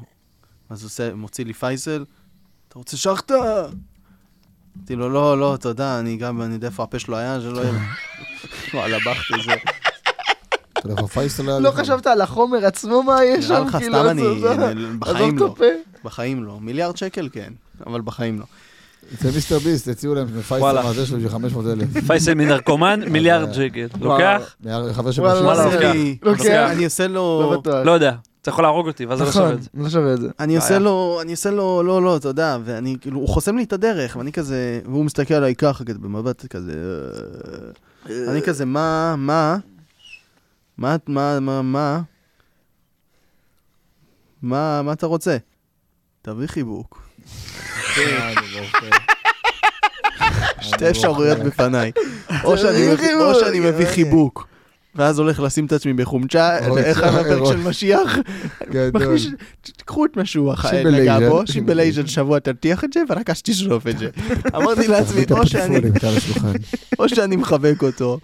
S2: אז הוא עושה, מוציא לי פייסל, אתה רוצה שחטה? אמרתי לו, לא, לא, תודה, אני גם, אני יודע איפה הפה שלו היה, שלא יהיה... וואלה, בכתי זה.
S1: אתה יודע, פייסל היה
S4: לא
S1: לך.
S4: חשבת על החומר עצמו, מה יש
S2: כן, נראה
S4: שם?
S2: לך,
S4: כאילו,
S2: סתם
S4: עזוב,
S2: אני...
S4: עזוב.
S2: אני- בחיים
S4: עזוב
S2: לא,
S4: את הפה.
S2: בחיים לא. מיליארד שקל כן, אבל בחיים לא.
S1: אצל מיסטר ביסט, הציעו להם
S3: וואלה.
S1: פייסל מהזה שלו בשביל 500 אלף.
S3: פייסל מנרקומן, מיליארד שקל. לוקח?
S1: חבר של
S4: וואלה,
S1: מושיקו.
S3: וואלה,
S2: עושה
S3: לוקח,
S2: לי-
S4: לוקח.
S2: עושה- אני עושה לו...
S4: לא בטוח.
S3: לא יודע, אתה יכול להרוג אותי, ואז אני לא שווה
S4: נכון,
S3: את זה.
S4: לא שווה את זה.
S2: אני עושה
S3: בעיה.
S2: לו, אני עושה לו, לא, לא, תודה, ואני, כאילו, הוא חוסם לי את הדרך, ואני כזה, והוא מסתכל עליי ככה, כזה, במבט כזה, אה, אני כזה, מה, מה, מה, את- מה, מה, מה, מה, מה אתה רוצה? תביא חיבוק.
S1: אה, לא
S2: שתי אפשרויות
S1: אה,
S2: בפניי. או שאני מביא- או שאני מביא חיבוק, ואז הולך לשים את עצמי בחומצה,
S1: אוי,
S2: איך היה בפרק
S1: אוי.
S2: של משיח?
S1: גדול.
S2: מכניס- ת- תקחו את מה שהוא אכל,
S1: שימבלייז'ן.
S2: נגע בו, שימבלייז'ן שבוע תרתיח את זה, ורק אז תשרוף את זה. אמרתי לעצמי,
S1: תביא את
S2: או שאני-
S1: הפטפולים, אתה על השולחן.
S2: או שאני מחבק אותו,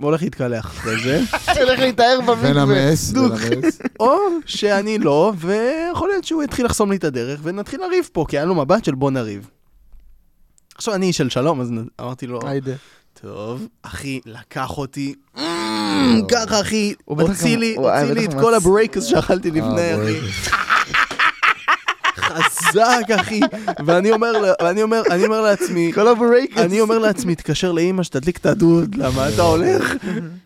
S2: והולך להתקלח אחרי זה,
S4: תלך להתאר במקווה.
S1: ונמס,
S2: דוק.
S1: ונמס.
S2: או שאני לא, ויכול להיות שהוא יתחיל לחסום לי את הדרך, ונתחיל לריב פה, כי היה לו מבט של בוא נריב. עכשיו אני איש של שלום, אז נ- אמרתי לו,
S4: היידה.
S2: טוב, אחי, לקח אותי, "אמ, ככה אחי,
S4: לא. הוא בטח
S2: הוציא
S4: גם-
S2: לי,
S4: הוא-
S2: הוציא
S4: הוא
S2: לי
S4: בטח
S2: את כל
S4: מצ-
S2: הברייקס שאכלתי לפני,
S1: אה, בואי.
S2: אחי. חזק, אחי. ואני אומר, לה- ואני אומר, אני אומר לעצמי,
S4: כל הברייקס.
S2: אני אומר לעצמי, תתקשר לאימא שתדליק את הדוד, למה אתה הולך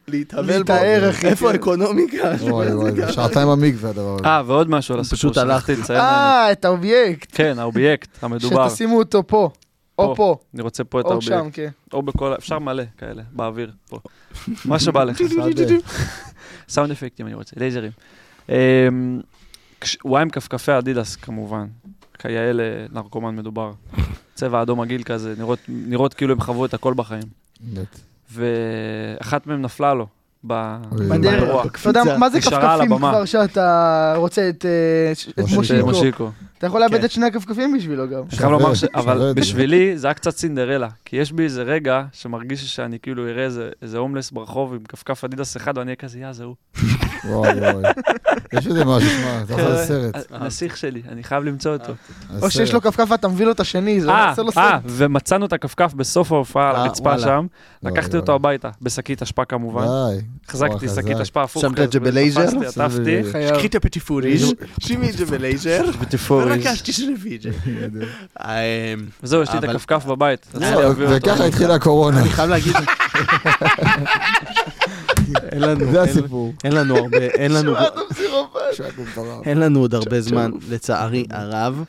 S2: להתאבל בו?
S4: להתאר, אחי. כן.
S2: איפה האקונומיקה?
S1: אוי, אוי, שעתיים במקווה הדבר הזה.
S3: אה, ועוד משהו על הסיפור
S2: פשוט הלכתי.
S3: שרציתי לציין.
S4: אה, את האובייקט.
S3: כן, האובייקט המדובר.
S4: שתשימו אותו פה. או פה.
S3: אני רוצה פה את
S4: או שם,
S3: האובייקט.
S4: כן.
S3: או בכל, אפשר מלא כאלה, באוויר, פה. מה שבא לך.
S1: שדה.
S3: סאונד אפקטים אני רוצה, לייזרים. אמ, כש- הוא היה עם כפכפי אדידס כמובן, כיאה לנרקומן מדובר. צבע אדום עגיל כזה, נראות- נראות כאילו הם חוו את הכל בחיים.
S1: באמת.
S3: ואחת מהם נפלה לו. ב-
S1: אוי.
S4: בדרך.
S3: באירוע.
S4: אתה יודע, מה זה
S3: נשארה על
S4: כפכפים
S3: הבמה.
S4: כבר שאתה רוצה את אה, ש- את
S1: מושיקו.
S3: של
S4: מושיקו?
S3: מושיקו.
S4: אתה יכול לאבד
S2: כן.
S4: את שני הכפכפים בשבילו גם.
S3: אני חייב לומר ש...
S1: שווה,
S3: אבל
S1: שווה את זה.
S3: בשבילי זה היה קצת סינדרלה, כי יש בי איזה רגע שמרגיש לי שאני כאילו אראה איזה- איזה הומלס ברחוב עם כפכף אדידס אחד ואני אהיה כזה, יא, זה הוא.
S1: וואי וואי. יש איזה משהו, שמע, אתה
S3: כן.
S1: יכול לסרט.
S3: הנסיך אה, שלי, אני חייב למצוא אותו.
S1: אה,
S4: או שיש
S2: אה,
S4: לו כפכף ואתה מביא לו את השני, זה לא
S3: אה,
S4: עושה לו
S3: אה,
S4: סרט.
S3: ומצאנו את הכפכף בסוף ההופעה על
S2: אה,
S3: הרצפה
S2: וואלה.
S3: שם,
S1: וואי,
S3: לקחתי אותו
S1: וואי.
S3: הביתה, בשקית אשפה כמובן.
S1: וואי.
S3: החזקתי
S1: וואי,
S3: שקית
S1: לא. אה, חזק.
S3: אשפה הפוך.
S2: שמת את זה
S3: כזה,
S2: בלייזר?
S3: תפסתי, עטפתי.
S1: זה-
S4: חייב.
S2: שחיטה פטיפוריש, שימי את זה בלייזר,
S3: בטיפוריש.
S2: ובקשתי שנביא את זה. אה,
S3: וזהו, יש לי את
S2: אבל-
S3: הכפכף בבית.
S4: לא,
S3: אז אני אביא אותו.
S1: וככה התחילה הקורונה.
S2: אני חייב להגיד... אין לנו-
S1: זה
S2: אין-
S1: הסיפור.
S2: אין לנו הרבה, אין לנו... אין לנו עוד הרבה זמן, לצערי הרב.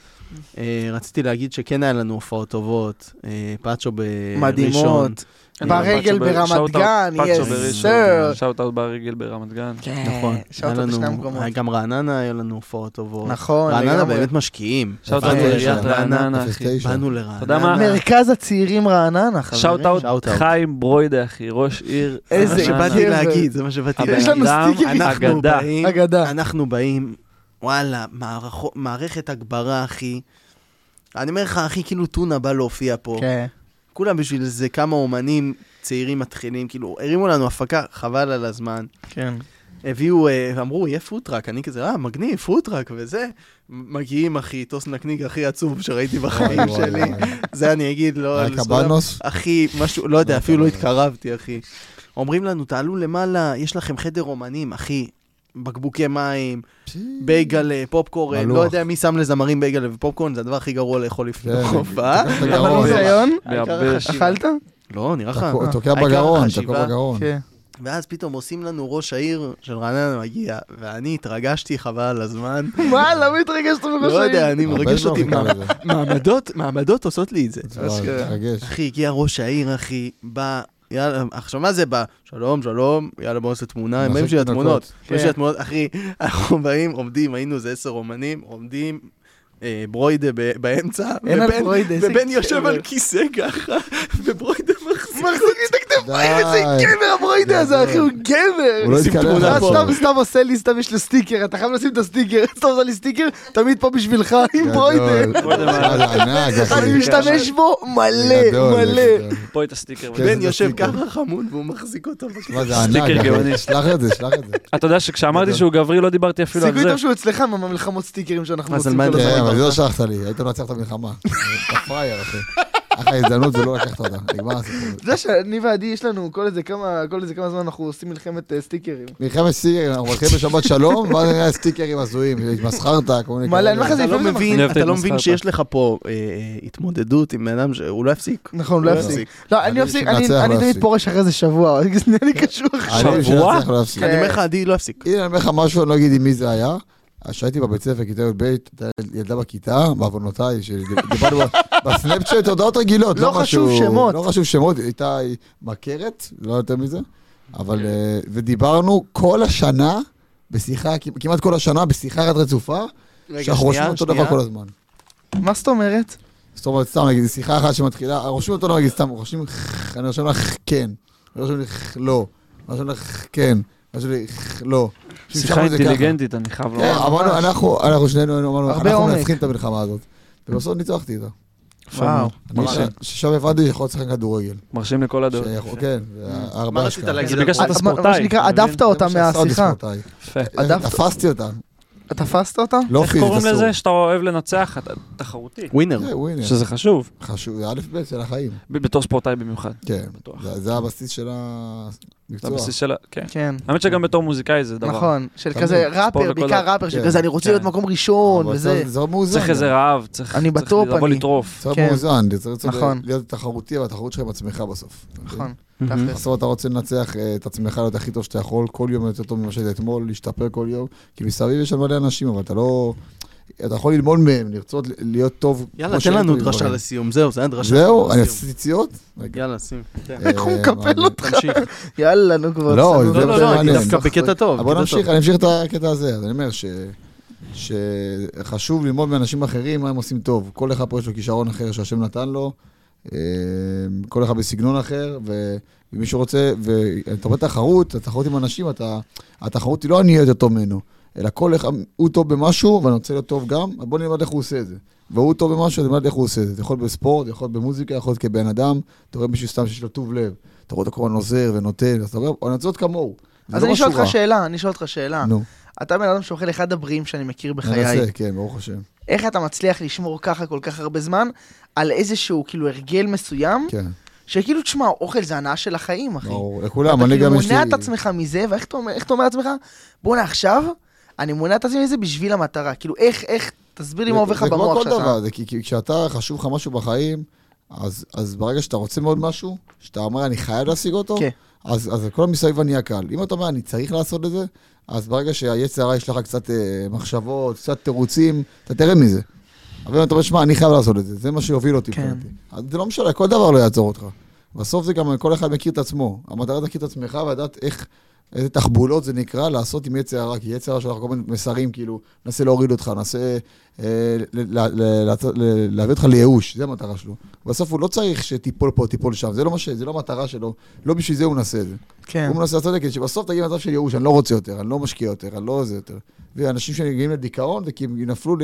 S2: אה, רציתי להגיד שכן היה לנו הופעות טובות, אה, פאצ'ו בראשון.
S4: מדהימות.
S3: אין לנו
S4: ברגל
S3: פאצ'ו ב-
S4: ברמת
S3: שאוט-אוט,
S4: גן,
S3: פאצ'ו
S4: yes,
S3: בראשון,
S4: sir.
S3: שאוט אאוט ברגל ברמת גן.
S2: נכון.
S4: כן. אה, שעות
S2: היה
S4: עוד
S2: לנו-
S4: בשני המקומות.
S2: היה גם רעננה היה לנו הופעות טובות.
S4: נכון,
S2: רעננה
S4: לגמרי.
S2: באמת משקיעים.
S3: שאוט אאוט
S1: באנו
S3: לעיריית
S1: לשם.
S3: רעננה, אחי.
S1: 09.
S2: באנו לרעננה.
S3: יודע מה?
S4: מרכז הצעירים רעננה, חברים.
S3: אה. שאוט אאוט
S2: שאוט אאוט.
S3: חיים ברוידה, אחי, ראש עיר.
S4: איזה
S2: זה מה
S3: רעננה.
S2: שבאתי
S4: גבר.
S2: להגיד, זה מה שבאתי
S3: הבן
S2: להגיד.
S4: יש לנו
S3: אדם,
S4: סטיגרים.
S2: אנחנו
S3: אגדה.
S2: באים,
S4: אגדה.
S2: אנחנו באים, וואלה, מערכו- מערכת הגברה, אחי. אני אומר לך, אחי, כאילו טונה בא להופיע פה.
S4: כן.
S2: כולם בשביל זה, כמה אומנים צעירים מתחילים, כאילו, הרימו לנו הפקה, חבל על הזמן.
S4: כן.
S2: הביאו, אה, אמרו, יהיה פוטראק, אני כזה, אה, מגניב, פוטראק וזה. מגיעים, אחי, טוס נקניק הכי עצוב שראיתי בחיים שלי. זה אני אגיד, לא... על זכויות-
S1: קבנוס?
S2: אחי, משהו, לא יודע,
S1: לא
S2: אפילו לא
S1: יודע.
S2: התקרבתי, אחי. אומרים לנו, תעלו למעלה, יש לכם חדר אומנים, אחי. בקבוקי מים, בייגל, אה, פופקורן,
S1: מלוח.
S2: לא יודע מי שם לזמרים בייגל ופופקורן, זה הדבר הכי גרוע לאכול לפני
S1: כן.
S2: הופעה.
S1: תקע את
S4: אבל
S1: הגרון. נכון.
S4: ניסיון?
S2: העיקר
S3: מהבר ש-
S2: החשיבה.
S4: אכלת?
S2: לא, נראה לך.
S1: תקוע- תוקע
S2: העיקר
S1: בגרון,
S2: החשיבה.
S1: תקוע בגרון.
S4: כן.
S2: ואז פתאום עושים לנו ראש העיר של רעננה מגיע, ואני התרגשתי חבל על הזמן.
S4: מה, למה התרגשת
S2: לא
S4: מראש
S2: יודע, אני
S1: הרבה לא
S2: מרגש
S1: זמן
S2: אותי,
S1: חיכה
S2: מה- כן.
S1: לזה.
S2: מעמדות, מעמדות עושות לי את זה.
S1: וואי,
S4: אשכרה.
S1: מתרגש.
S2: אחי, הגיע ראש העיר, אחי, בא, יאללה, עכשיו מה זה בא? שלום, שלום, יאללה, בוא נעשה תמונה,
S1: נעשה
S2: עם האם שלי
S1: שתי
S2: התמונות.
S1: דקות.
S2: האם שלי
S4: כן.
S2: התמונות, אחי, אנחנו באים, עומדים, היינו איזה עשר אומנים, עומדים. אה, ברוידה ב- באמצע,
S4: אין על
S2: ובן-
S4: ברוידה, איזה
S2: ובן יושב
S4: גבר.
S2: על כיסא ככה, וברוידה מחזיק את
S4: איזה
S1: די.
S4: גבר הברוידה הזה, אחי,
S1: הוא
S4: הוא
S1: לא
S4: גבר.
S1: התקלח.
S2: תמונה
S4: אה,
S1: פה.
S4: סתם, סתם עושה לי, סתם יש לו סטיקר, אתה חייב לשים את הסטיקר, סתם עושה לי סטיקר, תמיד פה בשבילך, עם ברוידר.
S1: גדול.
S3: ברוידר.
S1: וואלה, ענק, אחי.
S4: אני משתמש בו מלא,
S1: גדול,
S4: מלא.
S1: גדול.
S3: פה את הסטיקר.
S1: כן.
S2: בן
S1: איזה
S2: יושב
S1: סטיקר.
S2: ככה חמוד והוא מחזיק אותו. בכיס.
S1: מה זה ענק,
S3: סטיקר
S1: אחי.
S3: גאוני.
S1: שלח את זה, שלח את זה.
S3: אתה יודע שכשאמרתי שהוא גברי לא דיברתי אפילו על
S4: סיכוי
S3: זה.
S4: טוב שהוא אצלך מהמלחמות סטיקרים שאנחנו
S2: אז על
S4: מוצאים
S2: מה
S4: כל
S1: כן,
S2: לא
S4: הזמן.
S1: אבל זה לא שלחת לי, היית מנצח את המלחמה. אתה פראייר, אחי. אחלה הזדמנות ולא לא לקחת אותה, נגמר הסיפור.
S4: אתה יודע שאני ועדי יש לנו כל איזה כמה, כל איזה כמה זמן אנחנו עושים מלחמת אה, סטיקרים.
S1: מלחמת סטיקרים, אנחנו מתחילים בשבת שלום, ואז נראה סטיקרים הזויים, התמסחרת, כל מיני
S4: מלא, אני אומר
S1: כאלה.
S4: לך, זה
S2: אתה לא
S4: לפעמים זה
S2: מבין,
S3: אני אוהב את
S2: אתה לא
S3: ההתמסחרת.
S2: מבין שיש לך פה אה, אה, התמודדות עם בן אדם שהוא לא יפסיק.
S4: נכון, לא יפסיק. לא, אני
S1: אני
S4: אפסיק,
S1: שמנצח
S4: אני-
S1: לא
S4: אני תמיד
S1: יפסיק.
S4: פורש אחרי זה שבוע, אני קשור עכשיו.
S1: אני בשביל
S3: שבוע?
S1: להצליח לא להפסיק.
S4: כן.
S2: אני אומר לך, עדי, לא יפסיק.
S1: הנה, אני אומר לך משהו, אני לא אגיד עם מי זה היה. אז כשהייתי בבית ספר, כיתה י"ב, הייתה ילדה בכיתה, בעוונותיי, שדיברנו ב- בסנאפצ'אט, הודעות רגילות,
S4: לא חשוב
S1: משהו-
S4: שמות.
S1: לא חשוב שמות, הייתה היא מכרת, לא יותר מזה,
S4: כן.
S1: אבל, אה, ודיברנו כל השנה, בשיחה, כמעט- כמעט כל השנה, בשיחה אחת רצופה, שאנחנו רושמים אותו דבר כל הזמן.
S4: מה זאת אומרת?
S1: זאת אומרת, סתם נגיד, שיחה אחת שמתחילה, רושמים אותו לא נגיד, סתם, רושמים, אני רושם לך כן, אני רושם לך לא, אני רושם לך כן, אני רושם לך לא.
S3: שיחה אינטליגנטית, אני חייב
S1: כן,
S3: לומר.
S1: אמרנו, אנחנו, אנחנו שנינו היינו, אמרנו,
S4: הרבה
S1: אנחנו
S4: עומק.
S1: מנצחים את המלחמה הזאת. ובסוף ניצחתי אותה.
S4: וואו.
S1: אני ש- ששם הבנתי שיכול להיות לשחק כדורגל.
S3: מרשים לכל הדעות.
S1: שיכול- כן, זה
S2: מה
S1: ארבע
S2: רצית
S1: שקעה.
S2: להגיד?
S3: זה בגלל שאתה
S4: אז מה- מה
S3: ספורטאי.
S4: שנקרא,
S3: אתה מבין?
S4: הדפת אותה מהשיחה.
S3: יפה.
S4: הדפת-
S1: אה, תפסתי אותה,
S4: תפסת אותה?
S1: לא
S3: איך
S1: פיזית
S3: קוראים
S1: אסור.
S3: לזה שאתה אוהב לנצח? אתה תחרותי.
S2: ווינר.
S1: זה ווינר.
S3: שזה חשוב.
S1: חשוב, זה א' ב' של החיים.
S3: ב- בתור ספורטאי במיוחד.
S1: כן,
S3: בטוח.
S1: זה- זה הבסיס של
S3: זה
S1: המקצוע.
S3: הבסיס של ה... כן.
S4: כן.
S3: האמת שגם בתור מוזיקאי זה דבר.
S4: נכון, של
S1: תמיד.
S4: כזה
S3: ספורט
S4: ראפר,
S3: וכל
S4: בעיקר
S3: ה-
S4: ראפר, של
S1: כן.
S4: כזה אני רוצה
S3: כן.
S4: להיות מקום ראשון
S1: אבל
S4: וזה.
S1: זה- זה מאוזן.
S3: צריך איזה רעב, צריך
S4: אני
S3: צריך
S4: בטופ,
S3: לבוא
S4: אני-
S3: לטרוף.
S1: צריך
S4: כן.
S1: מאוזן, זה צריך
S4: נכון.
S1: להיות תחרותי, אבל התחרות שלך עם עצמך בסוף. אוקיי?
S4: נכון,
S2: מהמם.
S4: תכלס.
S1: בסוף אתה רוצה לנצח אה, את עצמך להיות הכי טוב שאתה יכול, כל יום יותר טוב ממה שזה אתמול, להשתפר כל יום, כי מסביב יש שם מלא אנשים, אבל אתה לא... אתה יכול ללמוד מהם, לרצות להיות טוב.
S2: יאללה,
S1: כמו
S2: תן
S1: שהם
S2: לנו
S1: טובים,
S2: דרשה
S1: אבל-
S2: לסיום, זהו, זה היה דרשה.
S1: זהו, אני
S2: לסיום.
S1: עשיתי ציציות?
S2: יאללה, שים. כן.
S1: אה,
S4: איך הוא מקפל
S1: מעניין.
S4: אותך?
S2: תמשיך.
S4: יאללה, נו כבר.
S1: לא,
S4: בסדר.
S1: זה-
S2: לא, לא, לא, אני
S1: מעניין.
S2: דווקא בקטע טוב.
S1: אבל בוא
S2: בקטע
S1: נמשיך,
S2: טוב.
S1: אני אמשיך את הקטע הזה. אז אני אומר ש... שחשוב ללמוד מאנשים אחרים מה הם עושים טוב. כל אחד פה יש לו כישרון אחר שהשם נתן לו, אה, כל אחד בסגנון אחר, ו- ומי שרוצה, ואתה רואה תחרות, התחרות עם אנשים, אתה, התחרות היא לא אני אהיה יותר טוב ממנו, אלא כל אחד, הוא טוב במשהו, ואני רוצה להיות טוב גם, אז בוא נלמד איך הוא עושה את זה. והוא טוב במשהו, אז נלמד איך הוא עושה את זה. זה יכול להיות בספורט, זה יכול להיות במוזיקה, יכול להיות כבן אדם, אתה רואה מישהו סתם שיש לו טוב לב, אתה רואה אותו כל הזמן עוזר ונותן, אז אתה אומר, אני רוצה להיות כמוהו. זה
S4: אז
S1: לא
S4: אני אשאל
S1: משהו
S4: אותך
S1: רע.
S4: שאלה, אני אשאל אותך שאלה.
S1: נו,
S4: אתה בן אדם שאוכל אחד הבריאים שאני מכיר בחיי.
S1: ננסה, כן, ברוך השם.
S4: איך אתה מצליח לשמור ככה כל כך הרבה זמן על איזשהו כאילו הרגל מסוים,
S1: כן,
S4: שכאילו, תשמע, אוכל זה הנאה של החיים, אחי.
S1: ברור.
S4: אתה
S1: לכולם, אני
S4: כאילו
S1: גם יש לי...
S4: מונע את עצמך מזה, ואיך אתה אומר- איך אתה אומר לעצמך, בואנה עכשיו, אני מונע את עצמי מזה בשביל המטרה. כאילו, איך, איך, תסביר לי מה עובר לך
S1: זה כמו
S4: במוח
S1: כל
S4: שאתה...
S1: דבר, זה כי- כי כשאתה חשוב לך משהו בחיים, אז, אז ברגע שאתה רוצה מאוד משהו, שאתה אומר אני חייב להשיג אותו,
S4: כן.
S1: אז, אז כל המסביב נהיה קל. אם אתה אומר אני צריך לעשות את זה, אז ברגע שהיצר הרע יש לך קצת אה, מחשבות, קצת תירוצים, אתה תרד מזה. אבל אם אתה אומר, שמע, אני חייב לעשות את זה, זה מה שיוביל אותי.
S4: כן.
S1: מבחינתי." אז זה לא משנה, כל דבר לא יעצור אותך. בסוף זה גם, כל אחד מכיר את עצמו. המטרה זה להכיר את עצמך ולדעת איך, איזה תחבולות זה נקרא לעשות עם יצר הרע, כי יצר הרע שלך כל מיני מסרים, כאילו, ננסה להוריד אותך, ננסה אה, ל- ל- ל- לעצ- ל- להביא אותך לייאוש, זה המטרה שלו. בסוף הוא לא צריך שתיפול פה, תיפול שם, זה לא מה ש- זה לא המטרה שלו, לא בשביל זה הוא מנסה את זה.
S4: כן.
S1: הוא מנסה לעשות את זה כדי שבסוף תגיע למצב של ייאוש, אני לא רוצה יותר, אני לא משקיע יותר, אני לא זה יותר. ואנשים שמגיעים לדיכאון זה כי הם נפלו ל-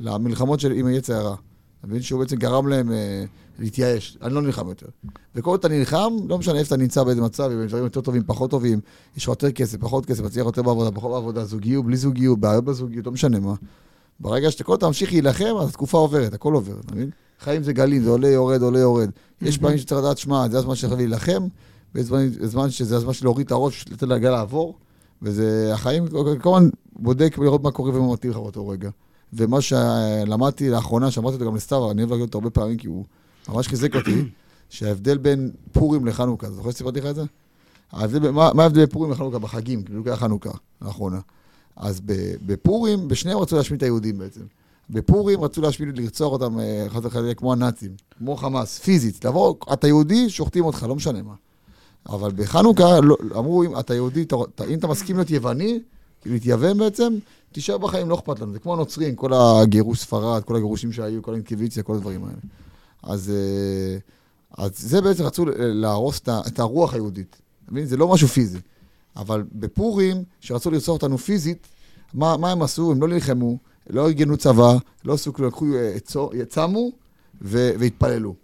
S1: למלחמות של עם היצר הרע. אתה מבין שהוא בעצם גרם להם אה, להתייאש, אני לא נלחם יותר. וכל עוד אתה נלחם, לא משנה איפה אתה נמצא, באיזה מצב, אם יש דברים יותר טובים, פחות טובים, יש לך יותר כסף, פחות כסף, מצליח יותר בעבודה, פחות בעבודה, זוגיות, בלי זוגיות, בעיות בזוגיות, לא משנה מה. ברגע שאתה כל הזמן תמשיך להילחם, אז התקופה עוברת, הכל עובר, אתה מבין? חיים זה גלים, זה עולה, יורד, עולה, יורד. יש פעמים שצריך לדעת, שמע, זה הזמן שלך להילחם, ויש זמן- זמן שזה הזמן של להוריד את הראש, לתת לגל לעבור, וזה, החיים, כל הזמן בודק לראות מה קורה ומה מתאים לך באותו רגע. ומה שלמדתי לאחרונה, שאמרתי אותו גם לסתיו, אני אוהב להגיד אותו הרבה פעמים, כי הוא ממש חיזק אותי, שההבדל בין פורים לחנוכה, זוכר שסיפרתי לך את זה? ההבדל, בין- מה מה ההבדל בין פורים לחנוכה בחגים, כאילו ככה חנוכה, לאחרונה. אז ב- בפורים, בשניהם רצו להשמיד את היהודים בעצם. בפורים רצו להשמיד, לרצוח אותם אה, חס וחלילה כמו הנאצים, כמו חמאס, פיזית. לבוא, אתה יהודי, שוחטים אותך, לא משנה מה. אבל בחנוכה לא, אמרו, אם אתה יהודי, אתה, אתה- אם אתה מסכים להיות יווני, להתייוון בעצם, תישאר בחיים, לא אכפת לנו. זה כמו הנוצרים, כל הגירוש ספרד, כל הגירושים שהיו, כל האינקוויציה, כל הדברים האלה. אז, אה, אז זה בעצם רצו ל- להרוס את ה- את הרוח היהודית. אתה מבין? זה לא משהו פיזי. אבל בפורים, שרצו לרצוח אותנו פיזית, מה, מה הם עשו? הם לא נלחמו, לא ארגנו צבא, לא עשו כלום, לקחו, אה, צו- צמו ו- והתפללו.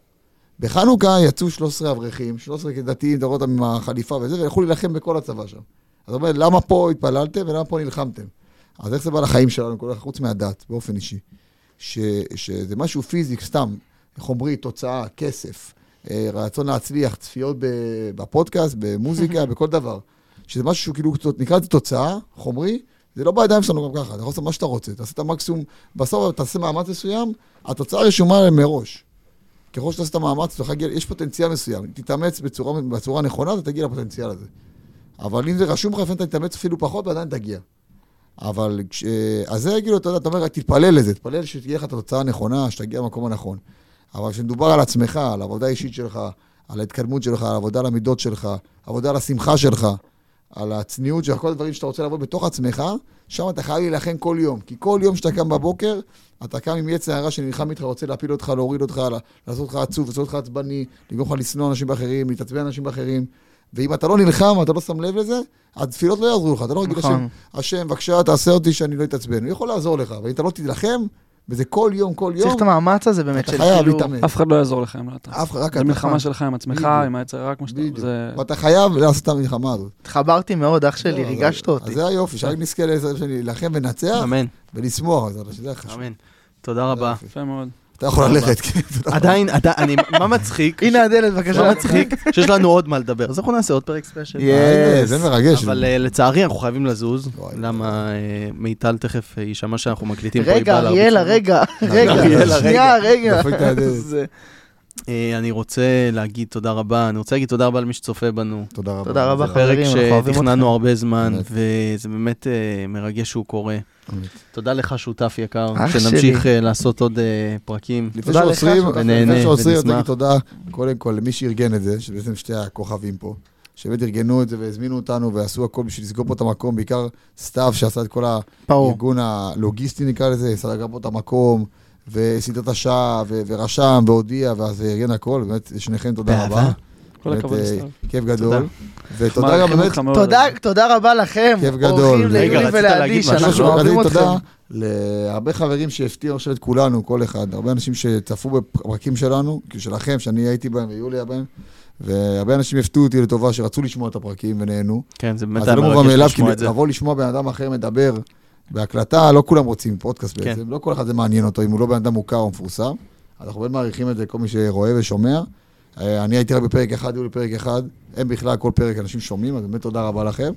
S1: בחנוכה יצאו 13 אברכים, 13 דתיים, דרות עם החליפה וזה, והלכו להילחם בכל הצבא שם. אז אומר, למה פה התפללתם ולמה פה נלחמתם? אז איך זה בא לחיים שלנו, כל כך חוץ מהדת, באופן אישי? ש, שזה משהו פיזי, סתם, חומרי, תוצאה, כסף, אה, רצון להצליח, צפיות ב- בפודקאסט, במוזיקה, בכל דבר. שזה משהו שהוא כאילו, תוצ- נקרא לזה תוצאה, חומרי, זה לא בידיים שלנו גם ככה, אתה יכול לעשות מה שאתה רוצה, תעשה את המקסימום, בסוף תעשה מאמץ מסוים, התוצאה רשומה מראש. ככל שתעשה את המאמץ, אתה יכול להגיע- יש פוטנציאל מסוים, אם תתאמץ בצורה, בצורה נכונה, אתה תגיע לפוטנציאל הזה. אבל אם זה רשום לך, לפעמים אתה תתאמץ אפילו פחות, ועדיין תגיע. אבל כש... אז זה כאילו, אתה יודע, אתה אומר, תתפלל לזה, תתפלל שתהיה לך את התוצאה הנכונה, שתגיע למקום הנכון. אבל כשמדובר על עצמך, על העבודה האישית שלך, על ההתקדמות שלך, על העבודה על המידות שלך, עבודה על השמחה שלך, על הצניעות שלך, כל הדברים שאתה רוצה לעבוד בתוך עצמך, שם אתה חייב להילחם כל יום. כי כל יום שאתה קם בבוקר, אתה קם עם יצר הרע שנלחם איתך, רוצה להפיל אותך, להוריד אותך, לה- לעשות אותך עצוב, לעשות אותך עצבני, לגרום לך לשנוא אנשים אחרים, להתעצבן אנשים אחרים. ואם אתה לא נלחם, אתה לא שם לב לזה, התפילות לא יעזרו לך, אתה לא רגיל
S4: נכון.
S1: השם, השם, בבקשה, תעשה אותי שאני לא אתעצבן. הוא יכול לעזור לך, אבל אם אתה לא תילחם, וזה כל יום, כל יום,
S4: צריך את המאמץ הזה באמת,
S1: אתה
S4: של
S1: חייב
S4: כאילו...
S1: להתאמץ.
S3: אף אחד לא יעזור לך אם לא אתה.
S1: אף אחד, רק
S3: זה
S1: אתה.
S3: מלחמה שלך עם עצמך,
S1: כן. אה, בדיוק.
S3: עם היצר הרע, כמו שאתה...
S1: בדיוק.
S3: זה...
S1: ואתה חייב לעשות את המלחמה הזאת.
S4: התחברתי מאוד, אח שלי,
S1: אז-
S4: ריגשת אותי.
S1: לא, אז זה היופי, שרק נזכה לעזר שלי להילחם ונצח,
S2: אמן,
S1: ולשמוח על זה, שזה החשוב.
S2: אמן. תודה רבה.
S3: יפה מאוד.
S1: אתה יכול ללכת, כן, תודה.
S2: עדיין, עדיין, אני, מה מצחיק?
S4: הנה הדלת, בבקשה. לא
S2: מה מצחיק? שיש לנו עוד מה לדבר. אז אנחנו נעשה עוד פרק ספיישל.
S4: יס.
S1: הנה, זה מרגש.
S2: אבל אה, לצערי אנחנו חייבים לזוז,
S1: וואי.
S2: למה אה, מיטל תכף אה, יישמע שאנחנו מקליטים פה. היא
S4: רגע,
S2: באה להרביץ
S4: אריאלה,
S2: לנו.
S4: רגע,
S1: אריאלה,
S4: רגע, שנייה, רגע.
S1: דופק את הדלת.
S4: זה-
S2: אה, אני רוצה להגיד תודה רבה, אני רוצה להגיד תודה רבה למי שצופה בנו.
S1: תודה רבה.
S4: תודה רבה,
S1: זה-
S4: חברים,
S2: פרק
S4: אנחנו אוהבים
S2: שתכננו הרבה זמן,
S1: באמת.
S2: וזה באמת אה, מרגש שהוא קורה.
S1: אמת.
S2: תודה לך, שותף יקר,
S4: אח שלי.
S2: שנמשיך אה, לעשות עוד אה, פרקים.
S1: לפני
S4: תודה לך,
S1: שעוצרים,
S4: שאתה-
S1: לפני
S2: ונהנה,
S1: שעוצרים,
S2: ונשמח.
S1: תגיד תודה קודם כל למי שארגן את זה, שבעצם שתי הכוכבים פה, שבאמת ארגנו את זה והזמינו אותנו ועשו הכל בשביל לסגור פה את המקום, בעיקר סתיו שעשה את כל ה...
S4: ברור.
S1: הארגון הלוגיסטי נקרא לזה, סגר פה את המקום, וסידר את השעה, ו- ורשם, והודיע, ואז ארגן הכל, באמת, שניכם תודה
S2: באהבה.
S1: רבה.
S3: כל הכבוד
S1: באמת, אה,
S3: לסתיו.
S1: כיף גדול. ותודה גם
S3: מעריכים
S1: באמת,
S3: אותך מאוד.
S4: תודה, תודה רבה לכם,
S1: כיף גדול.
S4: אורחים
S1: רגע,
S4: ליולי
S2: רצית להגיד
S4: ולעדי,
S2: משהו?
S1: משהו
S4: שאנחנו אוהבים
S1: שמרכזי,
S4: אתכם.
S1: תודה להרבה חברים שהפתיעו עכשיו את כולנו, כל אחד, הרבה אנשים שצפו בפרקים שלנו, כאילו שלכם, שאני הייתי בהם ויוליה בהם, והרבה אנשים הפתיעו אותי לטובה שרצו לשמוע את הפרקים ונהנו.
S2: כן, זה באמת
S1: אז
S2: היה
S1: זה לא מובן מאליו,
S2: מרגש
S1: כי
S2: לשמוע את זה.
S1: לבוא לשמוע בן אדם אחר מדבר בהקלטה, לא כולם רוצים פודקאסט
S2: כן.
S1: בעצם, לא כל אחד זה מעניין אותו, אם הוא לא בן אדם מוכר או מפורסם. אז אנחנו באמת מעריכים את זה, כל מי שרואה ושומע. אה, אני הייתי רק בפרק אחד, היו לי פרק אחד, הם בכלל כל פרק אנשים שומעים, אז באמת תודה רבה לכם.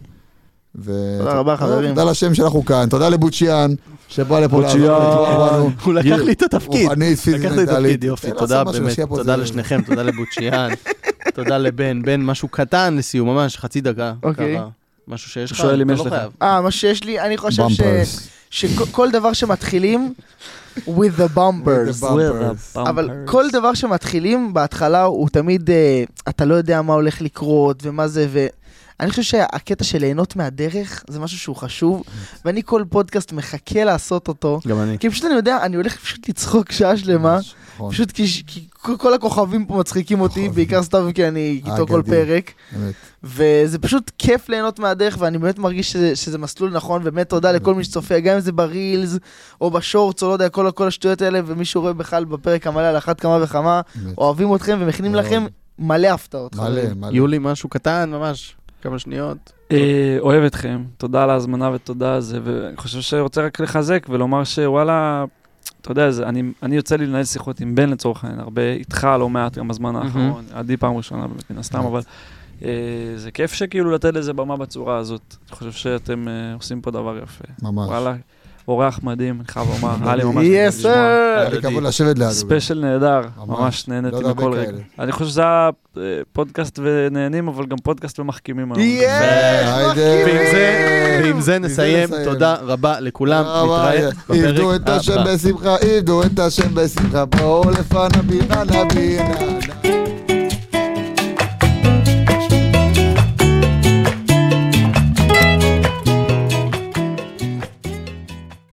S1: ו- אה,
S4: תודה רבה, חברים.
S1: תודה לשם שאנחנו כאן, תודה לבוציאן, שבא לפה לעזור
S3: בוצ'יאן.
S1: לתמוך בנו.
S2: הוא לקח לי את התפקיד.
S1: אני פיזית
S2: לקחת לי את
S1: מנטלית.
S2: התפקיד, יופי,
S1: תן לו
S2: תודה
S1: לעשות משהו,
S2: באמת,
S1: שיהיה פה
S2: תודה
S1: איזה-
S2: לשניכם, תודה לבוצ'יאן, תודה לבן, בן, משהו קטן לסיום, ממש חצי דקה.
S4: אוקיי.
S2: ככה, משהו שיש לך,
S3: שואל אם
S2: אתה
S3: יש
S2: לא
S3: לך.
S2: חייב.
S4: אה, מה שיש לי, אני חושב ש...
S1: Bumpers.
S4: שכל דבר שמתחילים, with the bumpers.
S1: With the bumpers.
S4: אבל כל דבר שמתחילים בהתחלה הוא תמיד, אה, אתה לא יודע מה הולך לקרות ומה זה, ואני חושב שהקטע של ליהנות מהדרך זה משהו שהוא
S1: Mm.
S4: חשוב, ואני כל פודקאסט מחכה לעשות אותו,
S2: גם אני.
S4: כי פשוט אני יודע, אני הולך פשוט לצחוק שעה שלמה,
S1: נכון,
S4: פשוט כי, כי כל- כל הכוכבים פה מצחיקים אותי,
S1: כוכבים.
S4: בעיקר סתיו כי אני איתו כל
S1: אגדי.
S4: פרק,
S1: אמת.
S4: וזה פשוט כיף ליהנות מהדרך, ואני באמת מרגיש שזה, שזה מסלול נכון, ובאמת תודה לכל מי שצופה, גם אם זה ברילס, או בשורטס, או לא יודע, כל, כל השטויות האלה, ומי שרואה בכלל בפרק המלא על אחת כמה וכמה,
S1: אמת.
S4: אוהבים אתכם ומכינים
S1: מאוד.
S4: לכם מלא הפתעות.
S1: מלא,
S4: חברים.
S1: מלא.
S2: יולי, משהו קטן ממש, כמה שניות.
S3: אה, אוהב אתכם, תודה על ההזמנה ותודה על זה, ואני חושב שרוצה רק לחזק ולומר שוואלה, אתה יודע, זה, אני, אני יוצא לי לנהל שיחות עם בן לצורך העניין, הרבה איתך לא מעט גם בזמן האחרון, עדי פעם ראשונה באמת, מן הסתם, אבל אה, זה כיף שכאילו לתת לזה במה בצורה הזאת. אני חושב שאתם אה, עושים פה דבר יפה.
S1: ממש.
S3: וואלה, אורח מדהים, אני חייב לומר, היה לי ממש... נעים
S4: יס
S3: לשמוע.
S4: סר!
S1: היה לי כבוד לשבת לידו.
S3: ספיישל נהדר,
S1: ממש.
S3: ממש
S1: לא
S3: נהניתי
S1: יודע,
S3: מכל
S1: הרבה
S3: רגע.
S1: כאלה.
S3: אני חושב שזה היה אה, פודקאסט ונהנים, אבל גם פודקאסט ומחכימים היום.
S4: יס!
S1: והיידה.
S2: ועם זה,
S4: מרכיבים!
S2: ועם זה נסיים.
S1: נסיים.
S2: תודה רבה לכולם,
S1: אבל
S2: נתראה
S1: עבדו את
S2: בפרק
S1: השם
S2: הבא.
S1: בשמחה, עבדו את השם בשמחה, בואו לפניו בינה נבינה.